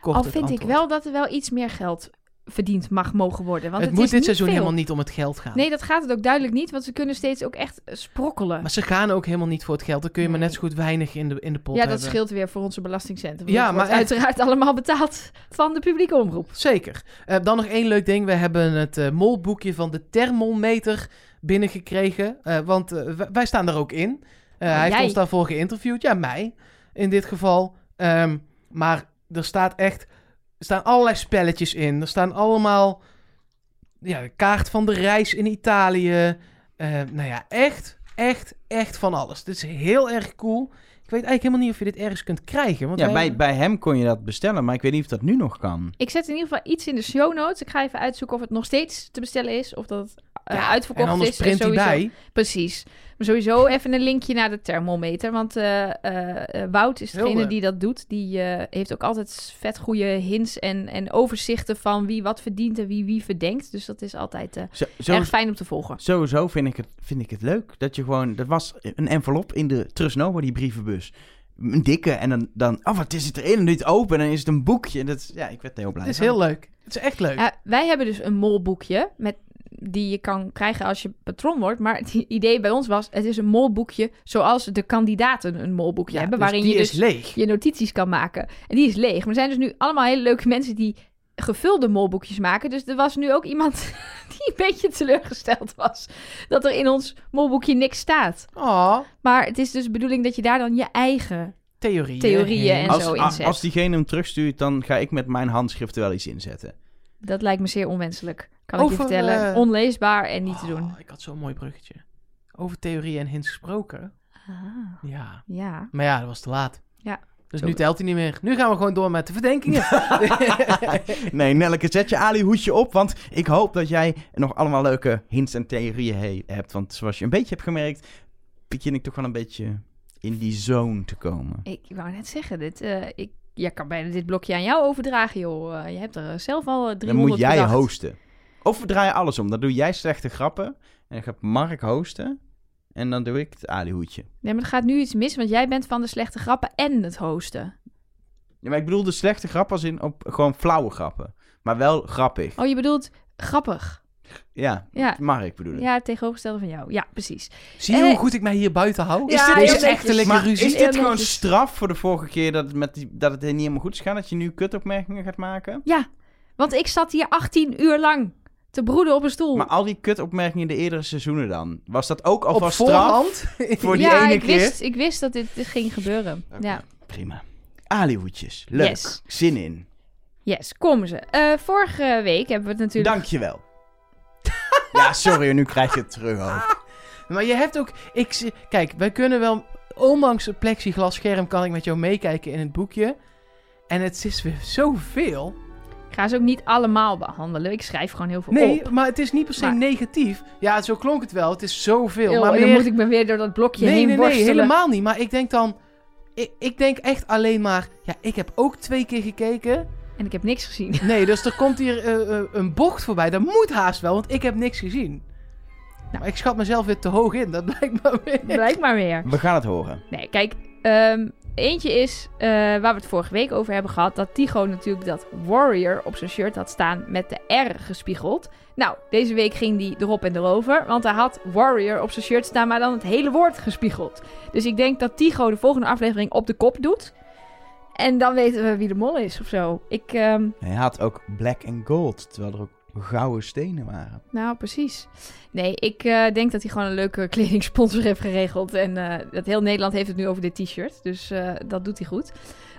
A: kort
B: Al
A: het
B: vind ik
A: antwoord.
B: wel dat er wel iets meer geld verdiend mag mogen worden. Want
A: het
B: het,
A: moet
B: is
A: dit
B: niet
A: seizoen
B: veel.
A: helemaal niet om het geld gaan.
B: Nee, dat gaat het ook duidelijk niet, want ze kunnen steeds ook echt eh, sprokkelen.
A: Maar ze gaan ook helemaal niet voor het geld. Dan kun je maar
B: Nee.
A: net zo goed weinig in de, in de pot
B: ja, dat
A: hebben.
B: scheelt weer voor onze belastingcenten.
A: Ja,
B: Ja, maar
A: maar echt-
B: uiteraard allemaal betaald van de publieke omroep.
A: Zeker. Eh, dan nog één leuk ding. We hebben het eh, molboekje van de thermometer binnengekregen. Eh, want eh, w- wij staan daar ook in. Eh,
B: Oh,
A: hij heeft
B: jij?
A: ons daarvoor geïnterviewd. Ja, mij in dit geval. Ehm, maar er staat echt... Er staan allerlei spelletjes in. Er staan allemaal... Ja, de kaart van de reis in Italië. Eh, nou ja, echt, echt, echt van alles. Dit is heel erg cool. Ik weet eigenlijk helemaal niet of je dit ergens kunt krijgen. Want wij-
C: Ja, bij, bij hem kon je dat bestellen, maar ik weet niet of dat nu nog kan.
B: Ik zet in ieder geval iets in de show notes. Ik ga even uitzoeken of het nog steeds te bestellen is. Of dat het eh,
A: Ja,
B: uitverkocht
A: en anders
B: is.
A: print hij
B: sowieso-
A: bij.
B: Precies. Maar sowieso even een linkje naar de thermometer. Want eh, eh, eh, Wout is degene
A: Hilde.
B: die dat doet. Die eh, heeft ook altijd vet goede hints en, en overzichten van wie wat verdient en wie wie verdenkt. Dus dat is altijd eh,
C: Zo, zo-
B: erg fijn om te volgen.
C: sowieso vind ik, het, vind ik het leuk. Dat je gewoon... Dat was een envelop in de Trust Nova, die brievenbus. Een dikke. En dan... dan oh, wat is het erin? En doe je het open en dan is het een boekje. En dat is, ja, ik werd er heel blij
A: Het is
C: van.
A: heel leuk. Het is echt leuk.
B: Ja, wij hebben dus een molboekje met, die je kan krijgen als je patron wordt. Maar het idee bij ons was, het is een molboekje zoals de kandidaten een molboekje
A: Ja,
B: hebben.
A: dus
B: waarin
A: die
B: je
A: is
B: dus
A: leeg.
B: je notities kan maken. En die is leeg. Maar er zijn dus nu allemaal hele leuke mensen die gevulde molboekjes maken. Dus er was nu ook iemand die een beetje teleurgesteld was dat er in ons molboekje niks staat.
A: Oh,
B: Maar het is dus de bedoeling dat je daar dan je eigen...
A: theorieën.
B: Theorieën en
C: Als,
B: zo
C: a-
B: inzet.
C: als diegene hem terugstuurt, dan ga ik met mijn handschrift er wel iets inzetten.
B: Dat lijkt me zeer onwenselijk, kan
A: Over,
B: ik je vertellen.
A: eh,
B: Onleesbaar en niet te
A: Oh,
B: doen.
A: ik had zo'n mooi bruggetje. Over theorieën en hints gesproken. Oh.
B: Ah,
A: Ja.
B: ja.
A: Maar ja, dat was te laat.
B: Ja.
A: Dus nu telt hij niet meer. Nu gaan we gewoon door met de verdenkingen.
C: Nee, Nelleke, zet je Ali-hoedje op. Want ik hoop dat jij nog allemaal leuke hints en theorieën he- hebt. Want zoals je een beetje hebt gemerkt, begin ik toch wel een beetje in die zone te komen.
B: Ik wou net zeggen, dit, eh, ik ja, kan bijna dit blokje aan jou overdragen, joh. Eh, je hebt er eh, zelf al eh, 300
C: Dan moet jij
B: bedacht.
C: hosten. Of we draaien alles om. Dan doe jij slechte grappen. En dan gaat Mark hosten. En dan doe ik het Ali-hoedje.
B: Nee, maar er gaat nu iets mis, want jij bent van de slechte grappen en het hosten.
C: Ja, maar ik bedoel de slechte grappen als in op gewoon flauwe grappen. Maar wel grappig.
B: Oh, je bedoelt grappig.
C: Ja,
B: Ja,
C: Mark bedoel ik.
B: ja het tegenovergestelde van jou. Ja, precies.
A: Zie je hoe
B: Eh.
A: goed ik mij hier buiten hou?
B: Ja,
A: dit is
B: heel
A: echt een
B: netjes.
A: lekker
C: Maar
A: ruzie.
C: is dit
B: Heel
C: gewoon
B: netjes.
C: straf voor de vorige keer dat het, met die, dat het niet helemaal goed is gegaan? Dat je nu kutopmerkingen gaat maken?
B: Want ik zat hier 18 uur lang te broeden op een stoel.
C: Maar oh, al die kutopmerkingen in de eerdere seizoenen dan? Was dat ook
A: Op
C: alvast straf?
A: voorhand.
C: Voor die
B: ja,
C: ene
B: ik
C: keer?
B: wist, ik wist dat dit, dit ging gebeuren. Ja.
C: Prima. Alihoedjes. Leuk.
B: Yes.
C: Zin in.
B: Yes, komen ze. Eh, vorige week hebben we het natuurlijk...
C: Dankjewel. ja, sorry, nu krijg je het terug ook.
A: Maar je hebt ook... Ik, zie- kijk, wij kunnen wel... Ondanks het plexiglas scherm kan ik met jou meekijken in het boekje. En het is weer zoveel.
B: Ik ga ze ook niet allemaal behandelen. Ik schrijf gewoon heel veel
A: Nee,
B: op.
A: maar het is niet per se
B: Maar-
A: negatief. Ja, zo klonk het wel. Het is zoveel.
B: Eeuw,
A: maar
B: Oh, en
A: meer...
B: dan moet ik me weer door dat blokje
A: nee,
B: heen
A: nee, nee,
B: worstelen.
A: helemaal niet. Maar ik denk dan... Ik, ik denk echt alleen maar... Ja, ik heb ook twee keer gekeken.
B: En ik heb niks gezien.
A: Nee, dus er komt hier eh, eh, een bocht voorbij. Dat moet haast wel, want ik heb niks gezien.
B: Nou.
A: Maar ik schat mezelf weer te hoog in. Dat blijkt maar weer.
B: Blijkbaar weer.
C: We gaan het horen.
B: Nee, kijk. ehm, eentje is eh, waar we het vorige week over hebben gehad. Dat Tigo natuurlijk dat Warrior op zijn shirt had staan met de R gespiegeld. Nou, deze week ging die erop en erover. Want hij had Warrior op zijn shirt staan, maar dan het hele woord gespiegeld. Dus ik denk dat Tigo de volgende aflevering op de kop doet. En dan weten we wie de mol is of zo. Ik, ehm,
C: Hij had ook black and gold, terwijl er ook gouden stenen waren.
B: nou precies. Nee, ik eh, denk dat hij gewoon een leuke kledingsponsor heeft geregeld. En eh, dat heel Nederland heeft het nu over dit t-shirt. Dus eh, dat doet hij goed.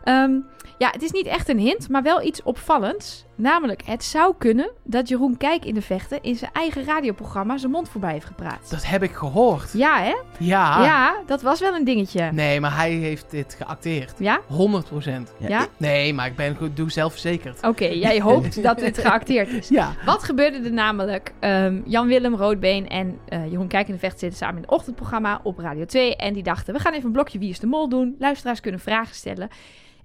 B: Ehm, ja, het is niet echt een hint, maar wel iets opvallends. Namelijk, het zou kunnen dat Jeroen Kijk in de vechten in zijn eigen radioprogramma zijn mond voorbij heeft gepraat.
A: Dat heb ik gehoord.
B: Ja, hè?
A: Ja.
B: Ja, dat was wel een dingetje.
A: Nee, maar hij heeft dit geacteerd.
B: Ja?
A: 100%.
B: Ja?
C: ik-
A: Nee, maar ik ben goed, doe zelfverzekerd.
B: Oké, jij hoopt dat dit geacteerd is.
A: Ja.
B: Wat gebeurde er namelijk? Ehm, Jan-Willem Roodbeen en eh, Jeroen Kijk in de Vecht zitten samen in het ochtendprogramma op Radio 2. En die dachten, we gaan even een blokje Wie is de Mol doen. Luisteraars kunnen vragen stellen.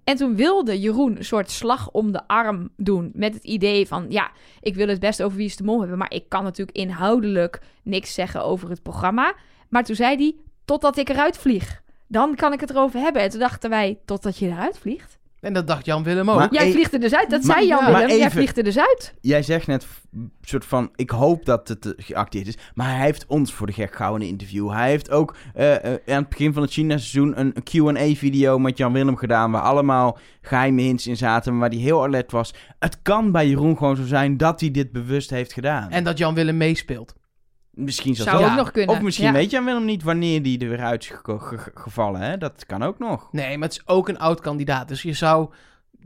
B: En toen wilde Jeroen een soort slag om de arm doen. Met het idee van, ja, ik wil het best over Wie is de Mol hebben. Maar ik kan natuurlijk inhoudelijk niks zeggen over het programma. Maar toen zei hij, totdat ik eruit vlieg. Dan kan ik het erover hebben. En toen dachten wij, totdat je eruit vliegt?
A: En dat dacht Jan-Willem ook.
C: Maar-
B: Jij
C: e-
B: vliegt er dus uit. Dat
C: Maar-
B: zei
C: maar
B: Jan-Willem. Jij
C: even-
B: vliegt er dus uit.
C: Jij zegt net f- soort van, ik hoop dat het eh, geacteerd is. Maar hij heeft ons voor de gek gehouden in een interview. Hij heeft ook eh, eh, aan het begin van het China-seizoen een Q&A-video met Jan Willem gedaan... waar allemaal geheime hints in zaten, maar waar hij heel alert was. Het kan bij Jeroen gewoon zo zijn dat hij dit bewust heeft gedaan.
A: En dat Jan-Willem meespeelt.
C: misschien zelfs
B: Zou
C: wel.
B: ook nog kunnen.
C: Of misschien
B: Ja.
C: weet Jan Willem niet wanneer die er weer uit is geko- ge- ge- gevallen. Hè? Dat kan ook nog.
A: Nee, maar het is ook een oud-kandidaat. Dus je zou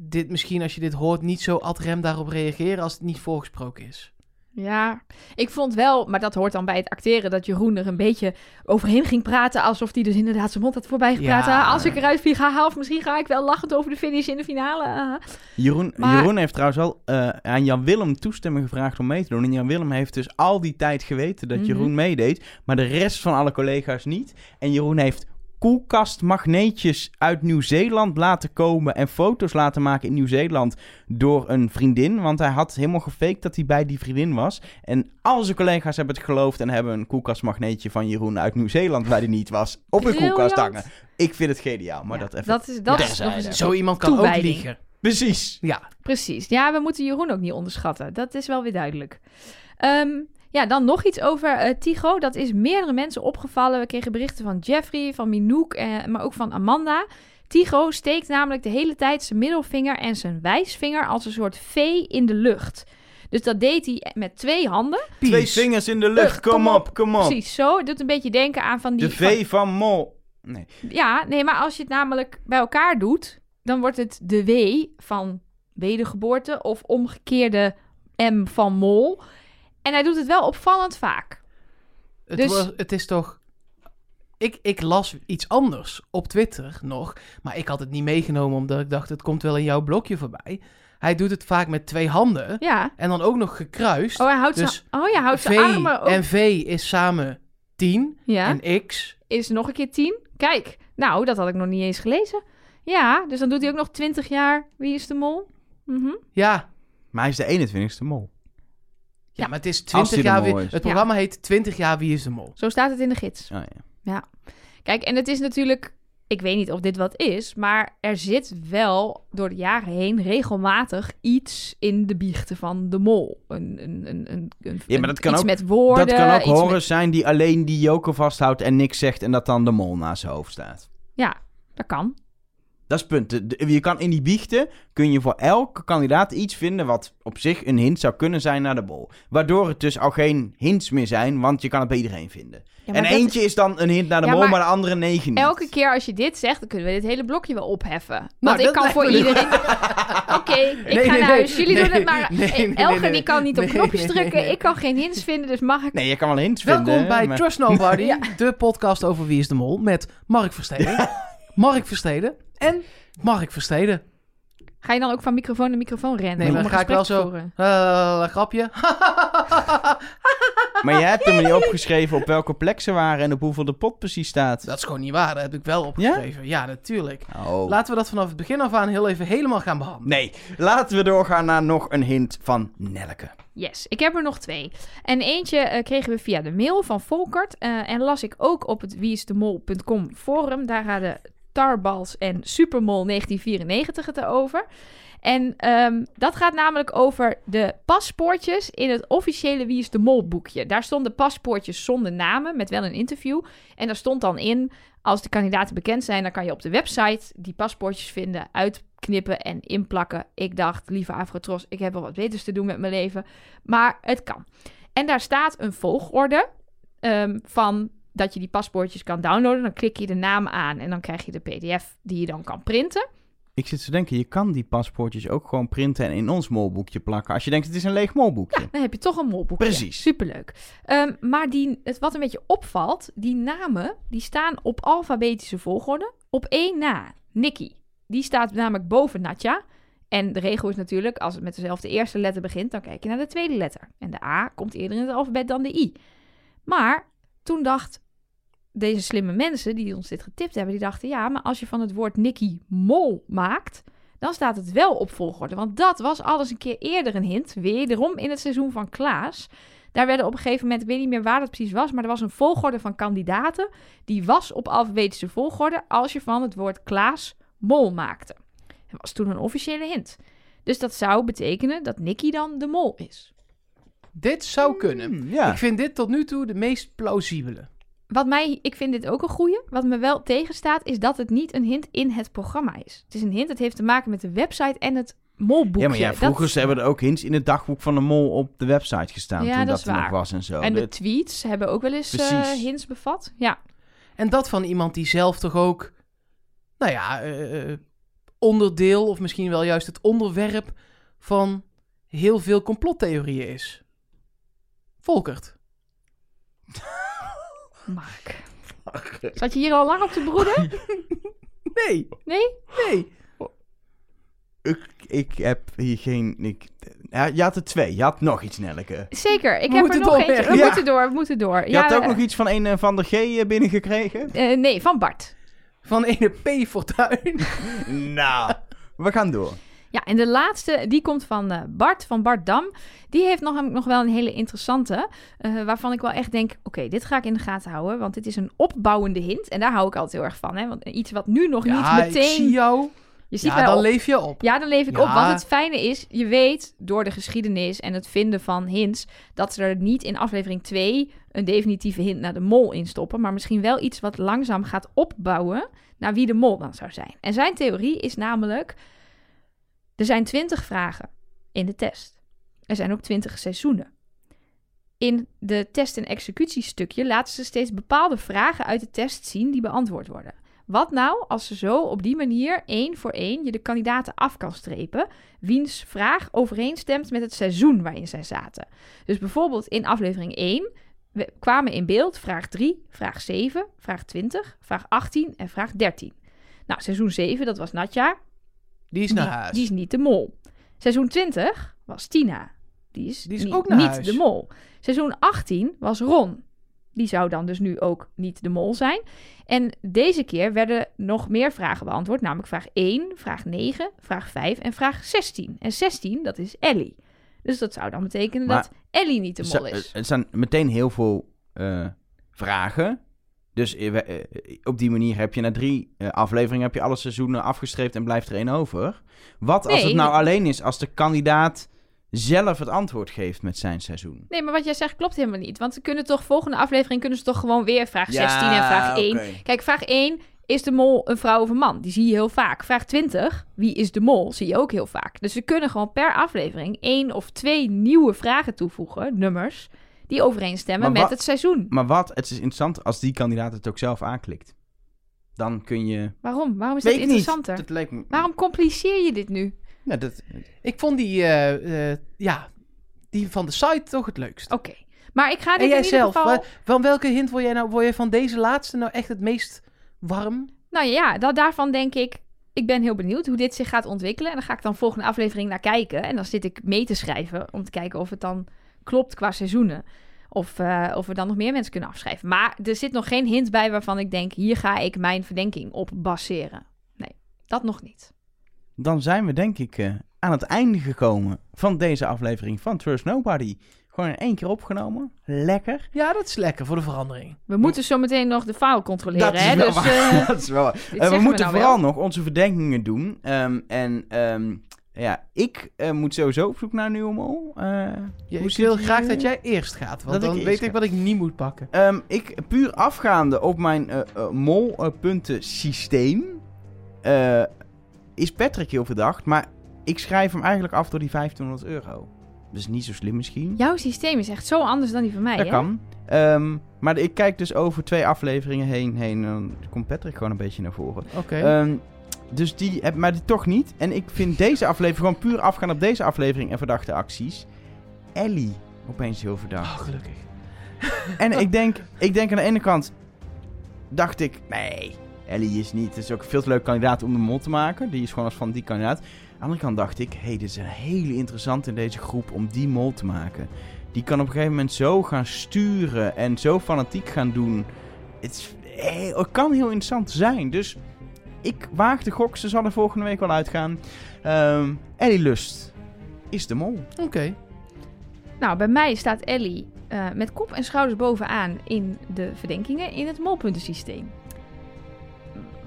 A: dit misschien, als je dit hoort, niet zo ad rem daarop reageren als het niet voorgesproken is.
B: Ja, ik vond wel, maar dat hoort dan bij het acteren, dat Jeroen er een beetje overheen ging praten. Alsof hij dus inderdaad zijn mond had voorbij gepraat.
A: Ja.
B: Ah, als ik eruit vlieg, haha, of misschien ga ik wel lachend over de finish in de finale. ah.
C: Jeroen,
B: Maar-
C: Jeroen heeft trouwens wel eh, aan Jan Willem toestemming gevraagd om mee te doen. En Jan Willem heeft dus al die tijd geweten dat
B: Mhm.
C: Jeroen meedeed. Maar de rest van alle collega's niet. En Jeroen heeft koelkastmagneetjes uit Nieuw-Zeeland laten komen. En foto's laten maken in Nieuw-Zeeland door een vriendin. Want hij had helemaal gefaked dat hij bij die vriendin was. En al zijn collega's hebben het geloofd en hebben een koelkastmagneetje van Jeroen uit Nieuw-Zeeland, waar die niet was, op een koelkast
B: Briljant.
C: hangen. Ik vind het geniaal, maar
B: Ja,
C: dat even.
B: is, dat is nog
C: terzijde.
B: eens een
A: Zo iemand kan ook
B: Toewijding.
A: liegen.
C: Precies.
A: Ja.
B: Precies. Ja, we moeten Jeroen ook niet onderschatten. Dat is wel weer duidelijk. Ehm, ja, dan nog iets over eh, Tigo. Dat is meerdere mensen opgevallen. We kregen berichten van Jeffrey, van Minouk, eh, maar ook van Amanda. Tigo steekt namelijk de hele tijd zijn middelvinger en zijn wijsvinger als een soort vee in de lucht. Dus dat deed hij met twee handen.
C: Twee
A: Pies.
C: vingers in de lucht,
B: Eh,
C: kom
B: kom
C: op, kom op.
B: Precies zo. Het doet een beetje denken aan van die...
C: Oh. De V van Mol. Nee.
B: van- ja, nee, maar als je het namelijk bij elkaar doet, dan wordt het de W van wedergeboorte of omgekeerde M van mol. En hij doet het wel opvallend vaak.
A: Het,
B: Dus-
A: was- het is toch. Ik, ik las iets anders op Twitter nog. Maar ik had het niet meegenomen omdat ik dacht: het komt wel in jouw blokje voorbij. Hij doet het vaak met twee handen.
B: Ja.
A: En dan ook nog gekruist.
B: Oh, hij houdt
A: Dus
B: zijn, oh ja, houdt
A: v
B: zijn armen ook.
A: en V is samen 10.
B: ja.
A: En X.
B: Is nog een keer tien. Kijk, nou, dat had ik nog niet eens gelezen. Ja, dus dan doet hij ook nog twintig jaar. Wie is de mol? Mhm.
A: Ja.
C: Maar hij is de 21ste Mol.
A: Ja, maar het is
C: hij
A: 20
C: er
A: jaar.
C: mooi
A: Wie,
C: is.
A: het programma heet 20 jaar Wie is de Mol.
B: Zo staat het in de gids.
C: Oh, ja.
B: Kijk, en het is natuurlijk, ik weet niet of dit wat is, maar er zit wel door de jaren heen regelmatig iets in de biechten van de mol. Een, een, een, een, een-
C: Ja, maar dat kan
B: iets
C: ook-
B: met woorden.
C: dat kan ook
B: iets
C: horens
B: met-
C: zijn die alleen die joker vasthoudt en niks zegt en dat dan de Mol naast zijn hoofd staat.
B: Ja, dat kan.
C: Dat is het punt. De- de- je kan in die biechten kun je voor elke kandidaat iets vinden wat op zich een hint zou kunnen zijn naar de Mol. Waardoor het dus al geen hints meer zijn, want je kan het bij iedereen vinden.
B: Ja, maar
C: en
B: dat-
C: eentje is dan een hint naar de
B: Ja,
C: Mol, maar,
B: maar
C: de andere negen niet.
B: Elke keer als je dit zegt, dan kunnen we dit hele blokje wel opheffen. Want
A: Nou,
B: ik
A: dat
B: kan
A: lijkt
B: voor
A: me niet.
B: iedereen... Oké,
A: Nee, nee,
B: ik ga naar
A: nee.
B: huis. Jullie
A: Nee,
B: doen het maar.
A: nee, nee, nee,
B: Elke
A: nee,
B: die kan niet op
A: nee,
B: knopjes
A: nee, nee,
B: drukken.
A: nee.
B: Ik kan geen hints vinden, dus mag ik...
C: Nee, je kan wel hints
A: Welkom
C: vinden.
A: bij
C: maar-
A: Trust Nobody, de podcast over Wie is de Mol met Mark Versteden. Mark Versteden en Mark Versteden.
B: Ga je dan ook van microfoon naar microfoon rennen?
A: Nee,
B: om
A: maar
B: een
A: dan ga ik wel
B: gesprek te
A: zo.
B: voeren?
A: eh, grapje.
C: Maar jij hebt hem niet opgeschreven op welke plek ze waren en op hoeveel de pot precies staat.
A: dat is gewoon niet waar, dat heb ik wel opgeschreven. Ja, natuurlijk.
C: Oh.
A: Laten we dat vanaf het begin af aan heel even helemaal gaan behandelen.
C: Nee, laten we doorgaan naar nog een hint van Nelke.
B: Yes, ik heb er nog twee. En eentje eh, kregen we via de mail van Volkert. eh, en las ik ook op het wieisdemol.com forum. Daar hadden Tarbals en Supermol 1994 het over. En ehm, dat gaat namelijk over de paspoortjes in het officiële Wie is de Mol boekje. Daar stonden paspoortjes zonder namen, met wel een interview. En daar stond dan in, als de kandidaten bekend zijn, dan kan je op de website die paspoortjes vinden uit knippen en inplakken. Ik dacht, lieve Afrotros, ik heb wel wat beters te doen met mijn leven. Maar het kan. En daar staat een volgorde ehm, van dat je die paspoortjes kan downloaden. Dan klik je de naam aan en dan krijg je de pdf die je dan kan printen.
C: Ik zit te denken, je kan die paspoortjes ook gewoon printen en in ons molboekje plakken. Als je denkt, het is een leeg molboekje.
B: Dan heb je toch een molboekje.
C: Precies.
B: Superleuk. Ehm, maar die, het, wat een beetje opvalt, die namen die staan op alfabetische volgorde. Op één na, Nikki. Die staat namelijk boven Natja. En de regel is natuurlijk, als het met dezelfde eerste letter begint, dan kijk je naar de tweede letter. En de A komt eerder in het alfabet dan de I. Maar toen dacht deze slimme mensen die ons dit getipt hebben, die dachten, ja, maar als je van het woord Nikki mol maakt, dan staat het wel op volgorde. Want dat was alles een keer eerder een hint. Wederom in het seizoen van Klaas. Daar werden op een gegeven moment, ik weet niet meer waar dat precies was, maar er was een volgorde van kandidaten. Die was op alfabetische volgorde als je van het woord Klaas mol maakte. Dat was toen een officiële hint. Dus dat zou betekenen dat Nicky dan de mol is.
A: Dit zou kunnen.
C: Hmm, ja.
A: Ik vind dit tot nu toe de meest plausibele.
B: Wat mij, ik vind dit ook een goeie. Wat me wel tegenstaat, is dat het niet een hint in het programma is. Het is een hint, het heeft te maken met de website en het molboekje.
C: Ja, maar ja,
B: Dat-
C: vroeger ze hebben er ook hints in het dagboek van de mol op de website gestaan.
B: Ja,
C: toen
B: dat
C: dat,
B: is
C: er nog
B: waar.
C: was en zo.
B: En de
C: Dat-
B: tweets hebben ook wel eens eh,
C: Precies.
B: hints bevat. Ja,
A: En dat van iemand die zelf toch ook, nou ja, eh, eh, onderdeel of misschien wel juist het onderwerp van heel veel complottheorieën is. Volkert.
B: Mark. Zat je hier al lang op te broeden?
A: Nee,
B: Nee?
A: nee.
C: ik, ik heb hier geen... Ik, ja, je had er twee. Je had nog iets, Nelleke.
B: Zeker, ik
A: We
B: heb er
A: moeten
B: nog
A: doorwerken.
B: eentje. We
C: Ja.
B: moeten door, we moeten door.
C: Je had ook nog iets van een eh, Van der G eh, binnengekregen.
B: eh, nee, van Bart.
A: Van ene P. Fortuin.
C: nou, we gaan door.
B: Ja, en de laatste, die komt van eh, Bart, van Bart Dam. Die heeft nog, nog wel een hele interessante, eh, waarvan ik wel echt denk... oké, dit ga ik in de gaten houden, want dit is een opbouwende hint. En daar hou ik altijd heel erg van, hè. Want iets wat nu nog
A: Ja,
B: niet
A: ik zie
B: meteen...
A: jou.
B: je ziet
A: Ja,
B: mij
A: dan
B: op-
A: leef je op.
B: Ja, dan leef ik
A: Ja.
B: op. Wat het fijne is, je weet door de geschiedenis en het vinden van hints... dat ze er niet in aflevering 2 een definitieve hint naar de mol in stoppen... maar misschien wel iets wat langzaam gaat opbouwen naar wie de mol dan zou zijn. En zijn theorie is namelijk... er zijn 20 vragen in de test. Er zijn ook 20 seizoenen. In de test- en executiestukje laten ze steeds bepaalde vragen uit de test zien die beantwoord worden. Wat nou als ze zo op die manier één voor één je de kandidaten af kan strepen, wiens vraag overeenstemt met het seizoen waarin zij zaten? Dus bijvoorbeeld in aflevering 1 we kwamen in beeld vraag 3, vraag 7, vraag 20, vraag 18 en vraag 13. Nou, seizoen 7, dat was Natja,
A: Die is
B: die,
A: naar huis.
B: die is niet de mol. Seizoen 20 was Tina. Die is,
A: Die is
B: niet,
A: ook naar
B: niet
A: huis.
B: de mol. Seizoen 18 was Ron. Die zou dan dus nu ook niet de mol zijn. En deze keer werden nog meer vragen beantwoord. Namelijk vraag 1, vraag 9, vraag 5 en vraag 16. En 16, dat is Ellie. Dus dat zou dan betekenen
C: Maar-
B: dat Ellie niet de mol
C: Zo-
B: is.
C: Er zijn meteen heel veel eh, vragen. Dus eh, we- eh, op die manier heb je na drie eh, afleveringen heb je alle seizoenen afgestreept en blijft er één over. Wat als
B: Nee,
C: het nou
B: nee.
C: alleen is als de kandidaat zelf het antwoord geeft met zijn seizoen?
B: Nee, maar wat jij zegt klopt helemaal niet. Want ze kunnen toch volgende aflevering kunnen ze toch gewoon weer vraag 16 en vraag 1 Kijk, vraag 1. Is de mol een vrouw of een man? Die zie je heel vaak. Vraag 20. Wie is de mol? Zie je ook heel vaak. Dus ze kunnen gewoon per aflevering één of twee nieuwe vragen toevoegen, nummers, die overeenstemmen
C: Maar
B: met
C: wa-
B: het seizoen.
C: Maar wat, het is interessant als die kandidaat het ook zelf aanklikt. Dan kun je...
B: Waarom? Waarom is
C: Weet
B: dat
C: ik
B: interessanter?
C: Niet. Dat lijkt me...
B: Waarom compliceer je dit nu?
C: Nou, dat...
A: Ik vond die, eh, eh, ja, die van de site toch het leukst.
B: Oké. Maar ik ga dit
A: en jij
B: in ieder
A: zelf,
B: geval...
A: wa- van welke hint word jij nou, word je van deze laatste nou echt het meest warm?
B: Nou ja, dat, daarvan denk ik. Ik ben heel benieuwd hoe dit zich gaat ontwikkelen. En dan ga ik dan volgende aflevering naar kijken. En dan zit ik mee te schrijven om te kijken of het dan klopt qua seizoenen. Of, eh, of we dan nog meer mensen kunnen afschrijven. Maar er zit nog geen hint bij waarvan ik denk: hier ga ik mijn verdenking op baseren. Nee, dat nog niet.
C: Dan zijn we denk ik eh, aan het einde gekomen van deze aflevering van Trust Nobody. Gewoon in één keer opgenomen. Lekker.
A: Ja, dat is lekker voor de verandering.
B: We moeten zo meteen nog de faal controleren. hè?
C: wel
B: Dus,
C: waar.
B: eh,
C: Dat is wel waar.
B: dit
C: Eh, we
B: zeggen
C: moeten
B: nou
C: vooral
B: wel.
C: nog onze verdenkingen doen. Ehm, en ehm, ja, ik eh, moet sowieso op zoek naar een nieuwe mol. Eh,
A: Ja,
C: Hoe
A: ik
C: zit
A: wil
C: die,
A: graag
C: eh?
A: dat jij eerst gaat, want
C: Dat ik
A: dan
C: eerst
A: weet
C: ga.
A: ik wat ik niet moet pakken.
C: ehm, ik, puur afgaande op mijn eh, eh, mol molpunten systeem, is Patrick heel verdacht, maar ik schrijf hem eigenlijk af door die 1500 euro. Dus niet zo slim misschien.
B: Jouw systeem is echt zo anders dan die van mij,
C: dat
B: hè?
C: kan. Ehm, maar ik kijk dus over twee afleveringen heen, heen en dan komt Patrick gewoon een beetje naar voren.
A: Oké.
C: Ehm, dus die, heb- maar die toch niet. En ik vind deze aflevering gewoon puur afgaan op deze aflevering en verdachte acties. Ellie opeens heel verdacht.
A: Oh, gelukkig.
C: En ik denk, ik denk aan de ene kant, dacht ik, nee, Ellie is niet. Het is ook een veel te leuk kandidaat om de mol te maken. Die is gewoon als van die kandidaat. Aan de andere kant dacht ik, hé, hey, dit is een hele interessant in deze groep om die mol te maken. Die kan op een gegeven moment zo gaan sturen en zo fanatiek gaan doen. Het, is- hé, het kan heel interessant zijn. Dus ik waag de gok, ze zal er volgende week wel uitgaan. Ehm, Ellie Lust is de mol.
A: Oké.
B: Nou, bij mij staat Ellie eh, met kop en schouders bovenaan in de verdenkingen in het molpuntensysteem.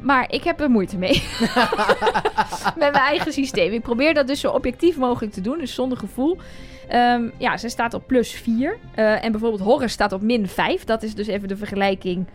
B: Maar ik heb er moeite mee. met mijn eigen systeem. Ik probeer dat dus zo objectief mogelijk te doen, dus zonder gevoel. Ehm, ja, ze staat op plus 4. eh, en bijvoorbeeld Horus staat op min 5. Dat is dus even de vergelijking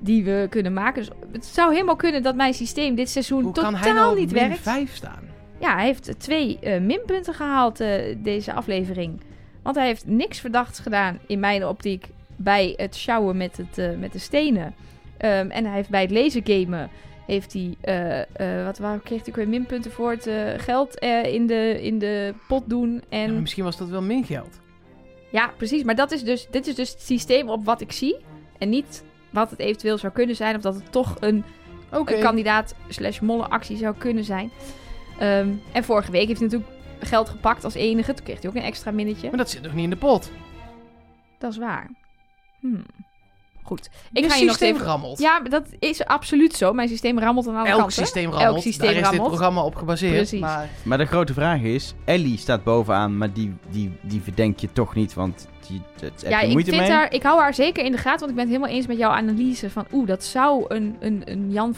B: die we kunnen maken. Dus het zou helemaal kunnen dat mijn systeem dit seizoen
A: Hoe
B: totaal
A: kan hij nou
B: niet
A: min
B: werkt.
A: vijf staan?
B: Ja, hij heeft twee eh, minpunten gehaald eh, deze aflevering. Want hij heeft niks verdachts gedaan in mijn optiek bij het sjouwen met, het, eh, met de stenen. Ehm, en hij heeft bij het lasergamen heeft hij, eh, eh, wat, waar kreeg hij weer minpunten voor? Het eh, geld eh, in, de, in de pot doen.
A: Ja,
B: En
A: maar misschien was dat wel min geld.
B: ja, precies. Maar dat is dus, dit is dus het systeem op wat ik zie. En niet wat het eventueel zou kunnen zijn. Of dat het toch een,
A: Oké.
B: een kandidaat slash molle actie zou kunnen zijn. Ehm, en vorige week heeft hij natuurlijk geld gepakt als enige. Toen kreeg hij ook een extra minnetje.
A: Maar dat zit nog niet in de pot.
B: Dat is waar. Hmm. Goed.
A: Je
B: Ik ga je nog
A: systeem
B: even...
A: rammelt.
B: Ja, maar dat is absoluut zo. Mijn systeem rammelt aan alle
A: Elk
B: kanten.
A: systeem rammelt.
B: systeem
A: Daar is dit
B: rammelt.
A: programma op gebaseerd.
B: Precies.
A: Maar
C: Maar de grote vraag is, Ellie staat bovenaan, maar die, die, die verdenk je toch niet, want die, dat heb
B: ja,
C: je
B: ik,
C: moeite
B: vind
C: mee.
B: Haar, ik hou haar zeker in de gaten, want ik ben het helemaal eens met jouw analyse van oeh, dat zou een, een, een Jan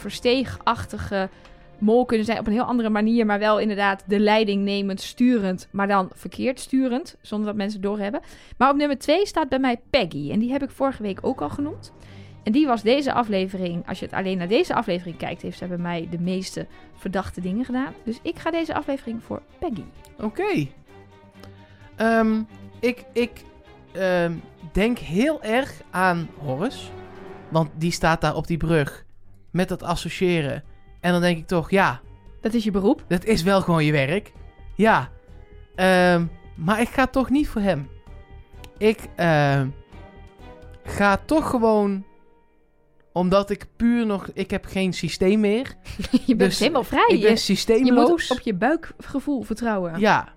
B: Versteeg-achtige mol kunnen zijn op een heel andere manier, maar wel inderdaad de leiding nemend, sturend, maar dan verkeerd sturend, zonder dat mensen het doorhebben. Maar op nummer 2 staat bij mij Peggy en die heb ik vorige week ook al genoemd. En die was deze aflevering, als je het alleen naar deze aflevering kijkt, heeft zij bij mij de meeste verdachte dingen gedaan. Dus ik ga deze aflevering voor Peggy.
A: oké. Ehm, ik ik ehm, denk heel erg aan Horus. Want die staat daar op die brug met dat associëren. En dan denk ik toch, ja,
B: Dat is je beroep.
A: dat is wel gewoon je werk. Ja. Ehm, maar ik ga toch niet voor hem. Ik ehm, ga toch gewoon omdat ik puur nog... Ik heb geen systeem meer.
B: Je bent
A: Dus
B: helemaal vrij.
A: ik ben
B: Je- Je moet
A: systeemloos.
B: op je buikgevoel vertrouwen.
A: Ja.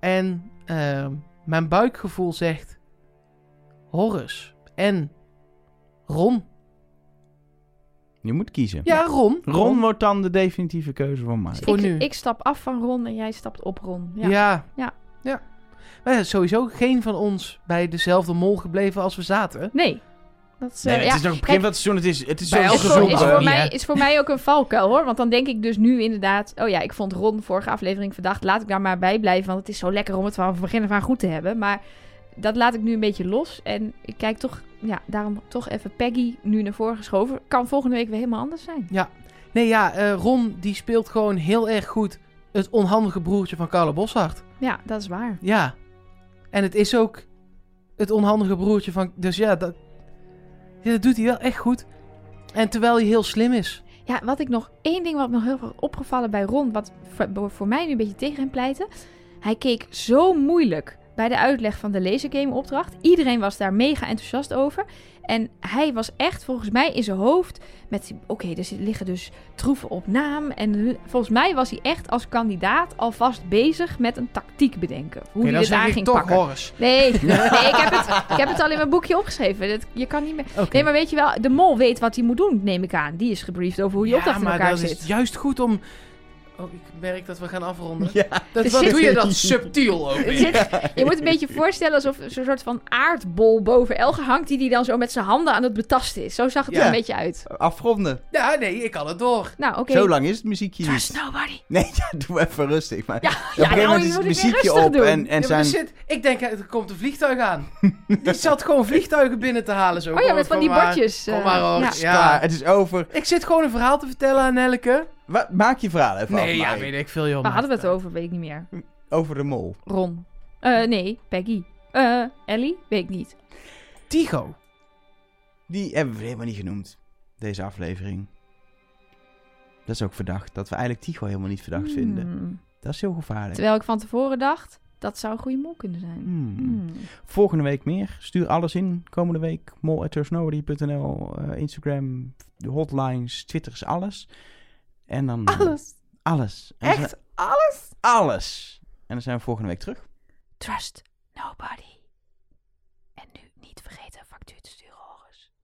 A: En ehm, mijn buikgevoel zegt... Horus en Ron.
C: Je moet kiezen.
A: Ja, Ron.
C: Ron wordt dan de definitieve keuze van Mike.
A: voor
B: Dus ik,
A: nu.
B: ik stap af van Ron en jij stapt op Ron. Ja.
A: Ja. Ja.
B: Ja.
A: Maar ja, sowieso geen van ons bij dezelfde mol gebleven als we zaten.
B: Nee. Dat is, eh,
C: Nee, maar
B: ja.
C: het is dus nog het
B: Kijk,
C: begin van het seizoen. Het is, het is
A: Bij
C: zo
A: elk
B: is voor, is,
A: seizoen,
B: voor
A: hè?
B: mij, is voor mij ook een valkuil hoor. Want dan denk ik dus nu inderdaad. Oh ja, ik vond Ron vorige aflevering verdacht. Laat ik daar maar bij blijven. Want het is zo lekker om het van begin af aan goed te hebben. Maar dat laat ik nu een beetje los. En ik kijk toch. Ja, daarom toch even Peggy nu naar voren geschoven. Kan volgende week weer helemaal anders zijn.
A: Nee, ja, eh, Ron die speelt gewoon heel erg goed het onhandige broertje van Carlo Boshart.
B: Ja, dat is waar.
A: Ja. En het is ook het onhandige broertje van... Dus ja, dat, ja, dat doet hij wel echt goed. En terwijl hij heel slim is.
B: Ja, wat ik nog één ding wat me nog heel veel opgevallen bij Ron, wat voor, voor mij nu een beetje tegen hem pleitte. Hij keek zo moeilijk bij de uitleg van de lasergame opdracht. Iedereen was daar mega enthousiast over. En hij was echt volgens mij in zijn hoofd met, oké, er zit- liggen dus troeven op naam. En eh, volgens mij was hij echt als kandidaat alvast bezig met een tactiek bedenken.
A: Oké,
B: Hoe hij
A: dan
B: het
A: zeg
B: aan
A: ik
B: ging
A: toch
B: pakken.
A: Horus.
B: Nee, nee ik, heb het, ik heb het al in mijn boekje opgeschreven. Dat, je kan niet meer...
A: Oké.
B: Nee, maar weet je wel, de mol weet wat hij moet doen, neem ik aan. Die is gebriefd over hoe je opdracht in
A: maar
B: elkaar
A: dat
B: zit.
A: is juist goed om... Oh, ik merk dat we gaan afronden.
C: Ja.
A: Dat,
B: Er
A: wat
B: zit-
A: doe je dat subtiel ook
B: Er
A: weer?
B: zit- je moet een beetje voorstellen alsof er zo'n soort van aardbol boven Elge hangt... die die dan zo met zijn handen aan het betasten is. Zo zag het
C: Ja.
B: er een beetje uit.
C: Afronden.
A: Ja, nee, ik kan het door.
B: Nou, oké.
C: Zo lang is het muziekje
B: Trust
C: niet.
B: nobody.
C: Nee, ja, doe even rustig. Maar
B: Ja,
C: op
B: ja,
C: een gegeven
B: nou,
C: moment
B: je
C: is het
B: moet het weer
C: muziekje
B: rustig
C: op
B: doen.
C: en, en
A: Ja, maar
C: zijn...
A: er zit, ik denk, er komt een vliegtuig aan. Die zat gewoon vliegtuigen binnen te halen. Zo.
B: Oh ja,
A: Kom,
B: met van
A: kom
B: die
A: maar.
B: bordjes. eh,
A: Kom maar, Horus.
B: ja.
C: Klaar, het is over.
A: Ik zit gewoon een verhaal te vertellen aan Nelke.
C: Wa- maak je verhaal even
A: Nee,
C: af,
A: ja,
C: Mike.
A: weet ik veel, joh.
B: Waar
A: maar-
B: hadden we het over? Weet ik niet meer.
C: Over de mol.
B: Ron. Eh, nee, Peggy. Eh, Ellie? Weet ik niet.
A: Tigo.
C: Die hebben we helemaal niet genoemd. Deze aflevering. Dat is ook verdacht. Dat we eigenlijk Tigo helemaal niet verdacht vinden.
B: Hmm.
C: Dat is heel gevaarlijk.
B: Terwijl ik van tevoren dacht, dat zou een goede mol kunnen zijn.
C: Hmm.
B: Hmm.
C: Volgende week meer. Stuur alles in. Komende week mol.nl, eh, Instagram, de hotlines, Twitters, alles. En dan... eh,
B: Alles.
C: Alles. En dan zijn-
B: Echt alles?
C: alles. En dan zijn we volgende week terug.
B: Trust nobody. En nu niet vergeten een factuur te sturen, Horus.